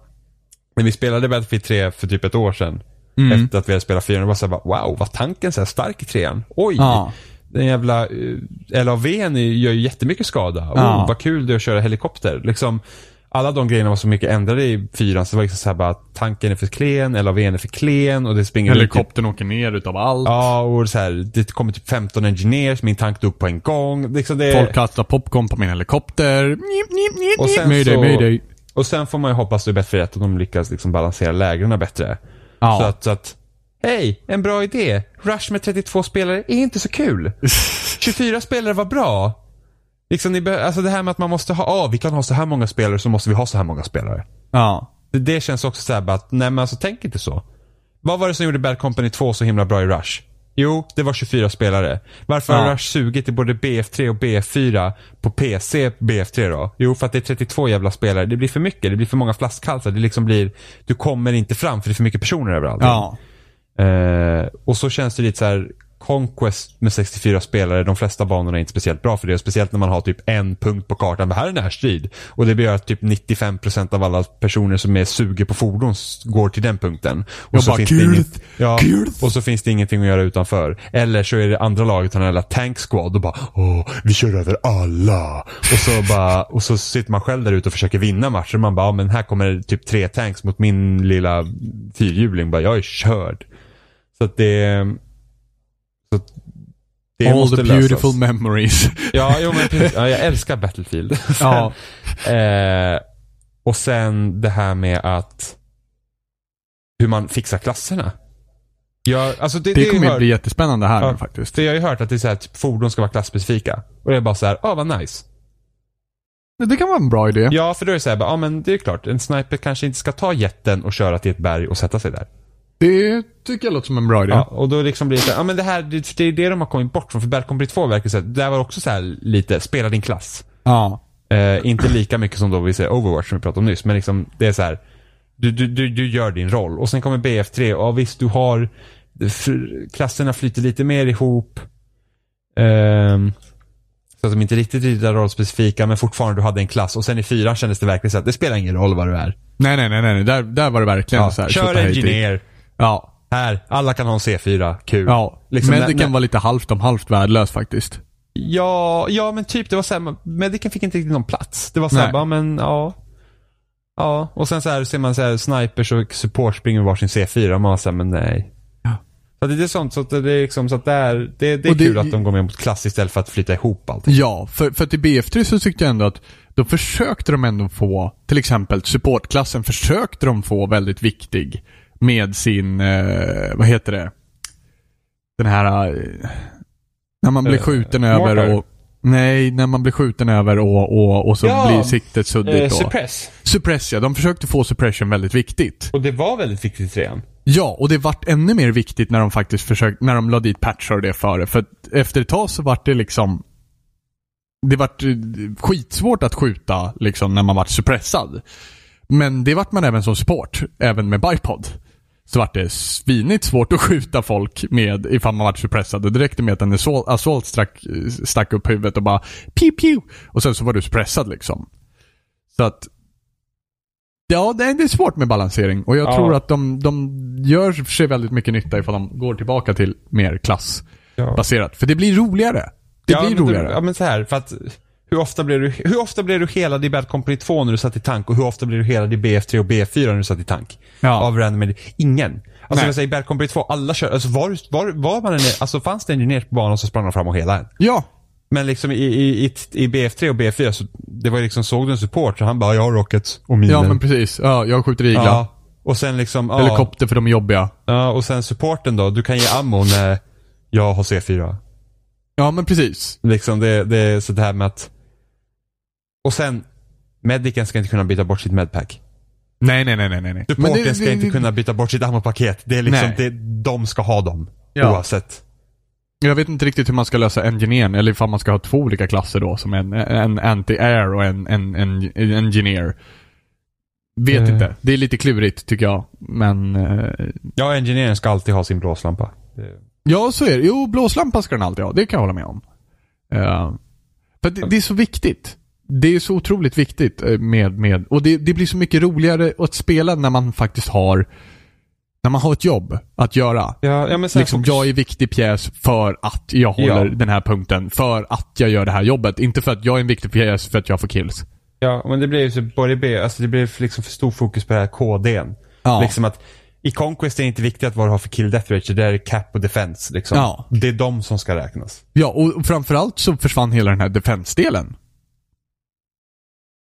[SPEAKER 3] när vi spelade Battlefield 3 för typ ett år sedan.
[SPEAKER 2] Mm.
[SPEAKER 3] Efter att vi hade spelat 4, det var såhär, wow, var tanken så här stark i 3 Oj!
[SPEAKER 2] Ja.
[SPEAKER 3] Den jävla eh, LAVn gör ju jättemycket skada.
[SPEAKER 2] Ja.
[SPEAKER 3] Oh, vad kul det är att köra helikopter. Liksom, alla de grejerna var så mycket ändrade i 4 så det var liksom såhär bara, tanken är för klen, LAVn är för klen och det springer runt typ
[SPEAKER 2] Helikoptern åker ner utav allt.
[SPEAKER 3] Ja, och så här, det kommer typ 15 engineers, min tank dog på en gång. Liksom det,
[SPEAKER 2] Folk kastar popcorn på min helikopter. Njip, njip, njip,
[SPEAKER 3] Och
[SPEAKER 2] njip.
[SPEAKER 3] sen
[SPEAKER 2] mayday,
[SPEAKER 3] så-
[SPEAKER 2] mayday.
[SPEAKER 3] och sen får man ju hoppas det är bättre att de lyckas liksom balansera lägren bättre.
[SPEAKER 2] Ja.
[SPEAKER 3] Så att, så att hej, en bra idé. Rush med 32 spelare är inte så kul. 24 spelare var bra. Liksom, ni be- alltså det här med att man måste ha, ah, vi kan ha så här många spelare så måste vi ha så här många spelare.
[SPEAKER 2] ja.
[SPEAKER 3] Det, det känns också så här bara att, nej men alltså tänk inte så. Vad var det som gjorde Bad Company 2 så himla bra i Rush? Jo, det var 24 spelare. Varför har
[SPEAKER 2] Ja.
[SPEAKER 3] Rush sugit i både BF3 och BF4 på PC BF3 då? Jo, för att det är 32 jävla spelare. Det blir för mycket, det blir för många flaskhalsar. Det liksom blir, du kommer inte fram för det är för mycket personer överallt.
[SPEAKER 2] Ja.
[SPEAKER 3] Eh, och så känns det lite så här Conquest med 64 spelare, de flesta banorna är inte speciellt bra för det. och Speciellt när man har typ en punkt på kartan. Men här är närstrid. Och det gör att typ 95% av alla personer som är suger på fordon s- går till den punkten. Och
[SPEAKER 2] Jag bara,
[SPEAKER 3] det
[SPEAKER 2] "Gud,
[SPEAKER 3] inget- ja,
[SPEAKER 2] gud."
[SPEAKER 3] Och så finns det ingenting att göra utanför. Eller så är det andra laget, han har hela tank squad och bara Åh, vi kör över alla. Och så, bara, och så sitter man själv där ute och försöker vinna matcher. Man bara, ja, men här kommer typ tre tanks mot min lilla fyrhjuling. Bara, jag är körd. Så att det... Så att det
[SPEAKER 2] All
[SPEAKER 3] måste
[SPEAKER 2] the beautiful
[SPEAKER 3] lösas.
[SPEAKER 2] memories.
[SPEAKER 3] Ja, jo, men precis. Ja, jag älskar Battlefield.
[SPEAKER 2] ja.
[SPEAKER 3] eh, och sen det här med att hur man fixar klasserna. Jag, alltså det,
[SPEAKER 2] Det
[SPEAKER 3] det,
[SPEAKER 2] kommer
[SPEAKER 3] jag
[SPEAKER 2] ju
[SPEAKER 3] hört,
[SPEAKER 2] bli jättespännande här
[SPEAKER 3] Ja.
[SPEAKER 2] nu faktiskt.
[SPEAKER 3] för jag har ju hört att det är så här, typ, fordon ska vara klasspecifika. Och det är bara så här, ah, vad nice.
[SPEAKER 2] Det kan vara en bra idé.
[SPEAKER 3] Ja, för då är det så här, bara, ah, men det är ju klart, en sniper kanske inte ska ta jätten och köra till ett berg och sätta sig där.
[SPEAKER 2] Det tycker jag låter som en bra idé.
[SPEAKER 3] Ja, och då liksom blir det så här, ja men det här, det, det är det de har kommit bort från. För Bad Company 2 verkar så här, det där var också så här lite, spela din klass.
[SPEAKER 2] Ja.
[SPEAKER 3] Eh, inte lika mycket som då vi ser Overwatch som vi pratade om nyss, men liksom det är så här. Du, du, du, du gör din roll och sen kommer BF3. Ja visst, du har för, klasserna flyter lite mer ihop. Ehm, så att de inte riktigt är lika rollspecifika, men fortfarande du hade en klass. Och sen i fyran kändes det verkligen så att det spelar ingen roll vad du är.
[SPEAKER 2] Nej, nej, nej, nej. nej. Där, där var det verkligen så här.
[SPEAKER 3] kör
[SPEAKER 2] tjotta hej till.
[SPEAKER 3] engineer.
[SPEAKER 2] Ja.
[SPEAKER 3] Här, alla kan ha en C4. Kul.
[SPEAKER 2] Ja.
[SPEAKER 3] Liksom, när-
[SPEAKER 2] Medicen
[SPEAKER 3] när-
[SPEAKER 2] var lite halvt om halvt värdelös faktiskt.
[SPEAKER 3] Ja, ja men typ det var såhär, Medicen fick inte riktigt någon plats. Det var
[SPEAKER 2] Nej.
[SPEAKER 3] såhär, bara, men ja. Ja, och sen så här ser man så här, snipers och support springer med varsin C4 och man var såhär, men nej.
[SPEAKER 2] Ja.
[SPEAKER 3] Så det är sånt, så att det är liksom så att det är, det, det är
[SPEAKER 2] Och det-
[SPEAKER 3] kul att de går med mot klass istället för att flytta ihop allting.
[SPEAKER 2] Ja, för, för att i BF3 så tyckte jag ändå att då försökte de ändå få, till exempel supportklassen försökte de få väldigt viktig med sin, eh, vad heter det? Den här, eh, när man blir
[SPEAKER 3] Eh,
[SPEAKER 2] skjuten
[SPEAKER 3] mortar?
[SPEAKER 2] över och Nej, när man blir skjuten över och, och, och så
[SPEAKER 3] Ja, Eh,
[SPEAKER 2] blir siktet suddigt. då.
[SPEAKER 3] suppress.
[SPEAKER 2] suppress ja, de försökte få suppression väldigt viktigt.
[SPEAKER 3] Och det var väldigt viktigt i trean.
[SPEAKER 2] Ja, och det vart ännu mer viktigt när de faktiskt försökte, när de la dit patchar och det före. För att efter ett tag så vart det liksom... Det vart eh, skitsvårt att skjuta liksom när man vart suppressad. Men det vart man även som support, även med bipod. Så vart det svinigt svårt att skjuta folk med ifall man vart suppressad. Och det räckte med att en assault- assault stack, stack upp huvudet och bara pew pew. Och sen så var du suppressad liksom. Så att Ja, det är, det är svårt med balansering och jag
[SPEAKER 3] Ja.
[SPEAKER 2] tror att de, de gör sig väldigt mycket nytta ifall de går tillbaka till mer
[SPEAKER 3] Ja.
[SPEAKER 2] klassbaserat. För det blir roligare. Det blir
[SPEAKER 3] men
[SPEAKER 2] roligare.
[SPEAKER 3] ja men så här, för att hur ofta blev du, hur ofta blev du helad i Bad Company 2 när du satt i tank och hur ofta blev du helad i BF3 och BF4 när du satt i tank?
[SPEAKER 2] Ja.
[SPEAKER 3] Av random, ingen. Alltså
[SPEAKER 2] Nej.
[SPEAKER 3] jag säger Bad Company 2, alla kör, alltså var, var, var man en, alltså fanns det en engineer på banan så sprang de fram och helade en.
[SPEAKER 2] ja.
[SPEAKER 3] Men liksom i, i, i, i BF3 och BF4 så, det var ju liksom, såg du en support så han bara, jag har rockets och minen.
[SPEAKER 2] Ja, men precis. Ja, jag skjuter igla.
[SPEAKER 3] ja. Och sen liksom, ja,
[SPEAKER 2] Helikopter för de är jobbiga.
[SPEAKER 3] ja, och sen supporten då, du kan ge ammo när jag har C4.
[SPEAKER 2] Ja, men precis.
[SPEAKER 3] Liksom det, det är så det här med att... Och sen, medicen ska inte kunna byta bort sitt medpack.
[SPEAKER 2] Nej, nej, nej, nej, nej. nej. Men
[SPEAKER 3] Supporten ska inte kunna byta bort sitt ammopaket. Det är liksom,
[SPEAKER 2] Nej.
[SPEAKER 3] det, de ska ha dem.
[SPEAKER 2] Ja.
[SPEAKER 3] Oavsett.
[SPEAKER 2] Jag vet inte riktigt hur man ska lösa engineern, eller ifall man ska ha två olika klasser då, som en, en anti-air och en, en, en, en engineer. Vet
[SPEAKER 3] Eh.
[SPEAKER 2] inte. Det är lite klurigt, tycker jag. Men... eh,
[SPEAKER 3] Ja, engineeren ska alltid ha sin blåslampa. Det-
[SPEAKER 2] Ja, så är det. Jo, blåslampa ska den alltid ha. Det kan jag hålla med om. Eh, för det, det är så viktigt. Det är så otroligt viktigt eh, med... med och det, det blir så mycket roligare att spela när man faktiskt har... När man har ett jobb att göra.
[SPEAKER 3] Ja, ja, men sen
[SPEAKER 2] Liksom,
[SPEAKER 3] fokus-
[SPEAKER 2] jag är viktig pjäs för att jag håller
[SPEAKER 3] Ja.
[SPEAKER 2] den här punkten. För att jag gör det här jobbet. Inte för att jag är en viktig pjäs för att jag får kills.
[SPEAKER 3] Ja, men det blir ju så, både B, alltså det blir liksom för stor fokus på det här KDn.
[SPEAKER 2] Ja.
[SPEAKER 3] Liksom att i Conquest är det inte viktigt att vad du har för kill death ratio, det är cap och defense. Liksom.
[SPEAKER 2] Ja.
[SPEAKER 3] Det är de som ska räknas.
[SPEAKER 2] Ja, och framförallt så försvann hela den här defense-delen.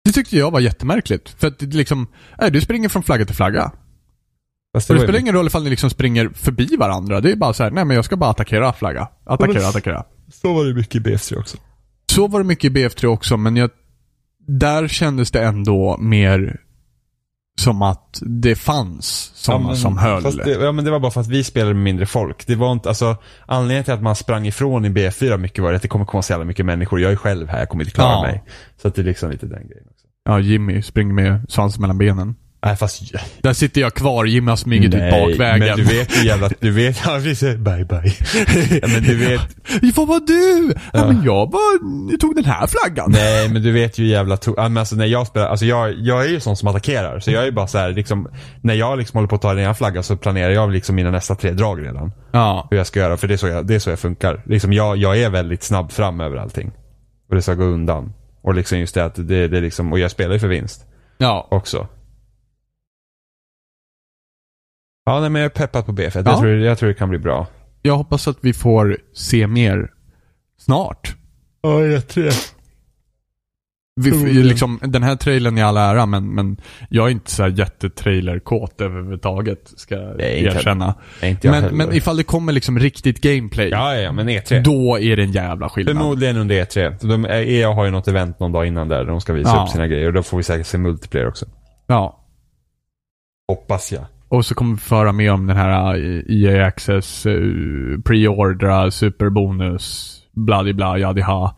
[SPEAKER 2] Det tyckte jag var jättemärkligt. För att det liksom, nej, du springer från flagga till flagga.
[SPEAKER 3] Fast
[SPEAKER 2] Det, det
[SPEAKER 3] var ju-
[SPEAKER 2] spelar ingen roll ifall ni liksom springer förbi varandra. Det är bara så här, nej men jag ska bara attackera flagga. Attackera,
[SPEAKER 3] Men-
[SPEAKER 2] attackera.
[SPEAKER 3] Så var det mycket i BFC också.
[SPEAKER 2] Så var det mycket i BF3 också, men jag, där kändes det ändå mer som att det fanns sådana
[SPEAKER 3] men-
[SPEAKER 2] som höll.
[SPEAKER 3] Fast det, ja, men det var bara för att vi spelade med mindre folk. Det var inte, alltså, anledningen till att man sprang ifrån i B4 mycket var att det kommer komma så jävla mycket människor. Jag är själv här, jag kommer inte klara
[SPEAKER 2] Ja.
[SPEAKER 3] mig. Så att det är liksom lite den grejen. Också.
[SPEAKER 2] Ja, Jimmy springer med svansen mellan benen.
[SPEAKER 3] Nej, fast...
[SPEAKER 2] Där sitter jag kvar, Jimmy har smugit ut
[SPEAKER 3] Nej,
[SPEAKER 2] bakvägen.
[SPEAKER 3] men du vet ju jävla... Du vet... Ja, precis. Bye, bye. Ja, men du vet...
[SPEAKER 2] Vi får vara du! Ja. men jag bara, jag tog den här flaggan.
[SPEAKER 3] Nej, men du vet ju jävla to- ja, men alltså, när jag spelar, alltså jag, jag är ju sån som attackerar. Så jag är ju bara så här, liksom, när jag liksom håller på att ta den ena flaggan så planerar jag liksom mina nästa tre drag redan.
[SPEAKER 2] Ja.
[SPEAKER 3] Hur jag ska göra, för det är så jag, det är så jag funkar. Liksom jag, jag är väldigt snabb fram över allting. Och det ska gå undan. Och liksom just det att det, det är liksom, och jag spelar ju för vinst
[SPEAKER 2] Ja.
[SPEAKER 3] också. Ja, nej men jag är peppad på B1.
[SPEAKER 2] Ja.
[SPEAKER 3] Jag, tror, jag tror det kan bli bra.
[SPEAKER 2] Jag hoppas att vi får se mer snart.
[SPEAKER 3] Ja, jag tror
[SPEAKER 2] Vi,
[SPEAKER 3] Troligen.
[SPEAKER 2] liksom, den här trailern i all ära, men, men jag är inte så här jättetrailerkåt överhuvudtaget, ska jag
[SPEAKER 3] Nej, inte-
[SPEAKER 2] erkänna.
[SPEAKER 3] inte jag
[SPEAKER 2] Men,
[SPEAKER 3] heller.
[SPEAKER 2] men ifall det kommer liksom riktigt gameplay,
[SPEAKER 3] Ja, ja, ja, men E3.
[SPEAKER 2] då är det en jävla skillnad.
[SPEAKER 3] Förmodligen under E3. De, EA har ju något event någon dag innan där de ska visa
[SPEAKER 2] Ja.
[SPEAKER 3] upp sina grejer. Och då får vi säkert se multiplayer också.
[SPEAKER 2] Ja.
[SPEAKER 3] Hoppas jag.
[SPEAKER 2] Och så kommer vi föra med om den här eh, EA Access, eh, pre-ordra, superbonus, bladi bla, jadi ha.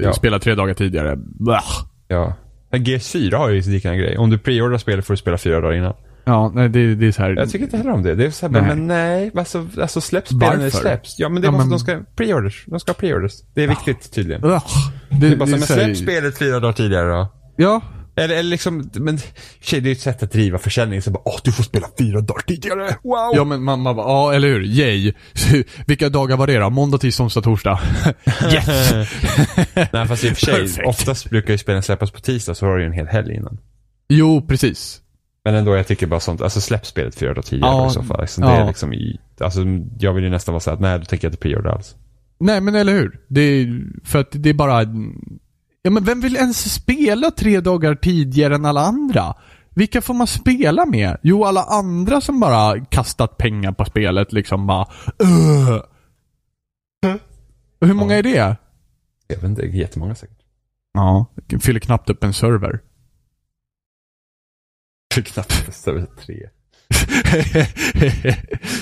[SPEAKER 3] Ja.
[SPEAKER 2] Spela tre dagar tidigare. Blah.
[SPEAKER 3] Ja. Men G4 har ju liknande grej. Om du preordrar spelet får du spela fyra dagar innan.
[SPEAKER 2] Ja, nej, det, det är så här.
[SPEAKER 3] Jag tycker inte heller om det. Det är så här, bara,
[SPEAKER 2] Nej.
[SPEAKER 3] men nej. Alltså, alltså släpp spelen när det
[SPEAKER 2] Varför?
[SPEAKER 3] släpps. Ja, men det är
[SPEAKER 2] Ja,
[SPEAKER 3] bara
[SPEAKER 2] men- Ah.
[SPEAKER 3] för att de ska preorders. De ska ha preorders. Det är viktigt tydligen.
[SPEAKER 2] Ugh.
[SPEAKER 3] Det är bara så, här, men
[SPEAKER 2] så här-
[SPEAKER 3] släpp spelet fyra dagar tidigare då.
[SPEAKER 2] Ja.
[SPEAKER 3] Eller, eller liksom, men tjej, det är ju ett sätt att driva försäljning. Så bara, åh, du får spela fyra dagar tidigare. Wow!
[SPEAKER 2] Ja men mamma bara, ja eller hur, yay. Vilka dagar var det då? Måndag, tisdag, onsdag, torsdag? yes!
[SPEAKER 3] Nej, fast i och för sig,
[SPEAKER 2] Perfekt.
[SPEAKER 3] oftast brukar ju spelen släppas på tisdag så har du ju en hel helg innan.
[SPEAKER 2] Jo, precis.
[SPEAKER 3] Men ändå, jag tycker bara sånt. Alltså släpp spelet fyra dagar tidigare
[SPEAKER 2] Ja,
[SPEAKER 3] i så fall. Alltså, det
[SPEAKER 2] ja.
[SPEAKER 3] är liksom, i- alltså, jag vill ju nästan vara så att nej, då tänker jag inte preorder alls.
[SPEAKER 2] Nej men eller hur. Det är, för att det är bara... Ja men vem vill ens spela tre dagar tidigare än alla andra? Vilka får man spela med? Jo, alla andra som bara kastat pengar på spelet liksom bara... "Ugh." Och Hur många är det?
[SPEAKER 3] Jag vet inte, det är jättemånga säkert.
[SPEAKER 2] Ja, fyller knappt upp en server.
[SPEAKER 3] Det är knappt det är väl tre.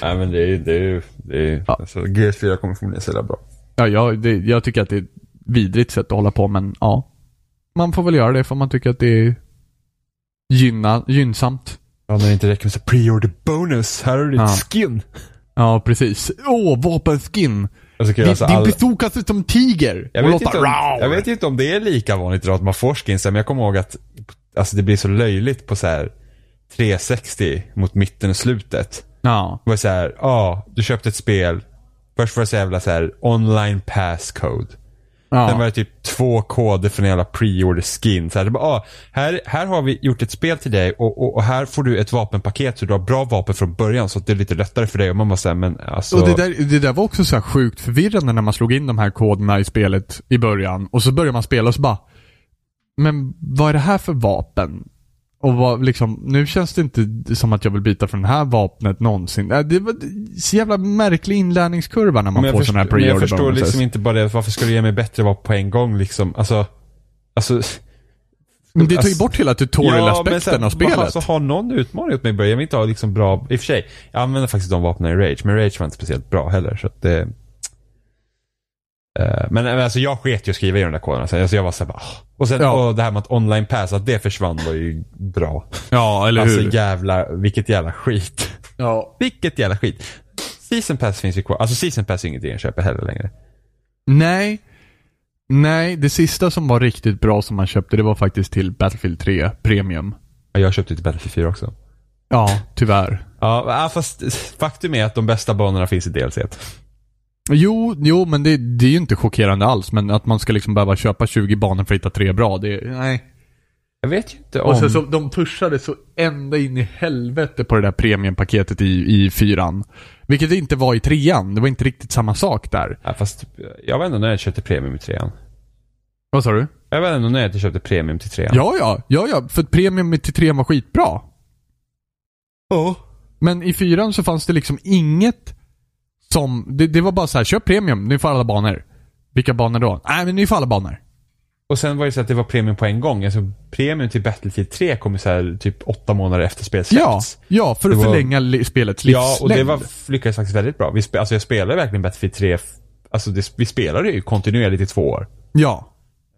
[SPEAKER 3] Nej, men det är ju, det är ju, det är ju,
[SPEAKER 2] Ja.
[SPEAKER 3] alltså, G4 kommer förmodligen sälja bra.
[SPEAKER 2] Ja, jag, det, jag tycker att det är ett vidrigt sätt att hålla på, men ja. Man får väl göra det för man tycker att det är gynna, gynnsamt.
[SPEAKER 3] Ja, när det inte räcker med så preorder bonus. Här har du ditt
[SPEAKER 2] Ja.
[SPEAKER 3] skin.
[SPEAKER 2] Ja, precis. Åh, vapenskin!
[SPEAKER 3] Jag, tycker,
[SPEAKER 2] Din,
[SPEAKER 3] alltså,
[SPEAKER 2] din
[SPEAKER 3] alla-
[SPEAKER 2] bazooka ser ut som tiger!
[SPEAKER 3] jag,
[SPEAKER 2] och
[SPEAKER 3] vet inte
[SPEAKER 2] låter
[SPEAKER 3] om,
[SPEAKER 2] "Rau!"
[SPEAKER 3] jag vet inte om det är lika vanligt idag att man får skins, men jag kommer ihåg att alltså, det blir så löjligt på så här 360 mot mitten och slutet.
[SPEAKER 2] Ja.
[SPEAKER 3] var så här, ja, du köpte ett spel. Först var det så jävla så här, online passcode. Sen
[SPEAKER 2] ja.
[SPEAKER 3] var det typ två koder för en jävla pre-order skin. Så här, det bara, ah, här, här har vi gjort ett spel till dig och, och, och här får du ett vapenpaket så du har bra vapen från början så att det är lite lättare för dig. Och man bara såhär, men alltså.
[SPEAKER 2] Och det där, det där var också så här sjukt förvirrande när man slog in de här koderna i spelet i början. Och så börjar man spela och så bara... Men vad är det här för vapen? Och vad, liksom, nu känns det inte som att jag vill byta från det här vapnet någonsin. Äh, Det var så jävla märklig inlärningskurva när man
[SPEAKER 3] men jag
[SPEAKER 2] får
[SPEAKER 3] först-
[SPEAKER 2] sådana här
[SPEAKER 3] men
[SPEAKER 2] pre-order
[SPEAKER 3] Jag förstår
[SPEAKER 2] bonuses.
[SPEAKER 3] liksom inte bara det, varför ska du ge mig bättre vapen på en gång liksom? Alltså, alltså
[SPEAKER 2] Men det tar ju
[SPEAKER 3] Alltså-
[SPEAKER 2] bort hela
[SPEAKER 3] men
[SPEAKER 2] tutorial-aspekten
[SPEAKER 3] sen,
[SPEAKER 2] av spelet.
[SPEAKER 3] Alltså, ha någon utmaning åt mig i början. Jag vill inte ha liksom bra, i och för sig, jag använder faktiskt de vapnen i Rage, men Rage var inte speciellt bra heller. Så att det, Eh, men men alltså, jag sket ju att skriva i de där koderna. Så Alltså, jag var såhär bara, ah. Och sen
[SPEAKER 2] Ja.
[SPEAKER 3] och det här med att online pass, att det försvann var ju bra.
[SPEAKER 2] ja, eller
[SPEAKER 3] Alltså
[SPEAKER 2] hur?
[SPEAKER 3] jävla, vilket jävla skit.
[SPEAKER 2] Ja.
[SPEAKER 3] Vilket jävla skit. Season pass finns ju kvar. Alltså season pass är ingenting jag köper heller längre.
[SPEAKER 2] Nej. Nej, det sista som var riktigt bra som man köpte, det var faktiskt till Battlefield 3 Premium.
[SPEAKER 3] Ja, Jag köpte ju till Battlefield 4 också.
[SPEAKER 2] Ja, tyvärr.
[SPEAKER 3] Ja, ah, fast faktum är att de bästa banorna finns i DLC.
[SPEAKER 2] Jo, jo men det, det är ju inte chockerande alls. Men att man ska liksom behöva köpa 20 banor för att hitta tre bra, det Nej.
[SPEAKER 3] Jag vet ju inte om...
[SPEAKER 2] Och sen så, de pushade så ända in i helvete på det där premiumpaketet i, i fyran. Vilket det inte var i trean. Det var inte riktigt samma sak där.
[SPEAKER 3] Ja, fast jag var ändå nöjd att jag köpte premium i trean.
[SPEAKER 2] Vad sa du?
[SPEAKER 3] Jag var ändå nöjd att jag köpte premium till trean.
[SPEAKER 2] Ja, ja, ja, ja. För att premium till trean var skitbra.
[SPEAKER 3] Ja.
[SPEAKER 2] Men i fyran så fanns det liksom inget som... Det, det var bara så här, köp premium, ni får alla banor. Vilka banor då? Nej, men ni får alla banor.
[SPEAKER 3] Och sen var det så att det var premium på en gång. Alltså premium till Battlefield 3 kom ju så här typ åtta månader efter spelets
[SPEAKER 2] Ja,
[SPEAKER 3] släpps.
[SPEAKER 2] ja för att
[SPEAKER 3] Det var-
[SPEAKER 2] förlänga li- spelets livslängd.
[SPEAKER 3] Ja, och det var, lyckades faktiskt väldigt bra. Vi spe, alltså jag spelade verkligen Battlefield 3. f- Alltså det, vi spelade ju kontinuerligt i två år.
[SPEAKER 2] ja.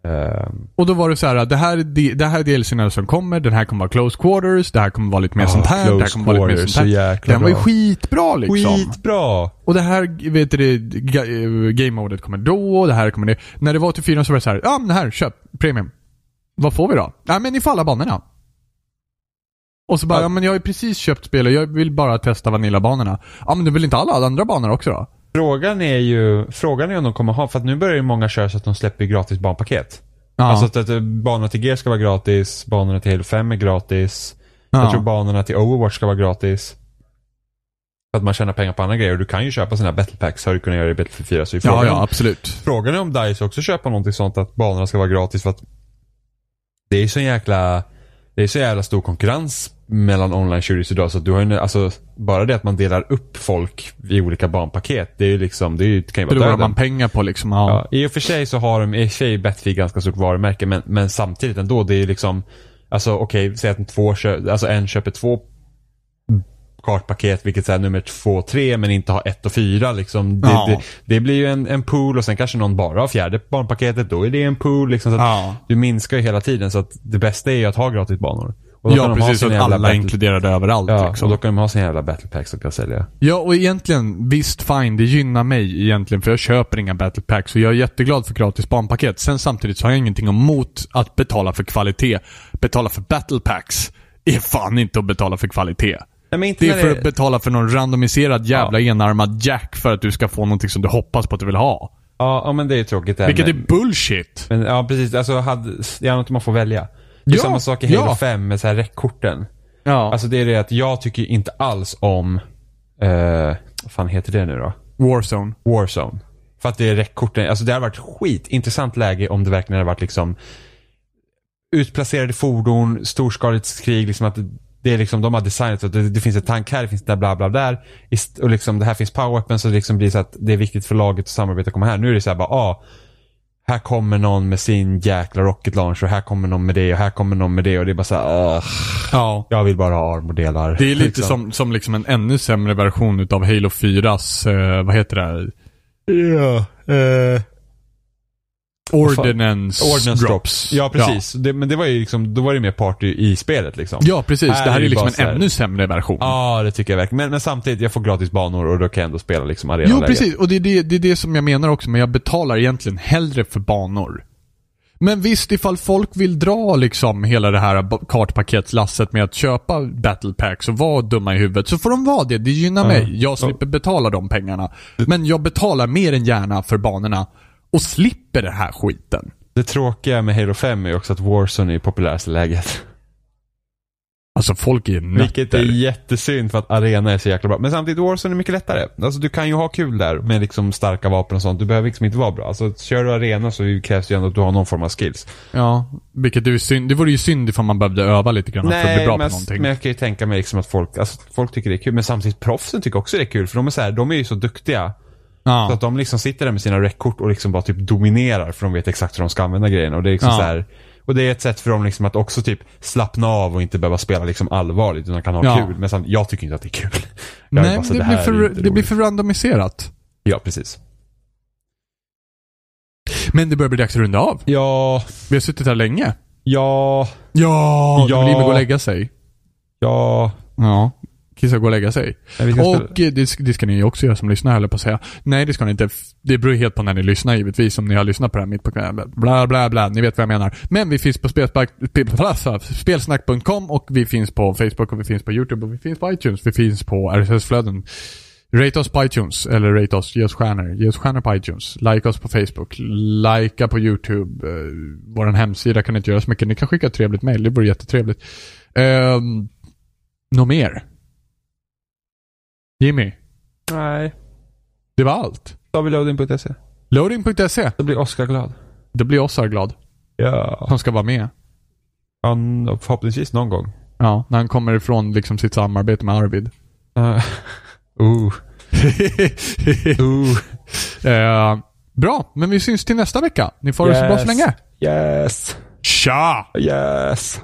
[SPEAKER 3] Ehm,
[SPEAKER 2] Och då var det så här, det här, är de- det här är delserna som kommer, den här kommer vara close quarters, det här kommer vara lite mer
[SPEAKER 3] Ja,
[SPEAKER 2] sånt här, det här
[SPEAKER 3] Ah, close
[SPEAKER 2] kommer vara lite mer
[SPEAKER 3] quarters,
[SPEAKER 2] sånt
[SPEAKER 3] så
[SPEAKER 2] här.
[SPEAKER 3] jäkla
[SPEAKER 2] Den var ju
[SPEAKER 3] bra.
[SPEAKER 2] skitbra liksom.
[SPEAKER 3] skitbra!
[SPEAKER 2] Och det här, vet du det, ga- eh, game-modet kommer då, och det här kommer det. När det var till 4 så var det så här, ja men det här, köp, premium. Vad får vi då? Ja men ni får alla banorna. Och så bara,
[SPEAKER 3] Ja.
[SPEAKER 2] ja men jag har ju precis köpt spelet, jag vill bara testa Vanilla-banorna. Ja men du vill inte ha alla andra banor också då?
[SPEAKER 3] Frågan är ju frågan är om de kommer ha, för att nu börjar ju många köra så att de släpper gratis barnpaket.
[SPEAKER 2] Ja.
[SPEAKER 3] Alltså att, att eh, banorna till Gear ska vara gratis, banorna till Halo 5 är gratis.
[SPEAKER 2] Ja.
[SPEAKER 3] Jag tror banorna till Overwatch ska vara gratis. För att man tjänar pengar på andra grejer. Och Du kan ju köpa sådana här battle packs, har du kunnat göra i Battlefield 4. Så
[SPEAKER 2] ja,
[SPEAKER 3] frågan,
[SPEAKER 2] ja
[SPEAKER 3] Om,
[SPEAKER 2] absolut.
[SPEAKER 3] frågan är om DICE också köper någonting sånt, att banorna ska vara gratis. För att det är ju så jäkla, det är så jävla stor konkurrens mellan online shooters idag. Så att du har ju, nu- alltså, bara det att man delar upp folk i olika banpaket, det är ju liksom, det, är ju, det kan ju vara
[SPEAKER 2] Förlorar
[SPEAKER 3] döden.
[SPEAKER 2] man pengar på liksom, ja.
[SPEAKER 3] Ja, I och för sig så har de, i och för sig är Betfield ganska stort varumärke, men, men samtidigt ändå, det är ju liksom, alltså okej, säg att två kö, alltså en köper två kartpaket, vilket är nummer två och tre, men inte har ett och fyra liksom. Det,
[SPEAKER 2] Ja.
[SPEAKER 3] det, det blir ju en, en pool och sen kanske någon bara har fjärde barnpaketet, då är det en pool liksom. Så att
[SPEAKER 2] Ja.
[SPEAKER 3] Du minskar ju hela tiden, så att det bästa är ju att ha gratis banor. Och då
[SPEAKER 2] ja,
[SPEAKER 3] kan de ha
[SPEAKER 2] precis. Så
[SPEAKER 3] sina
[SPEAKER 2] att
[SPEAKER 3] jävla
[SPEAKER 2] alla
[SPEAKER 3] battle-
[SPEAKER 2] inkluderade överallt.
[SPEAKER 3] Ja,
[SPEAKER 2] liksom.
[SPEAKER 3] och då kan de ha sina jävla battlepacks som kan sälja.
[SPEAKER 2] ja, och egentligen, visst fine, det gynnar mig egentligen för jag köper inga battle packs och jag är jätteglad för gratis barnpaket. Sen samtidigt så har jag ingenting emot att betala för kvalitet. Betala för battle packs är fan inte att betala för kvalitet.
[SPEAKER 3] Nej, men inte
[SPEAKER 2] Det är
[SPEAKER 3] när
[SPEAKER 2] för att betala för någon randomiserad jävla enarmad jack för att du ska få någonting som du hoppas på att du vill ha.
[SPEAKER 3] ja, ja, men det är ju tråkigt. det här
[SPEAKER 2] Vilket
[SPEAKER 3] med-
[SPEAKER 2] är bullshit.
[SPEAKER 3] Men ja, precis. Alltså, hade, det är något man får välja. Det är
[SPEAKER 2] Ja,
[SPEAKER 3] samma sak i Halo
[SPEAKER 2] ja.
[SPEAKER 3] 5 med så här räckkorten.
[SPEAKER 2] Ja.
[SPEAKER 3] Alltså det är det att jag tycker inte alls om, eh, vad fan heter det nu då?
[SPEAKER 2] Warzone.
[SPEAKER 3] Warzone. För att det är räckkorten. Alltså det hade varit skitintressant läge om det verkligen hade varit liksom utplacerade fordon, storskaligt krig, liksom att det är liksom, de har designat så att det, det finns en tank här, det finns där, bla bla där. Ist- Och liksom det här finns power weapons så det liksom blir så att det är viktigt för laget att samarbeta och komma här. Nu är det så här bara, ah, här kommer någon med sin jäkla rocket launcher och här kommer någon med det och här kommer någon med det och det är bara så här, ah,
[SPEAKER 2] Ja.
[SPEAKER 3] jag vill bara ha armordelar.
[SPEAKER 2] Det är lite som, som liksom en ännu sämre version utav Halo 4s, eh, vad heter det? Ja, eh... Ordinance,
[SPEAKER 3] Ordnance drops. Ja, precis. Det, men det var ju liksom, då var det mer party i spelet liksom.
[SPEAKER 2] Ja, ja precis.
[SPEAKER 3] Här
[SPEAKER 2] det här
[SPEAKER 3] är
[SPEAKER 2] är
[SPEAKER 3] det
[SPEAKER 2] liksom
[SPEAKER 3] bara så
[SPEAKER 2] en
[SPEAKER 3] här-
[SPEAKER 2] ännu sämre version.
[SPEAKER 3] Ja, det tycker jag verkligen. Men, men samtidigt, jag får gratis banor och då kan jag ändå spela liksom
[SPEAKER 2] jo,
[SPEAKER 3] arenaläget.
[SPEAKER 2] precis. Och det är det, det är det som jag menar också, men jag betalar egentligen hellre för banor. Men visst, ifall folk vill dra liksom hela det här ba- kartpaketslasset med att köpa battle packs och vara dumma i huvudet, så får de vara det. Det gynnar mig. Jag slipper betala de pengarna. Men jag betalar mer än gärna för banorna och slipper den här skiten.
[SPEAKER 3] Det tråkiga med Halo 5 är också att Warzone är i populäraste läget.
[SPEAKER 2] Alltså folk är ju
[SPEAKER 3] Vilket är
[SPEAKER 2] nötter.
[SPEAKER 3] jättesynd för att arena är så jäkla bra. Men samtidigt, Warzone är mycket lättare. Alltså du kan ju ha kul där med liksom starka vapen och sånt. Du behöver liksom inte vara bra. Alltså kör du arena så krävs det ju ändå att du har någon form av skills.
[SPEAKER 2] Ja, vilket är ju synd. Det vore ju synd ifall man behövde öva lite grann för att bli bra
[SPEAKER 3] men,
[SPEAKER 2] på någonting.
[SPEAKER 3] men jag kan ju tänka mig liksom att folk, alltså, folk tycker det är kul. Men samtidigt, proffsen tycker också det är kul. För de är så här, de är ju så duktiga. Så
[SPEAKER 2] ja.
[SPEAKER 3] att de liksom sitter där med sina räckkort och liksom bara typ dominerar för de vet exakt hur de ska använda grejerna. Och det är liksom
[SPEAKER 2] Ja.
[SPEAKER 3] så här, och det är ett sätt för dem liksom att också typ slappna av och inte behöva spela liksom allvarligt utan kan ha
[SPEAKER 2] Ja.
[SPEAKER 3] kul. Men samt, jag tycker inte att det är kul. Jag är
[SPEAKER 2] Nej,
[SPEAKER 3] bara
[SPEAKER 2] men
[SPEAKER 3] så,
[SPEAKER 2] det,
[SPEAKER 3] Alltså, här
[SPEAKER 2] blir för,
[SPEAKER 3] är inte
[SPEAKER 2] det blir
[SPEAKER 3] roligt.
[SPEAKER 2] för randomiserat.
[SPEAKER 3] Ja, precis.
[SPEAKER 2] Men det börjar bli dags att runda av.
[SPEAKER 3] Ja,
[SPEAKER 2] Vi har suttit här länge.
[SPEAKER 3] ja,
[SPEAKER 2] Ja,
[SPEAKER 3] Ja.
[SPEAKER 2] ja. Liv gå och lägga sig.
[SPEAKER 3] ja.
[SPEAKER 2] Ja. Kissa och gå och lägga sig.
[SPEAKER 3] Nej, vi ska spela-
[SPEAKER 2] Och eh, det, sk- det ska ni ju också göra som lyssnar höll jag på att säga. Nej, det ska ni inte. F- Det beror helt på när ni lyssnar givetvis. Om ni har lyssnat på det här mitt på kvällen. Bla, bla, bla. Ni vet vad jag menar. Men vi finns på spelspark- sp- alltså, spelsnack.com och vi finns på Facebook och vi finns på YouTube och vi finns på iTunes. Vi finns på RSS-flöden. Rate oss på iTunes, eller rate oss, ge oss stjärnor. Ge oss stjärnor på iTunes. Like oss på Facebook. Likea på YouTube. Eh, Vår hemsida kan inte göra så mycket. Ni kan skicka ett trevligt mejl, det vore jättetrevligt. Um, Något mer? Jimmy,
[SPEAKER 3] Nej,
[SPEAKER 2] det var allt.
[SPEAKER 3] då har vi loading.se.
[SPEAKER 2] Loading.se.
[SPEAKER 3] Då blir Oskar glad.
[SPEAKER 2] Då E. blir Ossar glad.
[SPEAKER 3] Ja.
[SPEAKER 2] Han ska vara med.
[SPEAKER 3] Han, förhoppningsvis någon gång.
[SPEAKER 2] Ja, när han kommer ifrån liksom sitt samarbete med Arvid.
[SPEAKER 3] Uh. Uh. Uh.
[SPEAKER 2] Eh, bra, men vi syns till nästa vecka. Ni får det så bra så
[SPEAKER 3] Yes.
[SPEAKER 2] länge.
[SPEAKER 3] Yes.
[SPEAKER 2] Tja!
[SPEAKER 3] Yes.